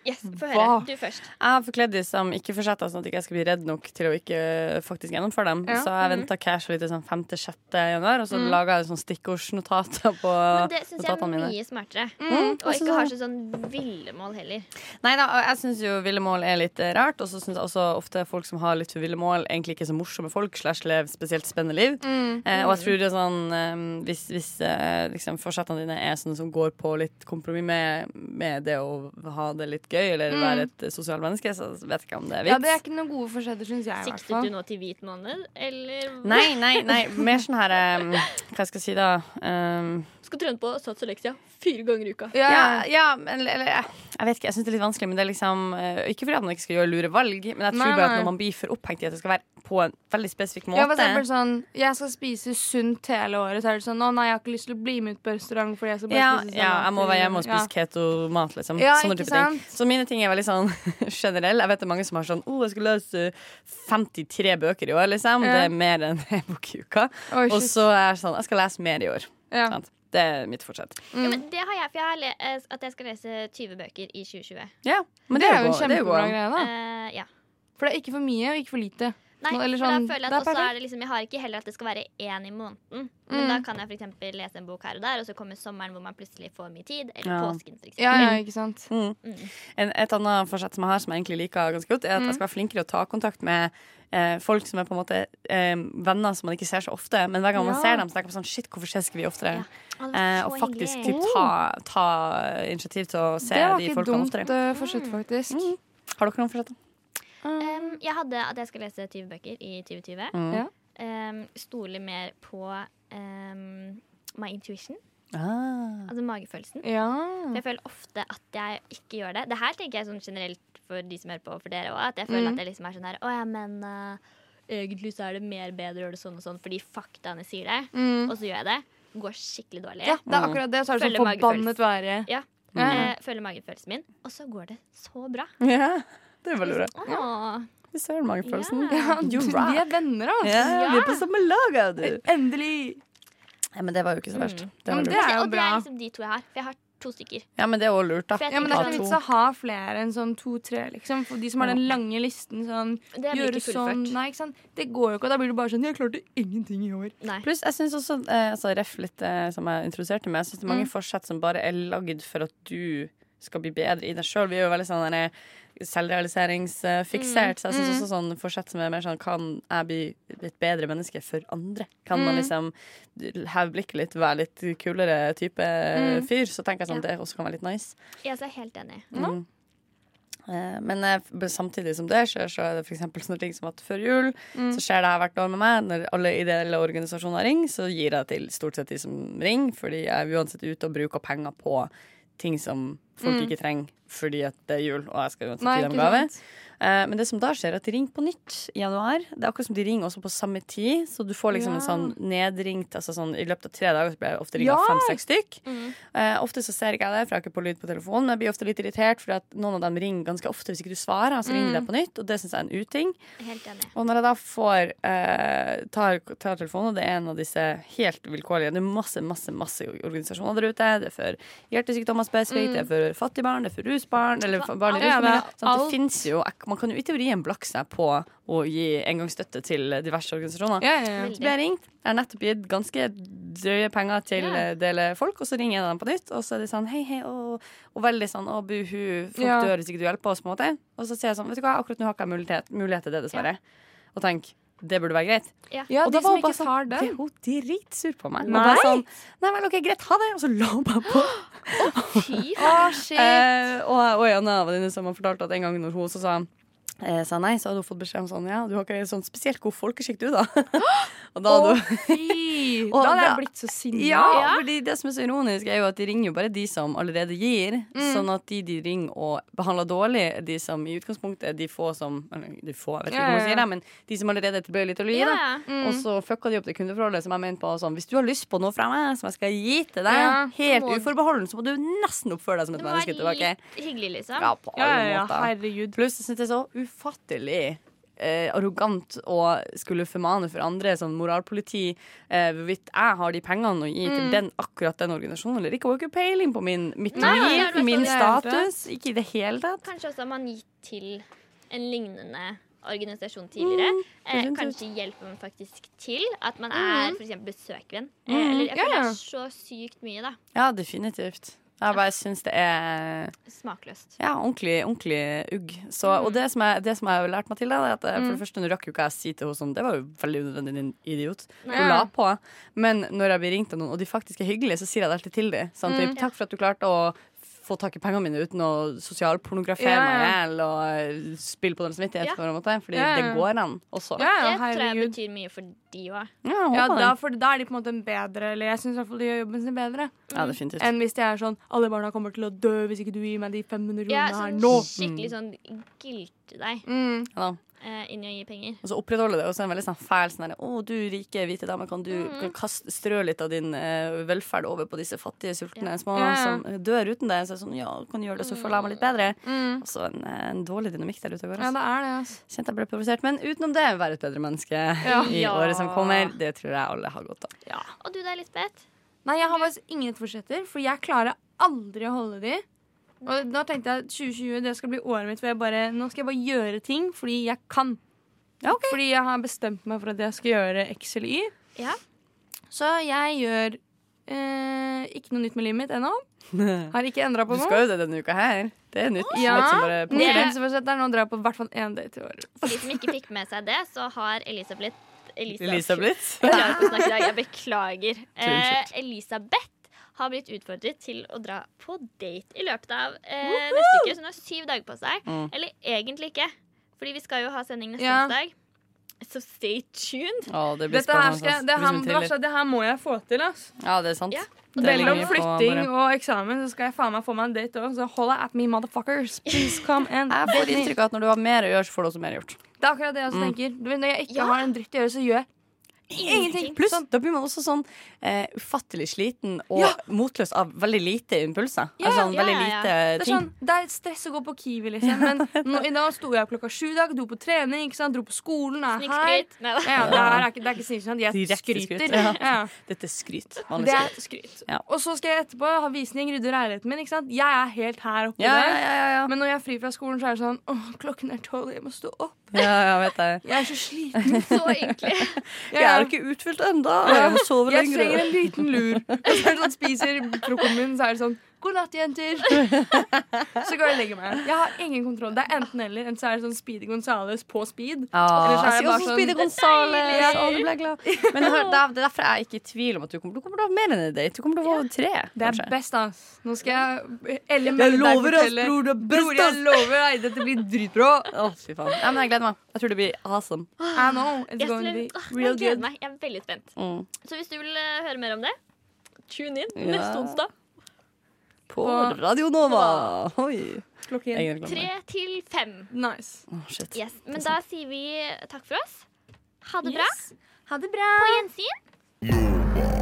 S3: Yes, Få høre.
S6: Hva?
S3: Du først.
S5: Jeg har forkledd de som ikke forsetter, sånn at jeg ikke skal bli redd nok til å ikke eh, faktisk gjennomføre dem.
S6: Ja.
S5: Så jeg venta casually til sånn 5.-6. januar, og så
S6: Mm.
S5: laga jeg sånn stikkordsnotater på
S3: Men det syns jeg er
S5: notatene mine.
S3: mye smartere.
S5: Mm,
S3: Og
S5: også
S3: ikke
S5: så-
S3: har så sånn ville mål heller.
S5: Nei da, og jeg syns jo ville mål er litt eh, rart. Og så syns jeg også ofte folk som har litt for ville mål, egentlig ikke er så morsomme folk, slash lever spesielt spennende liv. Eh, og jeg tror det er sånn eh, Hvis, hvis eh, liksom forsettene dine er sånne som går på litt kompromiss med, med det å ha det litt gøy, eller
S6: Mm.
S5: være et eh, sosialt menneske, så vet jeg ikke om det er vits.
S6: Ja, Det er ikke noen gode forsetter, syns jeg. i hvert
S3: Siktet
S6: fall
S3: du nå til hvit måned, eller
S5: Nei, nei, nei. Mer sånn her um, Hva skal jeg si, da? Um,
S10: Skal trene på sats og leksia fire ganger i uka.
S6: Ja,
S5: ja, ja, men eller, eh, Jeg vet ikke, jeg syns det er litt vanskelig. Men det er liksom eh, Ikke fordi at man ikke skal gjøre lure valg, men jeg tror
S6: Nei,
S5: bare
S6: nei.
S5: at når man blir for opphengt i at det skal være på en veldig spesifikk måte
S6: Ja, for eksempel sånn Jeg skal spise sunt hele året. Så er det sånn Å nei, jeg har ikke lyst til å bli med ut på restaurant fordi jeg skal bare
S5: ja,
S6: spise
S5: ja, jeg må
S6: salater».
S5: være hjemme og spise
S6: Ja.
S5: keto-mat, liksom.
S6: Ja,
S5: Sånne
S6: ikke
S5: type ting.
S6: sant?
S5: Så mine ting er veldig sånn generelle. Jeg vet det er mange som har sånn Å, jeg skulle lese 53 bøker i år, liksom.
S6: Ja.
S5: Det er mer enn en bok i uka.
S6: Oi,
S5: Og
S6: shit.
S5: så er jeg sånn Jeg skal lese mer i år.
S6: ja.
S5: Sant? Det er mitt fortsett.
S6: Mm.
S3: Ja, men det har jeg, for jeg har le eh, at jeg skal lese 20 bøker i 2020.
S5: Ja, men
S6: Det er jo en
S5: gå- det
S6: kjempebra
S5: gå-
S6: greie, da.
S3: Eh, ja.
S6: For det er ikke for mye og ikke for lite.
S3: Nei,
S6: Ah. Nå, eller
S3: for
S6: sånn,
S3: da føler jeg
S6: det er
S3: at også
S6: perfekt.
S3: er det liksom, jeg har ikke heller at det skal være én i måneden. Men
S6: Mm.
S3: da kan jeg for eksempel lese en bok her og der, og så kommer sommeren hvor man plutselig får mye tid. Eller
S5: Ja.
S3: påsken, for eksempel.
S6: Ja, ja, ikke sant
S5: Mm.
S3: Mm.
S5: En, et annet forsett som jeg har, som jeg egentlig liker ganske godt, er at jeg skal være flinkere å ta kontakt med eh, folk som er på en måte eh, venner som man ikke ser så ofte. Men hver gang man
S6: Ja.
S5: ser dem, så tenker man sånn Shit, hvorfor ses ikke vi oftere?
S3: Ja. Å, det var
S5: Eh,
S3: så
S5: og faktisk
S3: hyggelig.
S5: typ, ta, ta initiativ til å se
S6: Det var
S5: de
S6: ikke
S5: folkene
S6: dumt
S5: oftere.
S6: eh, forsett, faktisk.
S5: Mm. Har dere noen forsett?
S3: Um, jeg hadde at jeg skal lese 20 bøker i 2020.
S5: Mm.
S6: Ja.
S3: Um, stole mer på um, my intuition,
S5: Ah.
S3: altså magefølelsen.
S6: Ja.
S3: For jeg føler ofte at jeg ikke gjør det. Det her tenker jeg sånn generelt for de som hører på, for dere òg. At jeg føler
S6: Mm.
S3: at jeg liksom er sånn her Å ja, men eh, egentlig så er det mer bedre å gjøre det sånn og sånn fordi faktaene sier det.
S6: Mm.
S3: Og så gjør jeg det. Går skikkelig dårlig.
S6: ja, Mm. det er akkurat det. Så er det
S3: Følger
S6: sånn forbannet være.
S3: Ja.
S6: Ja.
S3: Eh, følger magefølelsen min. Og så går det så bra.
S5: Ja, det var lurt.
S3: Åh,
S5: Du ser magefølelsen.
S3: Ja.
S5: You
S6: Du,
S5: rock.
S6: Vi er venner, altså.
S5: Ja, vi er på samme lag, Mm. ja, du.
S6: Endelig.
S5: Ja, men det var jo ikke så verst. Det var
S6: Men det
S5: lurt.
S6: er jo
S3: og det
S6: bra.
S3: er liksom de to jeg har. For jeg har to stykker.
S5: Ja, men det er også lurt, da.
S3: For jeg
S6: Ja, men Det er
S3: tenker
S6: ikke
S5: Ja,
S6: noe vits
S5: to.
S6: å ha flere enn sånn to-tre. liksom For De som har den lange listen. sånn
S3: sånn, Det blir
S6: Gjøre
S3: ikke
S6: sånn
S3: fullført.
S6: Nei, ikke sant. Det går jo ikke. Og da blir du bare sånn Jeg klarte ingenting i år.
S3: Nei.
S5: Pluss, jeg synes også,
S3: Mm.
S5: eh, altså, ref litt eh, som jeg introduserte med, jeg synes det er mange forsett som bare er lagd for at du skal bli bedre i deg sjøl. Vi er jo veldig sånn der, eh,
S3: Mm,
S5: selvrealiseringsfiksert. Så jeg syns også sånn fortsette med mer sånn Kan jeg bli et bedre menneske for andre? Kan man
S11: Mm.
S5: liksom heve blikket litt, være litt kulere type
S3: Mm.
S5: fyr? Så tenker jeg sånn
S3: Ja.
S5: det også kan være litt nice.
S3: Jeg er helt enig.
S5: Mm. Eh, Men eh, f- samtidig som det skjer, så er det for eksempel sånne ting som at før jul
S3: Mm.
S5: så skjer det her hvert år med meg. Når alle ideelle organisasjoner ringer, så gir jeg det til stort sett de som ringer, fordi jeg er uansett ute og bruker penger på ting som folk
S6: Mm.
S5: ikke trenger fordi at det er jul, og jeg skal uansett
S6: Nei,
S5: gi dem
S6: ikke
S5: gave.
S6: sant.
S5: Eh, Men det som da skjer, er at de ringer på nytt i januar. Det er akkurat som de ringer også på samme tid, så du får liksom en
S6: Ja.
S5: sånn nedringt altså sånn, I løpet av tre dager så blir jeg ofte ringt
S6: Ja. Mm.
S5: av fem-seks stykk. Eh, ofte så ser ikke jeg det, for jeg har ikke på lyd på telefonen, men jeg blir ofte litt irritert, for noen av dem ringer ganske ofte hvis ikke du svarer. Så ringer de
S3: Mm.
S5: på nytt, og det syns jeg er en uting.
S3: Helt enig.
S5: Og når jeg da får eh, tar, tar telefonen, og det er en av disse helt vilkårlige Det er masse, masse masse organisasjoner der ute. Det er for hjertesykdommer spesifikt,
S6: Mm.
S5: det er for fattigbarn, det er for rusbarn eller for barn i
S6: Alt. Ja, det er
S5: rusmiddel. Sånn at
S6: alt.
S5: det finnes jo Man kan jo i teorien blakke seg på å gi engangsstøtte til diverse organisasjoner.
S6: Ja, ja, ja.
S5: Så ble jeg ringt. Jeg har nettopp gitt ganske drøye penger til
S6: Ja.
S5: eh, dele folk, og så ringer jeg dem på nytt, og så er de sånn hei, hei, og, og veldig sånn å, buhu, folk
S6: Ja.
S5: dør hvis ikke du hjelper oss, på en måte. Og så sier jeg sånn, vet du hva, akkurat nå har ikke jeg mulighet, mulighet til det, dessverre. Og tenk, det burde være greit.
S3: Ja,
S6: Ja,
S5: og da
S6: de
S5: var
S6: som
S5: hun bare
S6: ikke tar
S5: sånn, ble
S6: den.
S5: hun dritsur på meg.
S6: Nei.
S5: Og bare sånn, nei vel, ok, greit, ha det. Og så la hun bare på. Eh, og, og en av venninnene som har fortalt at en gang når hun også sa eh, sa nei, så hadde hun fått beskjed om sånn Ja, du har ikke sånn spesielt god folkeskikk, du, da. og da hadde hun
S6: Fy!
S5: Og
S6: Da hadde jeg
S5: da-
S6: blitt så sinna.
S5: ja, fordi det som er så ironisk, er jo at de ringer jo bare de som allerede gir.
S6: Mm.
S5: Sånn at de de ringer og behandler dårlig, er de som i utgangspunktet er de få som eller, De få, jeg vet ikke
S6: Ja,
S5: hvordan
S6: ja,
S5: man sier det, men de som allerede er tilbøyelige til å gi. da.
S3: Ja, ja.
S6: Mm.
S5: Og så fucka de opp det kundeforholdet som jeg mente på. Sånn, hvis du har lyst på noe fra meg som jeg skal gi til deg,
S6: Ja, så
S5: helt
S3: må-
S5: uforbeholden, så må du nesten oppføre deg som
S3: Det
S5: et
S3: må
S5: menneske
S3: være
S5: tilbake.
S3: litt hyggelig, liksom.
S5: Ja, på
S6: Ja,
S5: alle
S6: ja, ja,
S5: måter.
S6: herregud.
S5: Pluss jeg synes det er så ufattelig eh, arrogant å skulle formane for andre som moralpoliti eh, hvorvidt jeg har de pengene å gi til
S6: Mm.
S5: den, akkurat den organisasjonen eller ikke. Hun har ikke peiling på min, mitt
S3: Nei, det er
S5: liv,
S3: det
S5: min
S6: verste.
S5: status. Ikke i det hele tatt.
S3: Kanskje også har man gitt til en lignende organisasjon
S6: Mm,
S3: tidligere. eh,
S5: sant,
S3: kanskje hjelper man faktisk til at man er for eksempel besøkeren. Eh,
S5: Mm,
S3: eller jeg
S6: ja, Mm.
S3: føler
S6: ja.
S3: det er så sykt mye, da.
S5: Ja, definitivt. Jeg bare syns det er
S3: Smakløst.
S5: Ja, ordentlig, ordentlig ugg. Så,
S6: Mm.
S5: og det som, jeg, det som jeg har lært meg til, da, er at eh, for det første, nå rakk jo ikke jeg å si til henne sånn Det var jo veldig unødvendig, din idiot.
S3: Nei.
S5: Hun la på. Men når jeg blir ringt av noen, og de faktisk er hyggelige, så sier jeg det alltid til dem. Sånn,
S6: Mm.
S5: typ, Takk for at du klarte å få tak i pengene mine uten å sosialpornografere
S6: Ja, ja.
S5: meg i hjel og eh, spille på deres samvittighet,
S3: Ja.
S5: på en måte. Fordi
S6: Ja, ja.
S5: det går an også.
S6: Ja, ja,
S3: det tror jeg
S6: herregud.
S3: betyr mye for de òg.
S5: Ja, jeg
S6: Ja,
S5: håper
S6: da,
S5: det.
S6: for da er de på en måte en bedre Eller jeg syns i hvert fall de gjør jobben sin bedre.
S5: Ja, definitivt.
S6: Enn hvis de er sånn Alle barna kommer til å dø hvis ikke du gir meg de 500
S3: Ja,
S6: kronene her
S3: sånn
S6: nå.
S3: skikkelig sånn gilte deg
S6: Mm.
S5: Ja, da.
S3: eh, inn i å gi penger.
S5: Og så opprettholder det også en veldig sånn fæl sånn derre Å, du rike hvite dame, kan du
S6: Mm.
S5: kan kaste, strø litt av din eh, velferd over på disse fattige, sultne små
S6: Ja, ja.
S5: som eh, dør uten det? Så er det sånn, ja, kan du gjøre det, så føler jeg meg litt bedre.
S3: mm.
S5: Også en, eh, en dårlig dynamikk der ute og går.
S6: Ja,
S5: Altså.
S6: det er det, altså.
S5: Kjente jeg ble provosert. Men utenom det, være et bedre menneske i
S3: Ja.
S5: året som kommer. Det tror jeg alle har godt av.
S3: Og du da, Lisbeth?
S6: Nei, jeg har faktisk ingen etterfortsetter, for jeg klarer aldri å holde de. Og da tenkte jeg at 2020 det skal bli året mitt hvor jeg bare Nå skal jeg bare gjøre ting fordi jeg kan. Fordi jeg har bestemt meg for at jeg skal gjøre X eller Y.
S3: Ja.
S6: Så jeg gjør eh, ikke noe nytt med livet mitt ennå. Har ikke endra
S5: Du
S6: på noe.
S5: skal jo det denne uka her. Det er nytt.
S6: Ja.
S5: Nytt som bare popper.
S6: Nytt etterforsett er nå å dra på i hvert fall én date i året.
S3: For de som ikke fikk med seg det, så har Elisabeth Elisabeth,
S5: Elisabeth.
S3: Jeg klarer ikke å snakke i dag. Jeg beklager. Eh,
S5: Unnskyld.
S3: Elisabeth har blitt utfordret til å dra på date i løpet av eh, neste uke. Så hun har syv dager på seg.
S5: Mm.
S3: Eller egentlig ikke, fordi vi skal jo ha sending neste
S6: Ja.
S3: onsdag. Så stay tuned.
S5: Å, det blir
S6: Dette her
S5: spennende.
S6: skal, jeg-
S5: altså. Blir
S6: det, her,
S5: som en
S6: det,
S5: thriller.
S6: verste er at det her må jeg få til. ass
S5: Ja, det er sant.
S3: Ja.
S5: Det ligger
S6: Mellom
S5: mye på
S6: flytting
S5: bare-
S6: og eksamen så skal jeg faen meg få meg en date òg, så holla at me, motherfuckers. Please come and
S5: Jeg får inntrykk av at når du har mer å gjøre, så får du også mer gjort.
S6: Det er akkurat det jeg også tenker. Du vet, når jeg ikke
S3: Ja.
S6: har en dritt å gjøre, så gjør jeg ingenting.
S3: Ingenting.
S5: Pluss, da blir man også sånn eh, ufattelig sliten og motløs av veldig lite impulser.
S6: Ja,
S5: altså sånn,
S3: ja,
S5: veldig
S3: ja, ja.
S5: lite
S6: Det er,
S5: ting.
S6: sånn, det er stress å gå på Kiwi, liksom. Men nå, i dag sto jeg opp klokka sju i dag, dro på trening, ikke sant? dro på skolen, er her.
S3: Snikskryt. Nei da.
S6: Ja, det, her er ikke, det er ikke snikskryt,
S5: Direkte
S6: jeg
S5: skryt,
S6: skryter.
S5: ja.
S6: Ja.
S5: Dette er skryt.
S6: Det
S5: Vanlig
S6: er
S5: skryt.
S6: skryt.
S5: Ja.
S6: Og så skal jeg etterpå ha visning, rydde leiligheten min. Ikke sant? Jeg er helt her oppe
S5: Ja, ja,
S6: der.
S5: ja, ja, ja.
S6: Men når jeg er fri fra skolen, så er det sånn Åh, klokken er tolv, jeg må stå opp.
S5: ja, ja, vet jeg.
S6: Jeg er så sliten.
S3: Så ynkelig.
S5: Jeg er ikke utfylt ennå. Jeg må sove
S6: Jeg
S5: lenger.
S6: trenger en liten lur. Og så er det sånn, spiser frokosten min, så er det sånn God natt, jenter! så går jeg og legger meg. Jeg har ingen kontroll. Det er enten eller. Enten så er det sånn Speedy Gonzales på speed.
S5: Ah,
S6: eller så
S5: jeg
S6: er det
S5: sier
S6: bare
S5: også
S6: sånn
S5: Speedy Gonzales.
S6: Det er
S5: Å,
S6: deilig.
S5: du ble glad. Men hør, det er det er derfor jeg er ikke i tvil om at du kommer, du kommer til å ha mer enn en date. Du kommer til å få tre.
S6: Det er
S5: kanskje.
S6: best, ass. Nå skal jeg Elle
S5: Jeg
S6: melde deg
S5: lover, ass,
S6: hotellet.
S5: bror. Det er
S6: Bror,
S5: best, ass.
S6: jeg lover deg. Dette blir dritbra.
S5: Å, fy faen. Ja, men jeg gleder meg. Jeg tror det blir awesome.
S6: I know. It's
S3: Jeg,
S6: going to be
S3: skulle, Åh,
S6: real
S3: jeg gleder
S6: good.
S3: meg. Jeg er veldig spent.
S5: Mm.
S3: Så hvis du vil eh, høre mer om det, tune inn
S5: Ja.
S3: neste onsdag.
S5: På
S6: Og-
S5: Radio Nova. Oi.
S6: Klokken.
S5: Jeg gleder
S3: Tre
S5: meg.
S3: til fem.
S6: Nice.
S5: Å, shit.
S3: Yes. Men da sier vi takk for oss. Ha det bra.
S6: Ha det bra.
S3: På gjensyn.
S1: Nova.